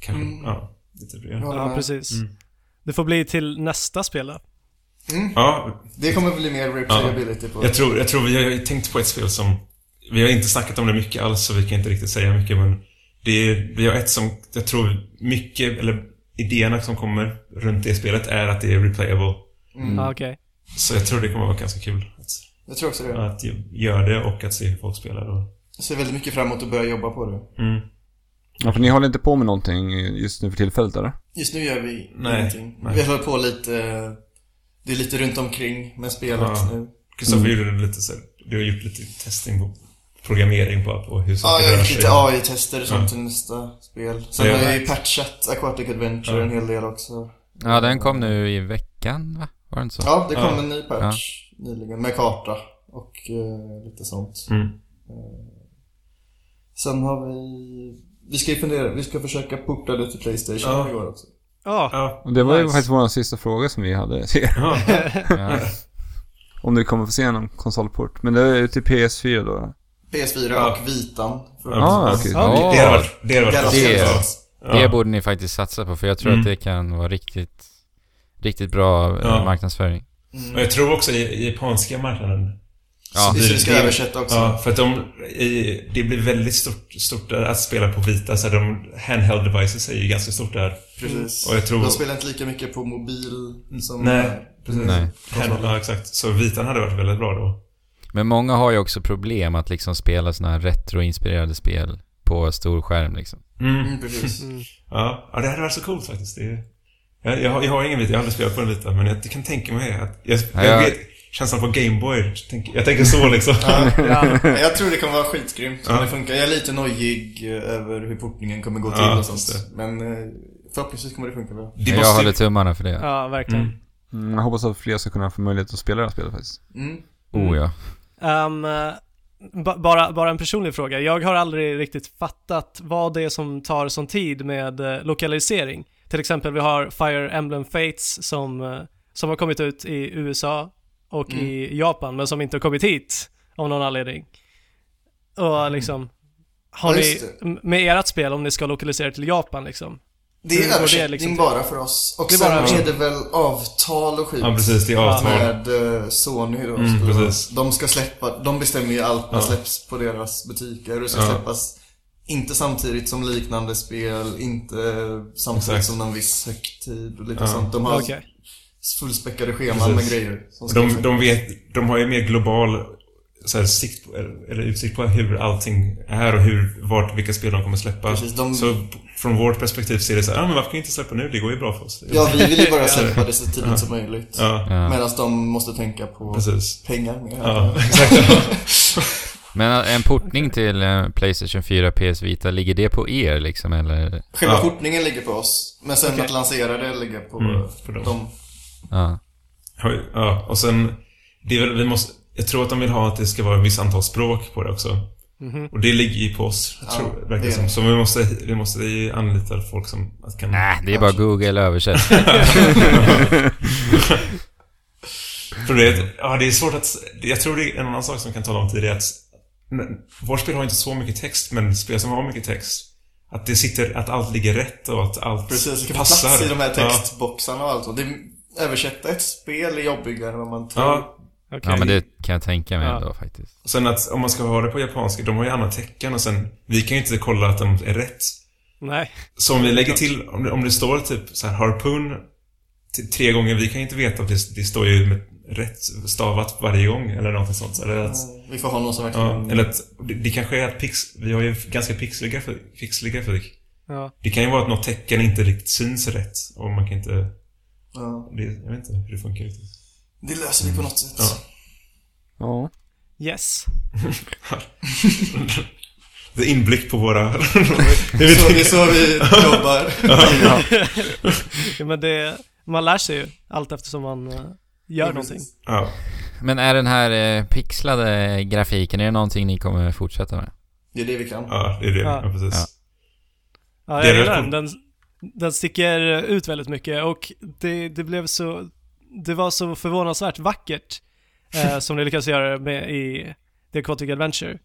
E: Kanske, Mm. ja. Lite, det.
F: Jag håller
C: Ja,
F: med. Mm.
C: precis. Det får bli till nästa spel då.
E: ja,
F: Det kommer bli mer replayability på.
E: Jag tror, jag tror vi har ju tänkt på ett spel som... Vi har inte snackat om det mycket alls, så vi kan inte riktigt säga mycket, men... Det är, vi har ett som, jag tror mycket, eller idéerna som kommer runt det spelet är att det är replayable.
B: Mm.
C: Ja, okej.
E: Så jag tror det kommer vara ganska kul.
F: Jag tror också
E: Att,
F: det.
E: att ju- göra det och att se hur folk spelar. Och,
F: Jag ser väldigt mycket fram emot att börja jobba på det.
E: mm.
A: Ja, för ni håller inte på med någonting just nu för tillfället, eller?
F: Just nu gör vi
E: Nej,
F: ingenting.
E: nej.
F: Vi håller på lite... eh, Det är lite runt omkring med spelet
E: Ja.
F: nu.
E: Kristoffer
F: Mm.
E: gjorde lite så här, du har gjort lite testing på programmering på, på hur
F: Ja,
E: saker
F: jag
E: rör
F: har
E: sig.
F: lite AI-tester och
E: Ja.
F: sånt till nästa spel. Sen
E: Ja.
F: har jag ju patchat Aquatic Adventure
E: Ja.
F: en hel del också.
B: Ja, den kom nu i veckan va? Var det inte så?
F: Ja, det kom
E: Ja.
F: en ny patch nyligen med karta och eh, lite sånt.
E: Mm.
F: Sen har vi... Vi ska ju fundera, vi ska försöka porta det till Playstation
E: Ja.
F: igår också.
C: Ja,
E: Ja.
A: Och det var ju
C: Nice.
A: faktiskt vår sista fråga som vi hade till er.
E: ja.
B: Ja.
A: Om du kommer få se någon konsolport. Men det är ju till PS4 då.
F: PS4
E: Ja.
F: och Vitan.
E: Ja,
A: Ah,
E: precis.
A: okej.
B: Ja.
E: Det har varit... Det har varit
F: Galaxy
B: det-
E: Ja.
F: Xbox.
B: Det
E: Ja.
B: borde ni faktiskt satsa på för jag tror
E: Mm.
B: att det kan vara riktigt, riktigt bra eh,
E: Ja.
B: marknadsföring.
E: Och jag tror också i, i japanska marknaden
B: Ja.
F: Så vi ska
E: Det-
F: översätta också.
E: Ja, för att de, i, det blir väldigt stort, stort där att spela på vita, så de handheld devices är ju ganska stort där.
F: Precis.
E: Och jag tror-
F: De spelar inte lika mycket på mobil som...
E: Nej, precis.
B: Nej.
E: Hand, ja, exakt. Så vitan hade varit väldigt bra då.
B: Men många har ju också problem att liksom spela såna här retroinspirerade spel på stor skärm liksom.
F: Mm, precis.
E: Ja, ja, det hade varit så coolt faktiskt. Det, jag, jag, har- jag har ingen vita, jag har aldrig spelat på en vita, men jag, kan tänka mig att... Jag, jag,
B: Ja, jag-
E: vet känslan på Gameboy. Tänk, jag tänker så liksom.
C: ja.
F: Jag tror det kommer vara skitgrymt om
E: Ja.
F: det funkar. Jag är lite nojig eh, över hur portningen kommer gå till
E: Ja,
F: och
E: just
F: sånt. Men eh, förhoppningsvis kommer det funka bra.
E: Det
B: jag
E: måste
B: håller
E: ju...
B: tummarna för det.
C: ja verkligen.
E: Mm.
A: Mm, jag hoppas att fler ska kunna få möjlighet att spela det här spelet faktiskt.
F: Mm.
B: Oh ja.
C: Ehm, eh, ba- bara, bara en personlig fråga. Jag har aldrig riktigt fattat vad det är som tar sån tid med eh, lokalisering. Till exempel vi har Fire Emblem Fates som, eh, som har kommit ut i USA och
F: Mm.
C: i Japan men som inte har kommit hit av någon anledning. Och liksom, har
F: Mm. Ja,
C: ni,
F: just det.
C: m- med ert spel om ni ska lokalisera till Japan liksom?
F: Det
C: Hur
F: är
C: går det
F: översättning
C: liksom till?
F: bara för oss. Och
C: Det är
F: sen
C: bara-
F: är det väl avtal och skit.
E: Ja, precis. Det är avtal.
F: Med eh, Sony då.
E: Mm,
F: skulle det vara.
E: precis.
F: de ska släppa, de bestämmer ju allt som
E: Ja.
F: släpps på deras butiker. Och det ska
E: Ja.
F: släppas inte samtidigt som liknande spel, inte samtidigt
E: Exakt.
F: som någon viss högtid och lite
E: Ja.
F: sånt. De har
C: Okej.
F: fullspäckade scheman
E: Precis.
F: med grejer. Som ska liksom-
E: De, de, vet, de har ju mer global så här, sikt, på- eller utsikt på hur allting är och hur, vart, vilka spel de kommer släppa.
F: Precis, de-
E: Så p- från vårt perspektiv ser det så här, ah, men varför kan vi inte släppa nu? Det går ju bra för oss.
F: Ja, vi vill ju bara släppa det så tidigt som möjligt.
E: Ja,
B: Ja.
F: Medan de måste tänka på
E: precis.
F: pengar mer.
E: Ja, exakt.
B: Men äh, en portning till eh, Playstation 4 PS Vita, ligger det på er liksom eller?
F: Själva
E: Ja.
F: portningen ligger på oss. Men sen
C: Okej.
F: att lansera det ligger på
E: Mm, för dem.
F: dem.
B: Ja.
E: Har- Ja, och sen... Det är väl, vi måste, jag tror att de vill ha att det ska vara ett visst antal språk på det också. Och det ligger ju på oss,
F: Mhm. Ja,
E: tror, verkar
F: det
E: det
F: är
E: som.
F: det.
E: Så vi måste, vi måste ju anlita folk som att kan...
B: Nej, Äh, det är bara Google översätt.
E: För det, är att- ja, det är svårt att... Jag tror det är en annan sak som kan ta lång tid är att... men Vårt spel har inte så mycket text, men spel som har mycket text. Att det sitter, att allt ligger rätt och att allt
F: Precis, det kan få
E: passar.
F: plats i de här
E: Ja.
F: textboxarna och allt. Och det, översätta ett spel är jobbigare än vad man tror.
E: Ja,
C: Okej.
B: Ja, men det kan jag tänka mig
C: Ja.
B: ändå faktiskt.
E: och sen att om man ska ha det på japanska, de har ju andra tecken och sen... Vi kan ju inte kolla att de är rätt.
C: Nej.
E: Så om vi lägger till, om det, om det står typ så här harpoon t- tre gånger, vi kan ju inte veta att det, det står ju med rätt stavat varje gång eller någonting sånt. Eller att,
F: Vi får ha någon som
E: ja,
F: verkligen...
E: eller att det, det kanske är att pix, vi har ju ganska pixlig grafik. Pixlig grafik.
C: Ja.
E: Det kan ju vara att något tecken inte riktigt syns rätt och man kan inte...
F: Ja.
E: Det, jag vet inte hur det funkar riktigt.
F: Det löser vi på något sätt.
E: Ja.
A: Ja.
C: Yes.
E: Det är inblick på våra...
F: Det, är så, det är så vi jobbar.
C: ja, men det, man lär sig ju allt eftersom man eh, gör
F: Ja,
C: någonting.
F: precis.
E: ja.
B: Men är den här eh, pixlade grafiken, är det någonting ni kommer fortsätta med?
F: Det är det vi kan.
E: ja, det är det.
C: Ja.
E: Ja, precis.
B: Ja.
C: Ja,
E: Det
C: jag
E: är
C: gillar den.
E: väl-
C: den. Den sticker ut väldigt mycket och det, det blev så... Det var så förvånansvärt vackert eh, som ni lyckades göra med i The Aquatic Adventure.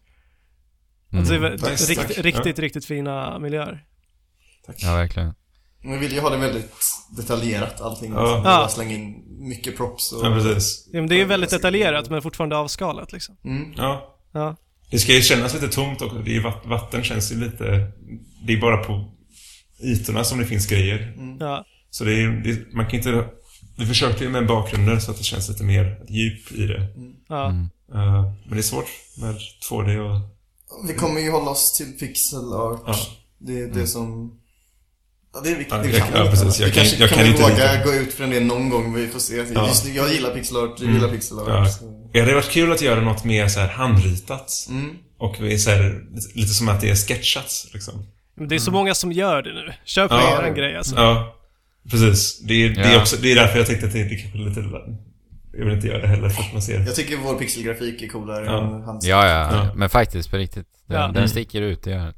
B: Mm.
C: Alltså, det var
E: Nice,
C: rikt,
E: tack.
C: riktigt, riktigt fina miljöer.
B: Ja, verkligen.
F: Men vi vill ju ha det väldigt detaljerat allting.
E: Ja.
F: Ja.
C: Ja.
F: Bara slänga in mycket props och...
E: Ja, precis.
C: Ja, men det är ju väldigt detaljerat men fortfarande avskalat liksom.
F: Mm.
E: Ja,
C: Ja,
E: Det ska ju kännas lite tomt också. Det är ju vatt, vatten känns ju lite... Det är bara på ytorna som det finns grejer.
C: ja,
E: Så det är, det, man kan inte... Vi försökte ju med bakgrunden så att det känns lite mer djup i det.
C: ja.
E: Eh, men det är svårt med 2D och...
F: Vi kommer ju hålla oss till pixel art.
E: Ja. Mm.
F: Det är det som... Ja, det är viktigt.
E: Ja,
F: det
E: jag-
F: kan
E: ja,
F: vi.
E: precis. Jag
F: vi
E: kan-
F: kanske
E: jag
F: kan,
E: kan
F: vi
E: inte
F: våga
E: riktigt-
F: gå ut från det någon gång. Vi får se.
E: Ja.
F: Just nu, jag gillar pixel art, du
E: Mm.
F: gillar pixel art.
E: Ja.
F: så-
E: Det hade varit kul att göra något mer så här handritat.
F: Mm.
E: Och vi är så här, lite- lite som att det är sketchat liksom.
C: Men det är så många som gör det nu. Kör på
E: Ja. Mm.
C: eran grej alltså.
E: Ja, precis. Det är, det, är
B: Ja.
E: också, det är därför jag tänkte att det, det kanske är lite... Jag vill inte göra det heller för att man ser...
F: Jag tycker vår pixelgrafik är coolare
E: Ja.
F: än hans.
B: Ja, ja,
E: Ja.
B: men faktiskt på riktigt. Den,
C: Ja.
B: den
E: Mm.
B: sticker ut, det gör den.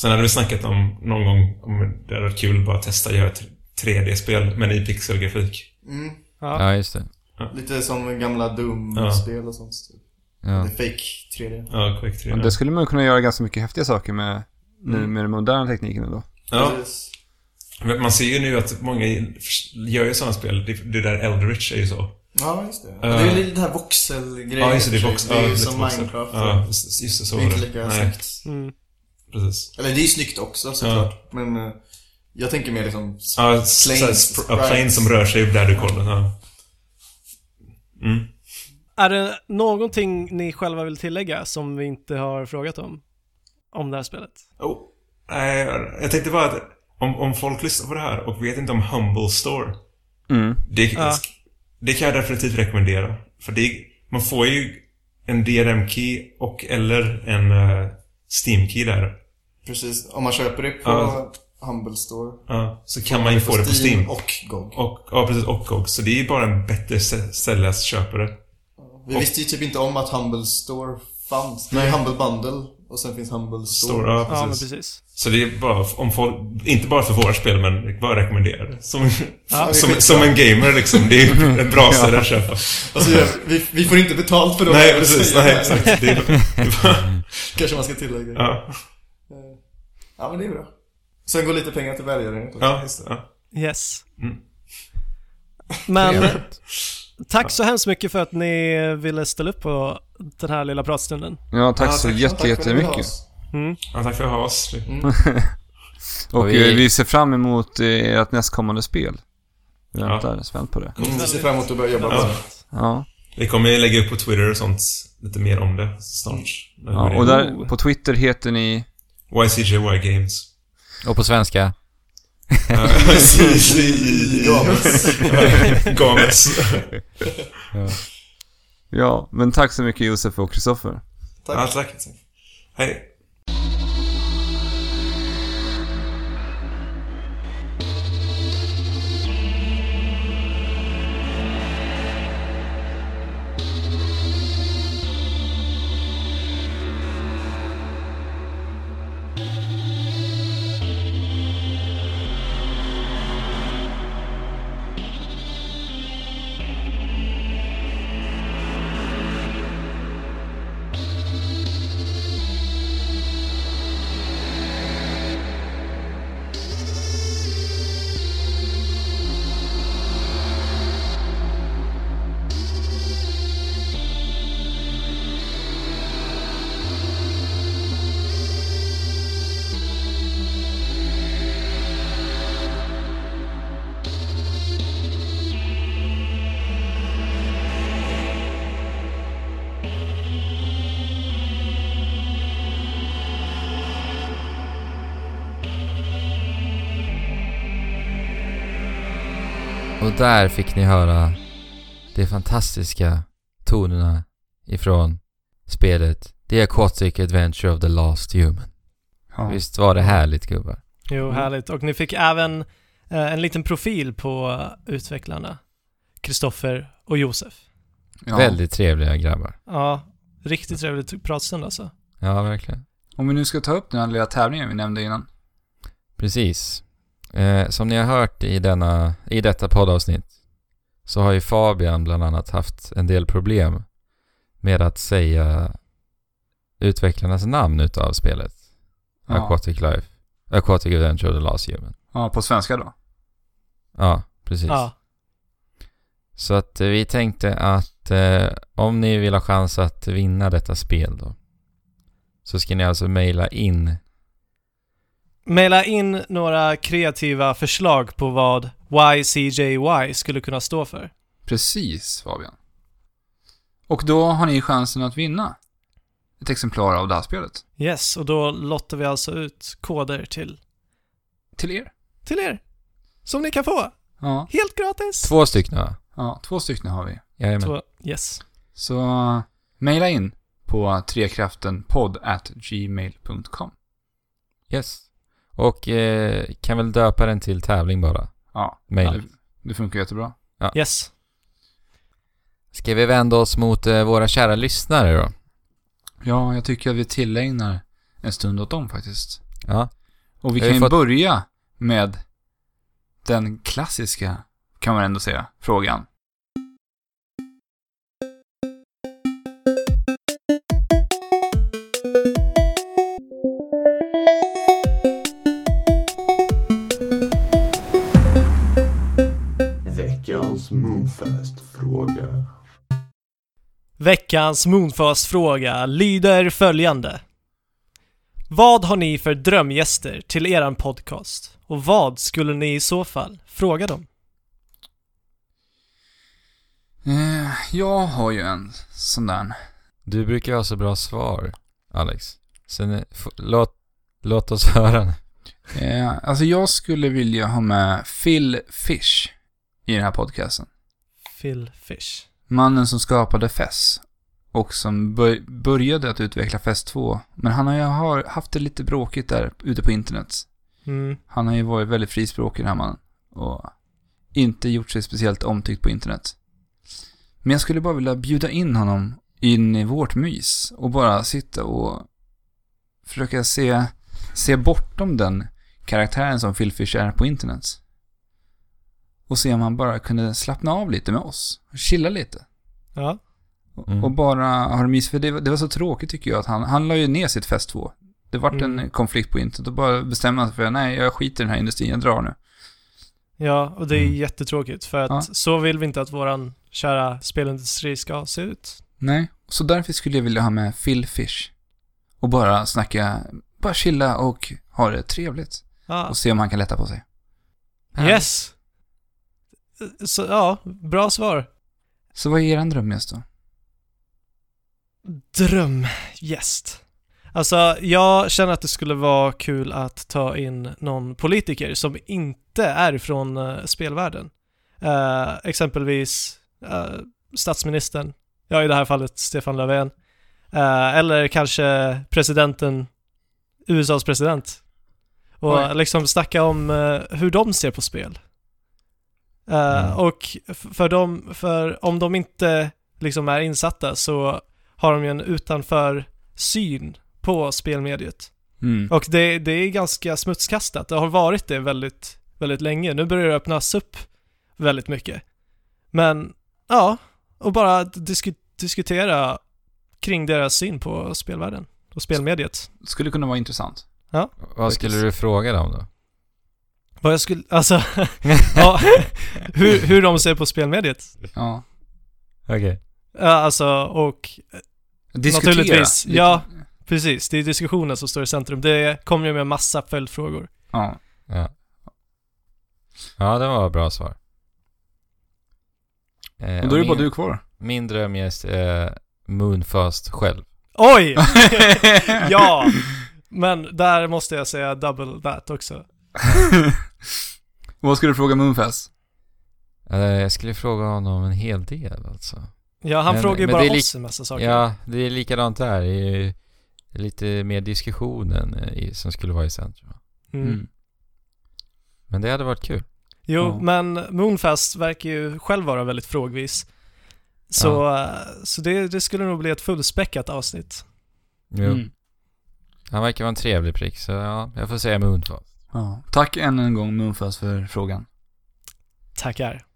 E: Sen hade vi snackat om någon gång om det hade varit kul att bara testa att göra ett 3D-spel, men i pixelgrafik.
F: Mm.
C: Ja.
B: Ja, just det.
F: Lite som gamla Doom-spel och sånt. Typ.
B: Ja.
F: Det är fake 3D.
E: Ja, Quake 3.
A: Men det skulle man ju kunna göra ganska mycket häftiga saker med nu med den moderna tekniken ändå.
E: ja,
F: Precis.
E: men man ser ju nu att många gör ju sådana spel. Det, det där Eldritch är ju så.
F: Ja, just det. Det är ju lite den här voxel-grejen. typ.
E: Ja, just det. Det är, box,
F: Det är ju
E: ja, lite
F: som
E: voxel.
F: Minecraft.
E: Ja, just, just det. Så
F: Det är inte
E: var det.
F: lika
E: Nej,
F: snyggt.
C: Mm.
E: precis.
F: Eller det är ju snyggt också såklart. Men eh, jag tänker mer liksom...
E: Ja, så här
F: Planes,
E: spr- ja,
F: sprites.
E: planes som rör sig där du kollar. Ja. Mm.
C: Är det någonting ni själva vill tillägga som vi inte har frågat om? Om det här spelet?
E: Oh. Nej, jag- jag tänkte bara att om, om folk lyssnar på det här och vet inte om Humble Store.
A: Mm.
E: Det,
C: Ja.
E: det kan jag definitivt rekommendera. För det, man får ju en DRM-key och eller en eh, Steam-key där.
F: Precis, om man köper det på
E: Ja.
F: Humble Store.
E: Ja, så kan man ju få det på Steam. Och,
F: Och GOG.
E: ja, precis. Och GOG. Så det är ju bara en bättre stä- ställe att köpa det.
F: Vi visste ju typ inte om att Humble Store fanns. Det är Humble Bundle och sen finns Humble Store.
E: Store, ja,
C: Ja, men
E: precis.
C: precis.
E: Så det är bara, om folk, inte bara för våra spel, men bara rekommenderar det. Som,
F: det är
E: som,
F: skitbra.
E: som en gamer liksom. Det är ju ett bra ställe att köpa.
F: Alltså, jag- vi, vi får inte betalt för dem.
E: Nej, precis.
F: Så jag-
E: Nej, exakt. Det är, det är bara,
F: Kanske man ska tillägga. Ja.
E: ja,
F: ja, men det är bra. Sen går lite pengar till välgörenhet också.
E: ja, just det. Ja.
C: Yes.
E: Mm.
C: Men eh,
B: Trevligt.
C: tack så hemskt mycket för att ni ville ställa upp på den här lilla pratstunden.
A: Ja, tack så
E: tack.
A: jätte,
F: Tack för att ni ville ha
A: jättemycket.
F: oss.
E: Ja, tack för att ha oss.
A: Och eh,
B: Och vi-
A: vi... vi ser fram emot eh, ert nästkommande spel. Vi
E: Ja.
A: väntar spänt på det.
F: Mm. Vi ser fram emot att börja jobba på
E: Ja.
F: det.
A: Ja.
E: Vi kommer ju lägga upp på Twitter och sånt lite mer om det snart.
A: ja. Och där, på Twitter heter ni...
E: YCJY Games.
B: Och på svenska?
E: Games.
A: Ja, men tack så mycket Josef och Kristoffer.
F: Tack.
E: Ja, tack. tack. Hej.
B: Och där fick ni höra de fantastiska tonerna ifrån spelet The Aquatic Adventure of the Last Human.
A: Ja.
B: Visst var det härligt gubbar?
C: Jo, härligt. Och ni fick även eh, en liten profil på utvecklarna. Kristoffer och Josef.
A: Ja.
B: Väldigt trevliga grabbar.
C: Ja, riktigt trevlig pratstund alltså.
B: Ja, verkligen.
A: Om vi nu ska ta upp den här lilla tävlingen vi nämnde innan.
B: Precis. Eh, som ni har hört i, denna, i detta poddavsnitt så har ju Fabian bland annat haft en del problem med att säga utvecklarnas namn utav spelet.
A: Ja,
B: Aquatic Life. Aquatic Adventure of the Last Human.
A: ja på svenska då.
B: Ja, precis.
C: Ja,
B: Så att eh, vi tänkte att eh, om ni vill ha chans att vinna detta spel då så ska ni alltså mejla in.
C: Maila in några kreativa förslag på vad YCJY skulle kunna stå för.
A: Precis, Fabian. Och då har ni chansen att vinna ett exemplar av det här spelet.
C: Yes, och då lottar vi alltså ut koder till,
A: Till er.
C: till er. Som ni kan få,
A: Ja,
C: helt gratis.
B: Två stycken va?
A: ja två stycken har vi.
B: Jajamän.
C: Två- Yes.
A: Så eh, mejla in på trekraftenpodd.gmail.com.
B: Yes. Och eh, kan väl döpa den till tävling bara.
A: Ja,
B: Mejl.
A: det, det funkar jättebra.
C: Yes.
B: Ska vi vända oss mot eh, våra kära lyssnare då?
A: Ja, jag tycker att vi tillägnar en stund åt dem faktiskt.
B: Ja.
A: Och vi
B: Jag
A: kan
B: har
A: ju
B: fått-
A: börja med den klassiska, kan man ändå säga, frågan.
G: Veckans Moonfest-fråga.
C: Veckans Moonfast-fråga lyder följande. Vad har ni för drömgäster till eran podcast? Och vad skulle ni i så fall fråga dem?
A: Eh, Jag har ju en sån där.
B: Du brukar ju ha så bra svar, Alex. Sen, eh, f- låt, låt oss höra nu.
A: Eh, Alltså jag skulle vilja ha med Phil Fish i den här podcasten.
C: Phil Fish.
A: Mannen som skapade FES och som bör- började att utveckla FES 2. Men han har ju har haft det lite bråkigt där ute på internet.
C: Mm.
A: Han har ju varit väldigt frispråkig den här mannen. Och inte gjort sig speciellt omtyckt på internet. Men jag skulle bara vilja bjuda in honom in i vårt mys och bara sitta och försöka se, se bortom den karaktären som Phil Fish är på internet. Och se om han bara kunde slappna av lite med oss. och Chilla lite.
C: Ja.
A: Och-
B: Mm.
A: Och bara ha det mys. För det, var- det var så tråkigt tycker jag att han, han la ju ner sitt Fest 2. Det vart
C: Mm.
A: en konflikt på internet och bara bestämde han sig för nej, jag skiter i den här industrin, jag drar nu.
C: Ja, och det är
B: Mm.
C: jättetråkigt för att
A: Ja.
C: så vill vi inte att våran kära spelindustri ska se ut.
A: Nej, så därför skulle jag vilja ha med Phil Fish. Och bara snacka, bara chilla och ha det trevligt.
C: Ja.
A: Och se om han kan lätta på sig.
C: Yes! Så ja, bra svar.
A: Så vad är er drömgäst då?
C: Drömgäst. Alltså, jag känner att det skulle vara kul att ta in någon politiker som inte är från eh, spelvärlden. Eh, exempelvis eh, statsministern, ja i det här fallet Stefan Löfven, Eh, eller kanske presidenten, USAs president. Och
A: Oj.
C: liksom snacka om eh, hur de ser på spel. Eh,
B: Mm.
C: Och f- för dem, för om de inte liksom är insatta så har de ju en utanför syn på spelmediet.
A: Mm.
C: Och det, det är ganska smutskastat. Det har varit det väldigt, väldigt länge. Nu börjar det öppnas upp väldigt mycket. Men, ja, och bara disku, diskutera kring deras syn på spelvärlden och spelmediet.
A: Skulle kunna vara intressant.
B: Vad skulle du fråga dem då?
C: Vad jag skulle, alltså, ja, hur, hur de ser på spelmediet.
A: Ja.
B: Okej.
C: Ja, Alltså, och
A: Diskutera.
C: Naturligtvis,
A: Lite-
C: ja. precis, det är diskussionen som står i centrum. Det kommer ju med massa följdfrågor.
A: ja.
B: Ja. Ja, det var ett bra svar. Eh,
A: Och då är det
B: min,
A: bara du kvar.
B: Min drömgäst är eh, Moonfast själv.
C: Oj! ja! Men där måste jag säga double that också.
A: Vad ska du fråga Moonfest?
B: Eh, jag skulle fråga honom en hel del alltså.
C: Ja, han
B: Men-
C: frågar ju
B: men
C: bara
B: det är lik-
C: oss en massa saker.
B: Ja, det är likadant där. Det är ju lite mer diskussionen eh, i, som skulle vara i centrum.
C: Mm.
A: Mm.
B: Men det hade varit kul.
C: Jo,
A: Ja.
C: men Moonfest verkar ju själv vara väldigt frågvis. Så, eh, så det, det skulle nog bli ett fullspäckat avsnitt.
B: Jo.
A: Mm.
B: Han verkar vara en trevlig prick, så ja, jag får säga Moonfast.
A: Ja. Tack än en gång Moonfest för frågan.
C: Tackar.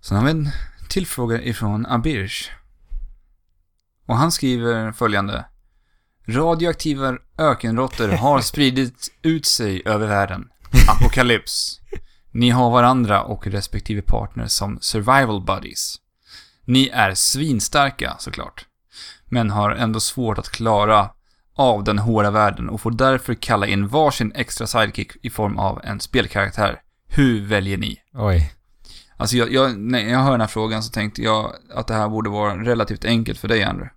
A: Sen har vi en till fråga ifrån Abirs. Och han skriver följande. Radioaktiva ökenråttor har spridit ut sig över världen. Apokalyps. Ni har varandra och respektive partner som survival buddies. Ni är svinstarka såklart. Men har ändå svårt att klara av den hårda världen och får därför kalla in varsin extra sidekick i form av en spelkaraktär. Hur väljer ni?
B: Oj.
A: Alltså jag, jag, när jag hör den här frågan så tänkte jag att det här borde vara relativt enkelt för dig, Andrew.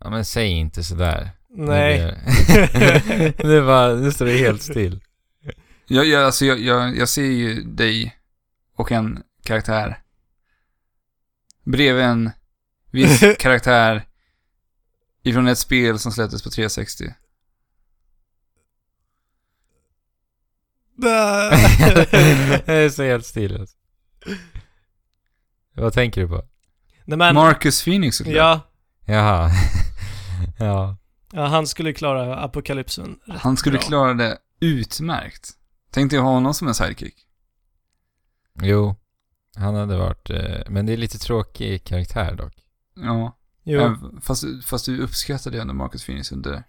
B: Ja, men säg inte sådär.
C: Nej.
B: Nu blir- nu, bara, nu står det helt still.
A: Jag, jag, alltså jag, jag, jag ser ju dig och en karaktär bredvid en viss karaktär ifrån ett spel som släpptes på 360.
B: det står helt still alltså. Vad tänker du på?
C: Nej men,
A: Marcus Phoenix såklart.
C: ja,
B: Jaha. ja.
C: ja, han skulle klara apokalypsen.
A: Han skulle
C: bra.
A: klara det utmärkt. Tänkte jag ha honom som en sidekick.
B: Jo. Han hade varit... eh, Men det är lite tråkig karaktär dock.
A: Ja.
C: Jo.
A: Även- Fast, fast du uppskattade ju ändå Marcus Phoenix under...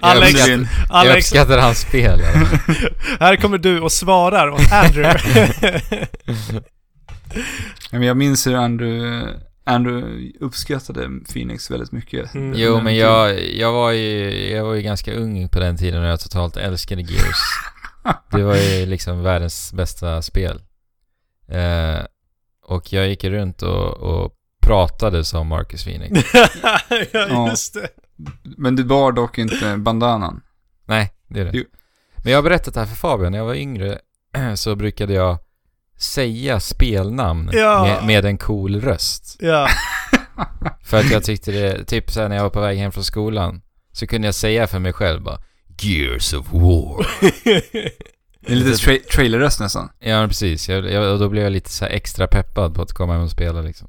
C: Alex,
B: Jag
A: under-
B: Jag
C: Alex,
B: uppskattar hans spel. alltså. i alla fall.
C: här kommer du och svarar åt Andrew.
A: Ja, men jag minns hur Andrew, Andrew uppskattade Phoenix väldigt mycket.
C: Mm.
B: jo, men jag, jag, var ju, jag var ju ganska ung på den tiden och jag totalt älskade Gears. Det var ju liksom världens bästa spel. Eh, och jag gick runt och, och pratade som Marcus Phoenix.
C: ja,
A: Ja.
C: just det.
A: Men du bar dock inte bandanan.
B: Nej, det är det.
A: Jo.
B: Men jag har berättat det här för Fabian. När jag var yngre så brukade jag säga spelnamn
C: Ja.
B: med, med en cool röst.
C: Ja,
B: För att jag tyckte det, typ såhär när jag var på väg hem från skolan så kunde jag säga för mig själv bara Gears of War.
A: Det är lite tra- trailerröst nästan.
B: ja, men precis. Jag, jag, och då blev jag lite så här extra peppad på att komma hem och spela liksom.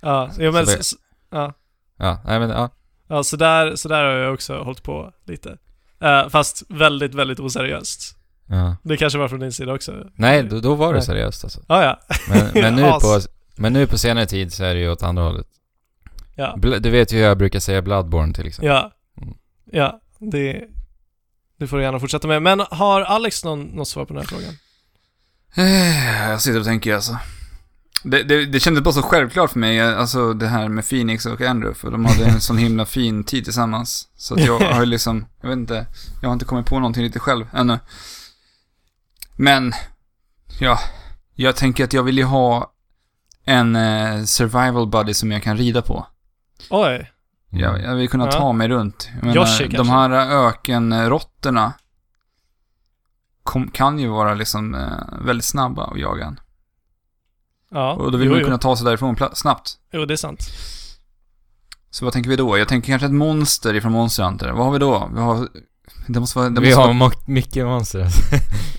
C: ja, jo, men,
B: Så
C: så,
B: det-
C: så, ja.
B: Ja, nej men ja.
C: Ja, så där, så där har jag också hållit på lite. Eh, fast väldigt, väldigt oseriöst.
B: ja.
C: Det kanske var från din sida också.
B: Nej, då, då var det
C: Nej.
B: seriöst alltså.
C: Ah, ja, alltså.
B: Men, men, nu
C: As.
B: på, men nu på senare tid så är det ju åt andra hållet.
C: Ja.
B: Bl- Du vet ju hur jag brukar säga Bloodborne till exempel.
C: ja.
B: Mm.
C: Ja, det, det får du gärna fortsätta med. Men har Alex någon, något svar på den här frågan?
A: Eh, Jag sitter och tänker alltså. Det, det, det kändes bara så självklart för mig, alltså det här med Phoenix och Andrew, för de hade en sån himla fin tid tillsammans. Så att jag har ju liksom, jag vet inte, jag har inte kommit på någonting riktigt själv ännu. Men, ja, jag tänker att jag vill ju ha en eh, survival buddy som jag kan rida på.
C: Oj.
B: Mm.
A: Jag, jag vill kunna
C: Ja.
A: ta mig runt. Jag menar,
C: Yoshi
A: de
C: kanske?
A: här ökenråttorna kom, kan ju vara liksom eh, väldigt snabba att jaga en.
C: Ja,
A: Och då vill
C: jo,
A: man ju
C: jo.
A: kunna ta sig därifrån pla- snabbt.
C: jo, det är sant.
A: Så vad tänker vi då? Jag tänker kanske ett monster ifrån Monster Hunter. Vad har vi då? Vi har... Det måste vara... Det
B: Vi
A: måste
B: har
A: Vara,
B: mo- mycket monster alltså.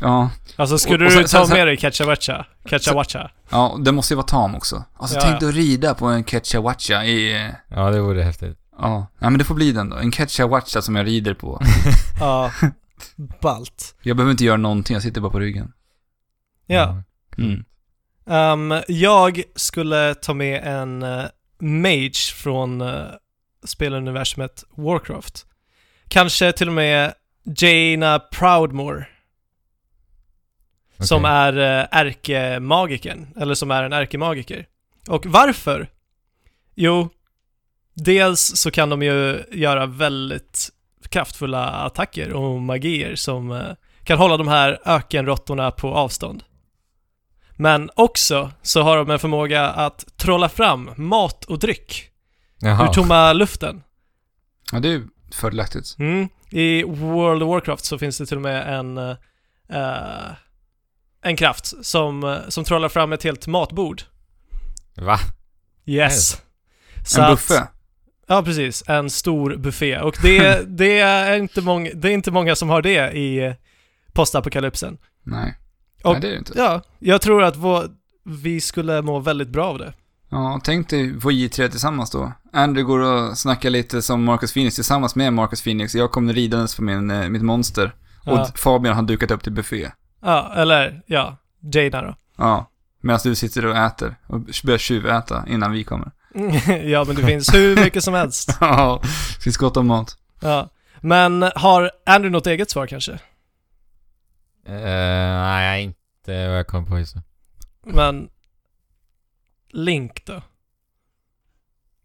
A: ja,
C: Alltså
A: Och-
C: skulle
A: och sen-
C: du ta
A: sen- sen-
C: med dig Catchawacha? Catchawacha?
A: ja, det måste ju vara tam också. Alltså
C: Ja,
A: tänk
C: ja.
A: dig att rida på en Ketchawacha i... eh,
B: Ja, det vore häftigt.
A: Ja, ja men det får bli den då. En Ketchawacha som jag rider på.
C: Ja. Balt.
A: Jag behöver inte göra någonting, jag sitter bara på ryggen.
C: Ja.
A: Mm.
C: Ehm, jag skulle ta med en eh, mage från uh, speluniversumet Warcraft. Kanske till och med Jaina Proudmore,
B: Okej.
C: som är uh, ärkemagikern, eller som är en ärkemagiker. Och varför? Jo, dels så kan de ju göra väldigt kraftfulla attacker och magier som eh, kan hålla de här ökenråttorna på avstånd. Men också så har de en förmåga att trolla fram mat och dryck
B: Jaha.
C: ur tomma luften.
A: Ja, det är ju fördelaktigt.
C: Mm. I World of Warcraft så finns det till och med en, eh, en kraft som, eh, som trollar fram ett helt matbord.
B: Va?
C: Yes. Så
A: en
C: att-
A: buffé.
C: Ja, precis. En stor buffé. Och det, det, är, inte många, det är inte många som har det i eh, postapokalypsen.
A: Nej.
C: Och-
A: Nej, det är det inte.
C: Ja, jag tror att vår, vi skulle må väldigt bra av det.
A: Ja, tänk dig vi tre tillsammans då. Andrew går och snackar lite som Marcus Phoenix tillsammans med Marcus Phoenix. Jag kommer ridandes på min, eh, mitt monster.
C: Ja,
A: Och Fabian har dukat upp till buffé.
C: ja eller ja, Jaina då.
A: Ja. Medan du sitter och äter. Och börjar tjuväta innan vi kommer.
C: ja, men det finns hur mycket som helst.
A: Ja, det finns gott om mat.
C: Ja. Men har Andrew något eget svar kanske?
B: Eh, nej, inte vad jag kom på just nu.
C: Men... Link då?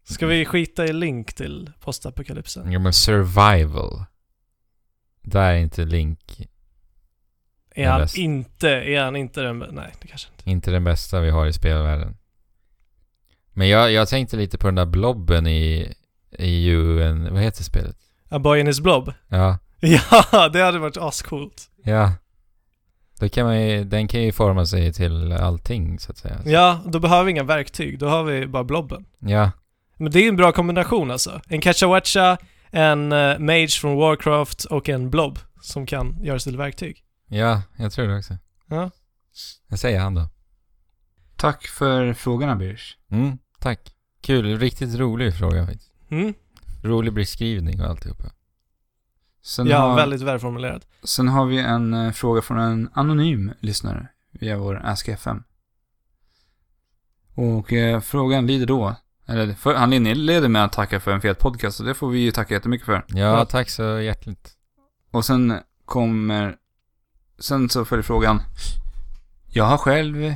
C: Ska vi skita i Link till postapokalypsen?
B: Ja, men survival. Där är inte Link
C: Är han
B: bäst.
C: inte, är han inte den Nej, det kanske inte.
B: inte den bästa vi har i spelvärlden. Men jag, jag tänkte lite på den där blobben i, i UN... Vad heter spelet?
C: A boy in his blob?
B: Ja,
C: Ja, det hade varit ascoolt.
B: ja. Då kan man ju, den kan ju forma sig till allting så att säga.
C: Ja, då behöver vi inga verktyg, då har vi bara blobben.
B: Ja,
C: Men det är ju en bra kombination alltså. En Catchawacha, en eh, Mage från Warcraft och en Blob som kan göras till verktyg.
B: ja jag tror det också.
C: Ja.
B: Jag säger han då.
A: Tack för frågorna, Birch.
B: Mm, tack. Kul, riktigt rolig fråga faktiskt.
C: Mm?
B: Rolig beskrivning och alltihopa.
A: Sen,
C: ja,
A: har,
C: väldigt välformulerad.
A: sen har vi en eh, fråga från en anonym lyssnare via vår Ask FM. Och eh, frågan lyder då, eller för, han inleder med att tacka för en fet podcast, så det får vi ju tacka jättemycket för.
B: Ja,
C: Ja.
B: tack så hjärtligt.
A: Och sen kommer... Sen så följer frågan. Jag har själv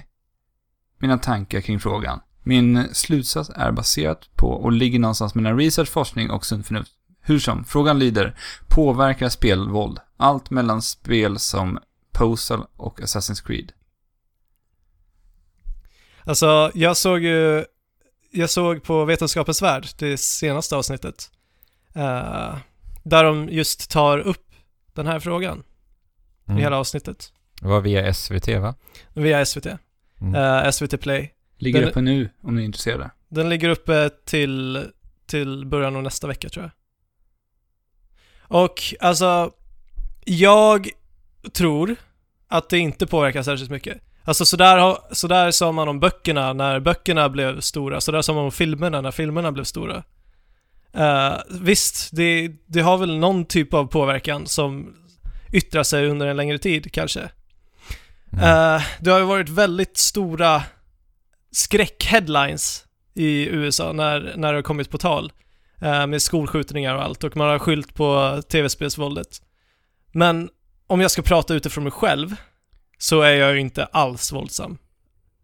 A: mina tankar kring frågan. Min slutsats är baserat på och ligger någonstans mellan research, forskning och sunt förnuft. Hur som, frågan lyder. Påverkar spelvåld allt mellan spel som Postal och Assassin's Creed?
C: Alltså, jag såg ju... Jag såg på Vetenskapens Värld, det senaste avsnittet, eh, där de just tar upp den här frågan i hela avsnittet.
B: Mm. Det var via SVT va?
C: Via SVT.
B: Mm.
C: eh, SVT Play.
A: Ligger
C: Den-
A: uppe nu om ni är intresserade.
C: Den ligger uppe till, till början av nästa vecka tror jag. Och alltså, jag tror att det inte påverkar särskilt mycket. Alltså sådär, har- sådär sa man om böckerna när böckerna blev stora, sådär sa man om filmerna när filmerna blev stora. Eh, visst, det, det har väl någon typ av påverkan som yttrar sig under en längre tid kanske. Eh, det har ju varit väldigt stora skräckheadlines i USA när, när det har kommit på tal. eh, med skolskjutningar och allt och man har skyllt på tv-spelsvåldet. Men om jag ska prata utifrån mig själv så är jag ju inte alls våldsam.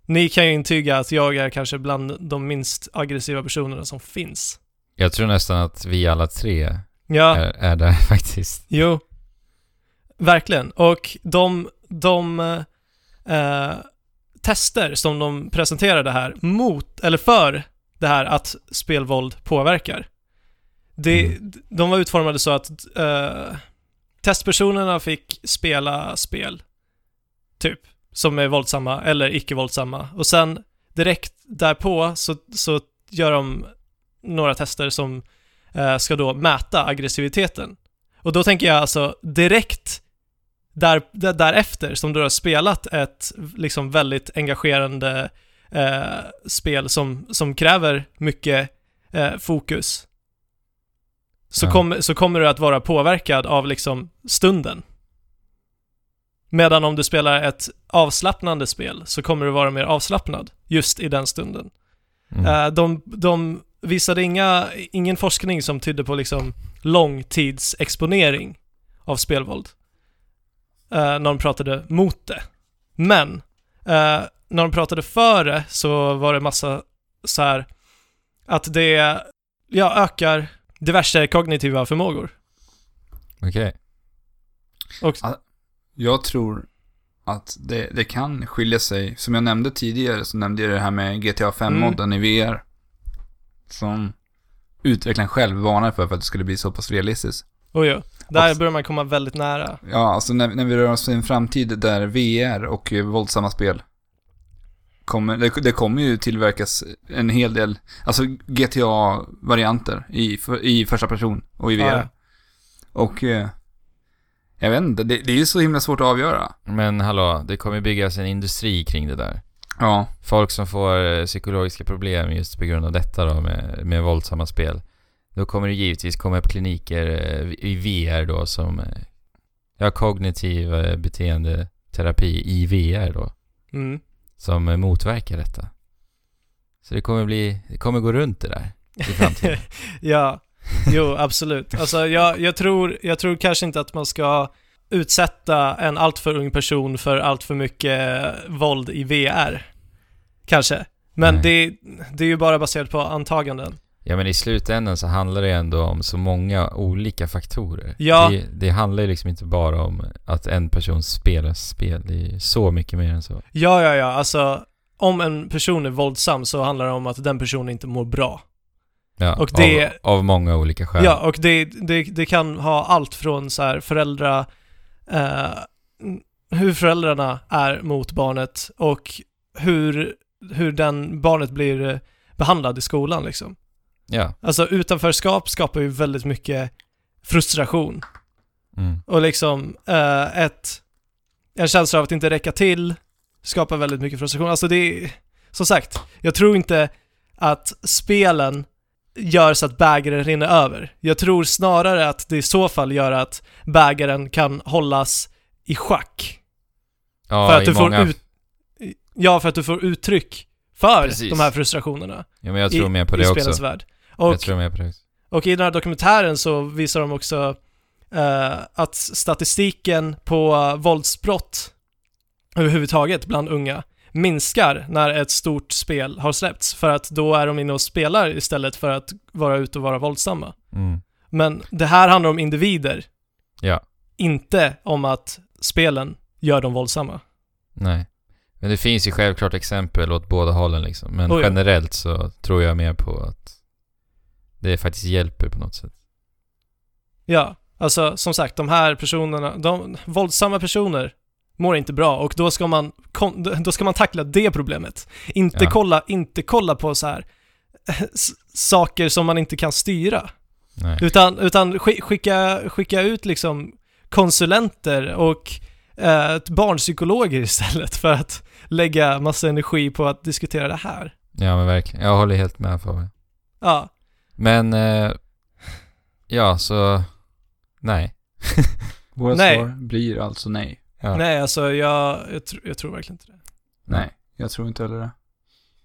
C: Ni kan ju intyga att jag är kanske bland de minst aggressiva personerna som finns.
B: Jag tror nästan att vi alla tre
C: Ja,
B: är, är där faktiskt.
C: Jo. Verkligen. Och de, de eh, tester som de presenterade här mot, eller för, det här att spelvåld påverkar. Det, De var utformade så att eh, testpersonerna fick spela spel, typ, som är våldsamma eller icke-våldsamma. Och sen direkt därpå så, så gör de några tester som eh, ska då mäta aggressiviteten. Och då tänker jag alltså direkt där, där, därefter som du har spelat ett liksom väldigt engagerande eh, spel som, som kräver mycket eh, fokus. Så,
B: Ja.
C: kom, så kommer du att vara påverkad av liksom stunden. Medan om du spelar ett avslappnande spel så kommer du vara mer avslappnad just i den stunden.
B: Mm.
C: Eh, de, de visade inga, ingen forskning som tydde på liksom långtidsexponering av spelvåld. Eh, när de pratade mot det. Men, eh, när de pratade för det så var det massa så här att det ja, ökar diverse kognitiva förmågor.
B: Okej.
C: Och,
A: Jag tror att det, det kan skilja sig. Som jag nämnde tidigare så nämnde jag det här med GTA 5-modden i VR. Som utvecklaren själv varnar för, för att det skulle bli så pass realistiskt.
C: och ja, där
A: Och-
C: börjar man komma väldigt nära.
A: Ja, alltså när, när vi rör oss i en framtid där VR och eh, våldsamma spel kommer, det, det kommer ju tillverkas en hel del, alltså GTA-varianter i, för- i första person och i VR.
C: Ja, ja.
A: Och eh, jag vet inte, det, det är ju så himla svårt att avgöra.
B: Men hallå, det kommer byggas en industri kring det där.
A: Ja,
B: Folk som får eh, psykologiska problem just på grund av detta då med, med våldsamma spel. Då kommer det givetvis komma upp kliniker eh, i VR då som eh, ja, kognitiv eh, beteendeterapi i VR då.
C: Mm.
B: Som eh, motverkar detta. Så det kommer bli, det kommer gå runt det där i framtiden.
C: Ja, jo absolut. Alltså jag, jag, tror, jag tror kanske inte att man ska utsätta en alltför ung person för alltför mycket våld i VR. Kanske. Men
B: Nej.
C: det, det är ju bara baserat på antaganden.
B: Ja men i slutändan så handlar det ändå om så många olika faktorer.
C: Ja.
B: Det, det handlar ju liksom inte bara om att en person spelar spel. Det är ju så mycket mer än så.
C: Ja, ja, ja. Alltså om en person är våldsam så handlar det om att den personen inte mår bra.
B: Ja,
C: Och det-
B: av, av många olika skäl.
C: Ja, och det, det, det kan ha allt från så här föräldra, eh, hur föräldrarna är mot barnet och hur, hur den barnet blir eh, behandlad i skolan liksom.
B: Ja.
C: Alltså utanförskap skapar ju väldigt mycket frustration
B: Mm.
C: och liksom eh, ett, en känsla av att inte räcka till skapar väldigt mycket frustration. Alltså det är, som sagt, jag tror inte att spelen gör så att bägaren rinner över. Jag tror snarare att det i så fall gör att bägaren kan hållas i schack.
B: Ja,
C: för att
B: i
C: du
B: många...
C: får ut, Ja, för att du får uttryck för
B: Precis.
C: de här frustrationerna
B: Ja, men jag tror
C: i,
B: mer på
C: i
B: det
C: spelens
B: också.
C: värld.
B: Jag
C: Och
B: tror mer på det också.
C: och i den här dokumentären så visar de också eh, att statistiken på eh, våldsbrott överhuvudtaget bland unga minskar när ett stort spel har släppts. För att då är de inne och spelar istället för att vara ute och vara våldsamma.
B: Mm.
C: Men det här handlar om individer,
B: Ja,
C: inte om att spelen gör dem våldsamma.
B: nej. Men det finns ju självklart exempel åt båda hållen liksom. Men
C: Oh, ja.
B: generellt så tror jag mer på att det faktiskt hjälper på något sätt.
C: Ja, alltså som sagt, de här personerna, de våldsamma personer mår inte bra och då ska man, kon- då ska man tackla det problemet. Inte,
B: Ja.
C: kolla, inte kolla på så här eh, s- saker som man inte kan styra.
B: Nej.
C: Utan, utan sk- skicka, skicka ut liksom konsulenter och eh, barnpsykologer istället för att lägga massa energi på att diskutera det här.
B: Ja, men verkligen. Jag håller helt med Fabian.
C: Ja,
B: Men... Eh, ja, så... Nej.
A: våra
C: Nej.
A: svar blir alltså nej.
B: Ja.
C: nej alltså jag, jag, tr- jag tror verkligen inte det.
A: Nej, jag tror inte heller det.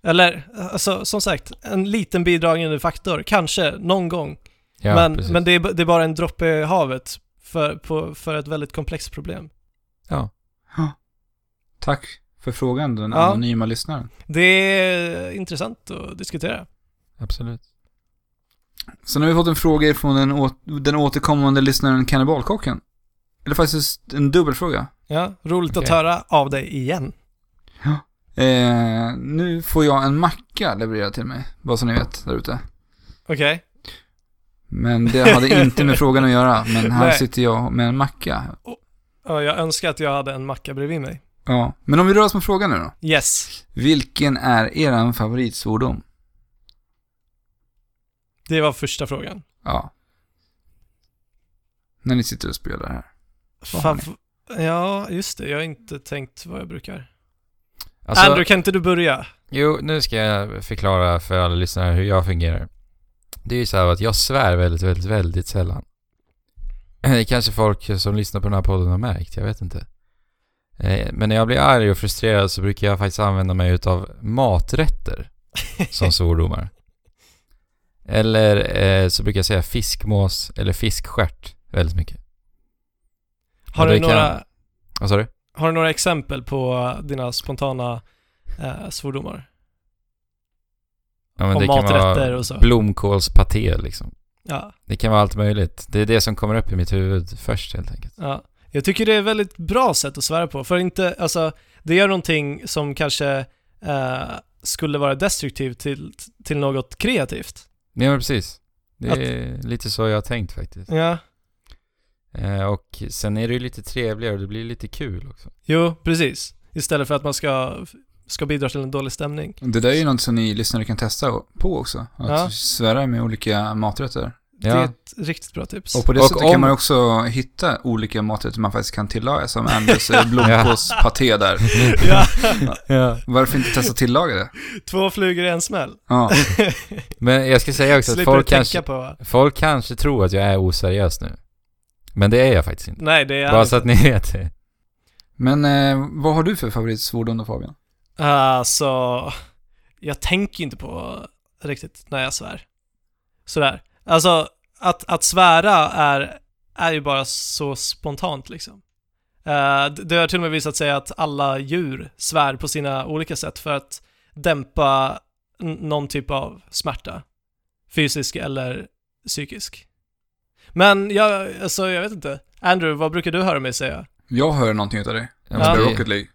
C: Eller, alltså som sagt, en liten bidragande faktor, kanske, någon gång.
B: Ja,
C: men
B: precis.
C: men det, är, b- det är bara en droppe i havet för, på, för ett väldigt komplext problem.
B: Ja.
A: Tack för frågan, den
C: Ja.
A: anonyma lyssnaren.
C: Det är intressant att diskutera.
B: Absolut.
A: Sen har vi fått en fråga från den, å- den återkommande lyssnaren Kannibalkocken. Eller faktiskt en dubbelfråga.
C: Ja, roligt att
B: Okej.
C: höra av dig igen.
A: Eh, nu får jag en macka levererad till mig, bara så ni vet där ute.
C: Okej.
A: Men det hade inte med frågan att göra, men här
C: Nej.
A: sitter jag med en macka.
C: Ja, jag önskar att jag hade en macka bredvid mig.
A: Ja. Men om vi rör oss med frågan nu då.
C: Yes.
A: Vilken är er favoritsvordom?
C: Det var första frågan.
A: Ja. När ni sitter och spelar här. Vad har
C: Fav- ja, just det. Jag har inte tänkt vad jag brukar.
B: Alltså,
C: Andrew, kan inte du börja?
B: Jo, nu ska jag förklara för alla lyssnare hur jag fungerar. Det är ju så här att jag svär väldigt, väldigt, väldigt sällan. Det kanske folk som lyssnar på den här podden har märkt, jag vet inte. Eh, Men när jag blir arg och frustrerad så brukar jag faktiskt använda mig utav maträtter som svordomar. Eller eh, så brukar jag säga fiskmås eller fiskstjärt väldigt mycket.
C: Har,
B: Ja, det
C: du
B: kan-
C: några,
B: Vad sa du?
C: har du några exempel på dina spontana eh, svordomar?
B: Ja,
C: Om
B: kan vara
C: maträtter och så.
B: Blomkålspaté liksom.
C: Ja,
B: Det kan vara allt möjligt. Det är det som kommer upp i mitt huvud först helt enkelt.
C: ja. Jag tycker det är ett väldigt bra sätt att svära på. För inte, alltså, det gör någonting som kanske eh, skulle vara destruktivt till, till något kreativt.
B: Ja men precis. Det är lite så jag har tänkt faktiskt.
C: Ja.
B: Eh, och sen är det ju lite trevligare och det blir lite kul också.
C: Jo, precis. Istället för att man ska, ska bidra till en dålig stämning.
A: Det där är ju något som ni lyssnare kan testa på också. Att
C: Ja.
A: svära med olika maträtter.
C: Det är
B: Ja,
C: ett riktigt bra tips.
A: Och på det
B: Och
A: sättet
B: om-
A: kan man ju också hitta olika maträtter man faktiskt kan tillaga. Som Anders eh, blomkålspaté där.
C: ja,
A: Varför inte testa att tillaga det?
C: två flugor i en smäll.
A: Ja.
B: men jag ska säga också att
C: Slipper du
B: folk
C: tänka
B: kanske,
C: på...
B: folk kanske tror att jag är oseriös nu. Men det är jag faktiskt inte.
C: Nej, det är
B: Bara
C: han
B: så att
C: inte.
B: ni vet det.
A: Men eh, vad har du för favoritsvordom då Fabian?
C: Alltså, jag tänker inte på riktigt när jag svär. Sådär. Alltså, att, att svära är, är ju bara så spontant liksom. Eh, d- det har till och med visat sig att alla djur svär på sina olika sätt för att dämpa n- någon typ av smärta. Fysisk eller psykisk. Men jag, alltså jag vet inte. Andrew, vad brukar du höra mig säga?
A: Jag hör någonting utav dig. Jag
B: men
A: spelar
B: det-
A: Rocket League.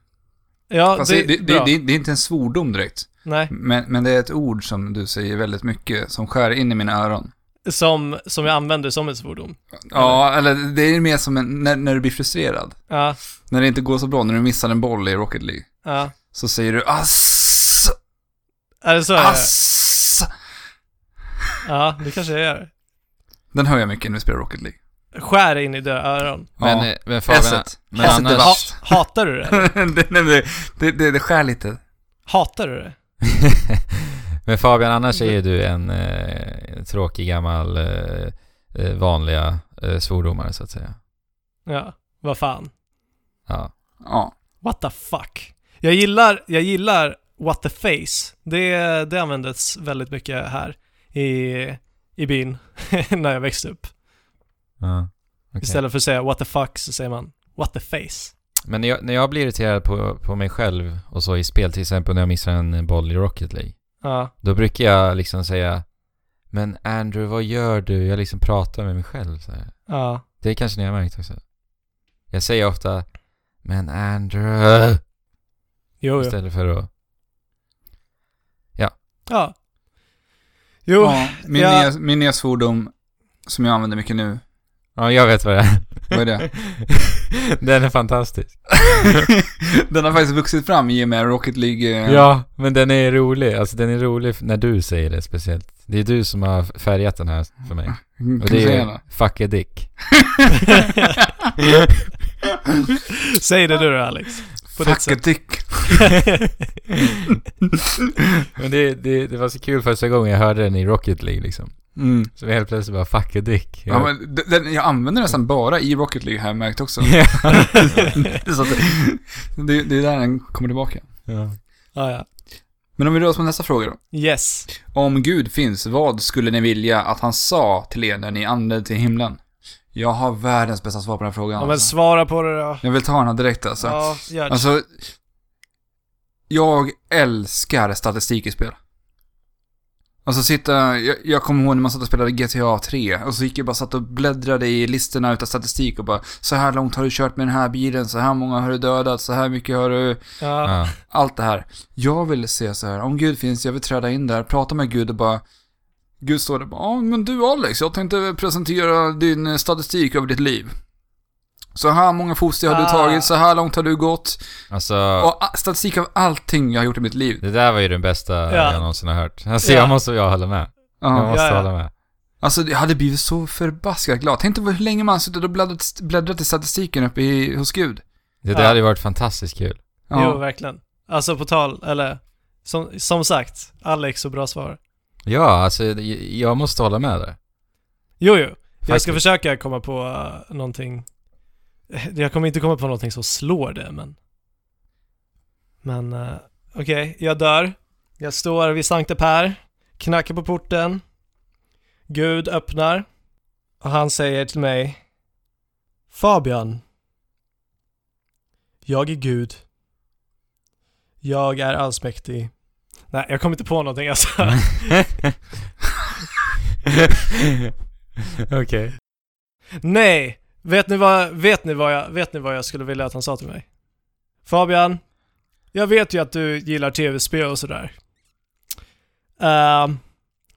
C: Ja,
A: Fast
C: det,
A: det, det, det,
C: bra.
A: det, det är inte en svordom direkt.
C: Nej.
A: Men, men det är ett ord som du säger väldigt mycket, som skär in i mina öron.
C: Som, som jag använder som en svordom.
A: Ja, eller det är mer som en, när, när du blir frustrerad.
C: Ja,
A: När det inte går så bra, när du missar en boll i Rocket League.
C: ja.
A: Så säger du ass,
C: Är det så?
A: ass.
C: Ja, det kanske jag gör.
A: Den hör jag mycket när vi spelar Rocket League.
C: Skär in i döda öron.
B: Men,
A: ja.
B: eh, men Fabian,
A: Esset.
B: men
A: Esset är
B: annars-
A: vast.
C: Hatar du det?
A: det, nej, men det, det, det, det skär lite.
C: Hatar du det?
B: men Fabian annars är ju du en eh, tråkig gammal eh, eh, vanliga eh, svordomare så att säga.
C: Ja, vad fan.
B: Ja.
A: Ja.
C: What the fuck. Jag gillar, jag gillar what the face. Det, det användes väldigt mycket här i, i byn när jag växte upp.
B: ja. okej.
C: Istället för att säga what the fuck så säger man what the face.
B: Men när jag, när jag blir irriterad på, på mig själv och så i spel, till exempel när jag missar en boll i Rocket League,
C: Ja,
B: då brukar jag liksom säga Men Andrew, vad gör du? Jag liksom pratar med mig själv så här.
C: ja.
B: Det kanske ni har märkt också. Jag säger ofta Men Andrew
C: Jo, jo.
B: istället för att
C: Ja. Jo,
A: ja. Min,
C: jag-
A: nya, min nya svordom, som jag använder mycket nu,
B: Ja, jag vet vad det är.
A: vad är det?
B: Den är fantastisk.
A: den har faktiskt vuxit fram i och med Rocket League. eh,
B: Ja, men den är rolig. Alltså den är rolig när du säger det speciellt. Det är du som har färgat den här för mig.
A: Kan
B: Och
A: du
B: det
A: säga
B: är
A: det?
B: Fuck a dick.
C: säg det du då Alex. På ditt
A: Fuck a
C: sätt.
A: dick.
B: Men det, det, det var så kul första gången jag hörde den i Rocket League liksom.
A: Mm.
B: Så helt plötsligt bara fuck a dick.
A: Ja, men d- den, jag använder nästan bara i Rocket League har jag märkt också. Så att, det, det är där den kommer tillbaka.
B: Ja.
C: ja, ja.
A: Men om vi rör oss mot nästa fråga då.
C: Yes.
A: Om Gud finns, vad skulle ni vilja att han sa till er när ni anlände till himlen? Jag har världens bästa svar på den här frågan.
C: Ja, men
A: alltså.
C: svara på det då.
A: Jag vill ta den här direkt alltså.
C: Ja, gör det.
A: Alltså, jag älskar statistik i spel. Alltså sitta, jag, jag kommer ihåg när man satt och spelade GTA 3 och så gick jag bara satt och bläddrade i listorna utav statistik och bara så här långt har du kört med den här bilen, så här många har du dödat, så här mycket har du...
C: ja.
B: Ja.
A: Allt det här. Jag vill se så här, om Gud finns, jag vill träda in där, prata med Gud och bara... Gud står där och bara, ja men du Alex, jag tänkte presentera din eh, statistik över ditt liv. Så här många fotsteg har du
C: Ah.
A: tagit, så här långt har du gått.
B: Alltså,
A: Och a- statistik av allting jag har gjort i mitt liv.
B: det där var ju den bästa
C: Ja.
B: jag någonsin har hört. Alltså
C: Ja.
B: jag måste, jag håller med. Jag
A: Ja.
B: måste
C: Ja, ja.
B: hålla med.
A: Alltså jag hade blivit så förbaskat glad. Tänk dig hur länge man har suttit och bläddrat, bläddrat i statistiken uppe i, hos Gud.
B: Det där
C: Ja.
B: hade ju varit fantastiskt kul.
A: Ja.
C: Jo, verkligen. Alltså på tal, eller som, som sagt, Alex och bra svar.
B: Ja, alltså j- jag måste hålla med där.
C: Jo, jo. Jag ska
B: Faktiskt.
C: försöka komma på eh, någonting. Eh, Jag kommer inte komma på någonting som slår det, men... Men, eh, okej, jag dör. Jag står vid Sankte Per, knackar på porten. Gud öppnar. Och han säger till mig Fabian. Jag är Gud. Jag är allsmäktig. Nej, jag kommer inte på någonting alltså.
B: Okej.
C: Nej! Vet ni, vad, vet, ni vad jag, vet ni vad jag skulle vilja att han sa till mig? Fabian, jag vet ju att du gillar tv-spel och sådär. Ehm,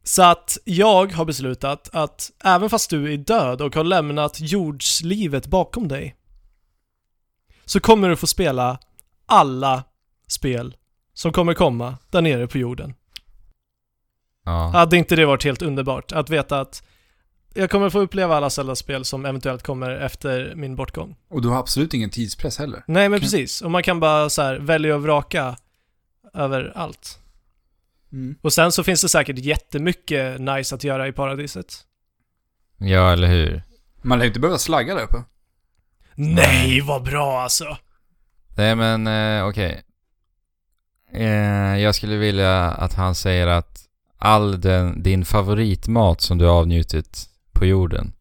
C: så att jag har beslutat att även fast du är död och har lämnat jordslivet bakom dig så kommer du få spela alla spel som kommer komma där nere på jorden.
B: Ja.
C: Hade inte det varit helt underbart att veta att jag kommer få uppleva alla Zelda-spel som eventuellt kommer efter min bortgång.
A: Och du har absolut ingen tidspress heller.
C: Nej men
A: Okej.
C: precis, och man kan bara så här välja och vraka över allt. Och sen så finns det säkert jättemycket nice att göra i paradiset.
B: ja, eller hur.
A: Man lär ju inte behöva slagga där uppe.
C: Nej, vad bra alltså!
B: Nej men eh, okej. Eh, jag skulle vilja att han säger att all den, din favoritmat som du har avnjutit på jorden.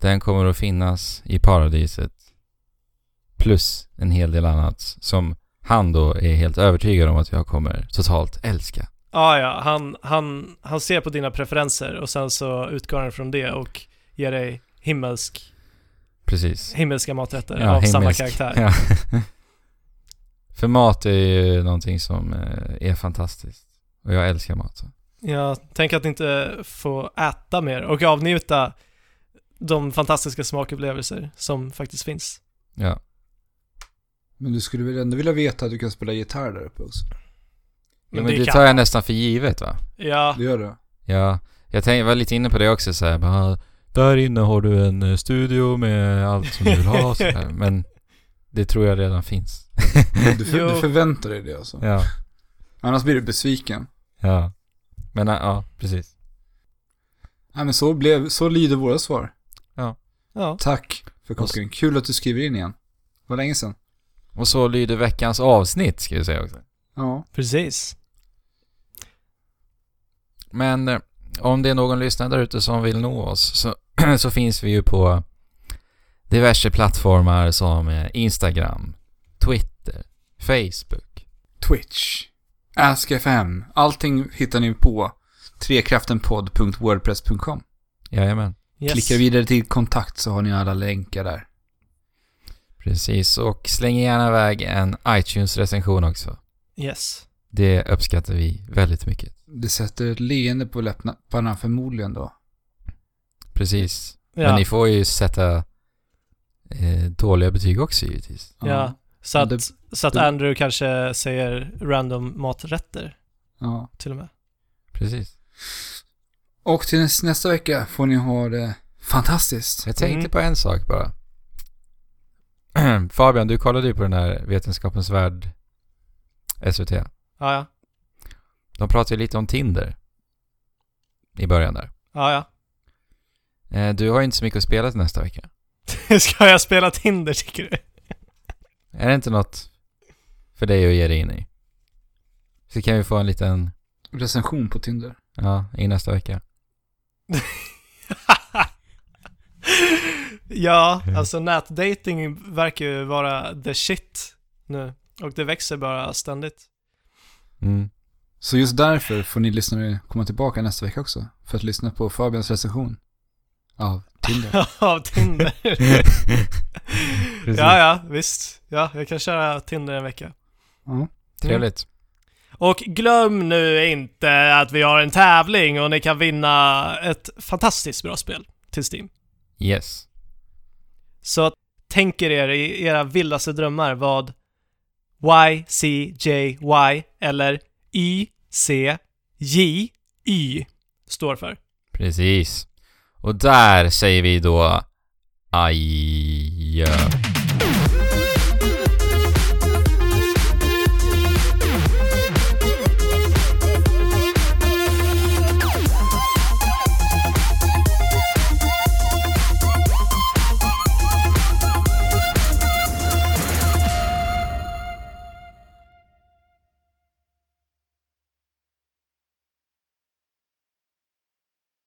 B: Den kommer att finnas i paradiset. Plus en hel del annat som han då är helt övertygad om att jag kommer totalt älska.
C: Ah, ja, han, han, han ser på dina preferenser och sen så utgår han från det och ger dig himmelsk,
B: Precis.
C: himmelska maträtter
B: Ja,
C: av samma
B: himmelsk.
C: karaktär.
B: Ja. För mat är ju någonting som eh, är fantastiskt. Och jag älskar mat. så.
C: Ja, tänk att inte få äta mer och avnjuta de fantastiska smakupplevelser som faktiskt finns.
B: Ja.
A: Men du skulle väl ändå vilja veta att du kan spela gitarr där uppe också?
B: Men, men det tar jag nästan för givet va?
C: Ja,
A: Det gör du?
B: Ja, jag tänkte, var lite inne på det också så här, bara, Där inne har du en eh, studio med allt som du vill ha så här. Men det tror jag redan finns.
A: Du, för,
C: Jo.
A: du förväntar dig det alltså?
B: Ja,
A: Annars blir du besviken.
B: ja. Men eh, ja, precis.
A: Nej men så, blev, så lyder våra svar.
C: ja.
A: Tack för kopplingen. Kul att du skriver in igen. Det var länge sedan.
B: Och så lyder veckans avsnitt ska jag säga också.
A: Ja.
C: precis.
B: Men eh, om det är någon lyssnare där ute som vill nå oss så, så finns vi ju på diverse plattformar som eh, Instagram, Twitter, Facebook.
A: Twitch. Ask.fm. Allting hittar ni på trekraftenpodd.wordpress.com.
B: Jajamän.
C: Yes.
A: Klicka vidare till kontakt så har ni alla länkar där.
B: Precis, och släng gärna iväg en iTunes-recension också.
C: Yes.
B: Det uppskattar vi väldigt mycket.
A: Det sätter ett leende på läpparna förmodligen då.
B: Precis. Men
C: Ja,
B: ni får ju sätta eh, dåliga betyg också givetvis.
C: ja. Så, att,
A: Men
C: så att
A: det-
C: Andrew kanske säger random maträtter
A: Ja.
C: till och med.
B: Precis.
A: Och till näs- nästa vecka får ni ha det fantastiskt.
B: Jag tänkte
C: Mm.
B: på en sak bara. Fabian, du kollade ju på den här Vetenskapens Värld SVT.
C: Ja, ja.
B: De pratade ju lite om Tinder i början där.
C: Ja, ja.
B: Eh, du har ju inte så mycket att spela till nästa vecka.
C: Ska jag spela Tinder tycker du?
B: Är det inte något för dig att ge dig in i? Så kan vi få en liten,
A: Recension på Tinder.
B: ja, i nästa vecka.
C: ja, alltså nätdating verkar ju vara the shit nu. Och det växer bara ständigt.
B: Mm.
A: Så just därför får ni lyssnare komma tillbaka nästa vecka också. För att lyssna på Fabians recension av Tinder.
C: Av Tinder.
B: Precis.
C: ja, ja, visst. Ja, jag kan köra Tinder en vecka.
A: Ja.
B: Trevligt.
C: Och glöm nu inte att vi har en tävling och ni kan vinna ett fantastiskt bra spel till Steam.
B: Yes.
C: Så att, tänker er i era vildaste drömmar vad YCJY eller YCJY står för.
B: Precis. Och där säger vi då aj.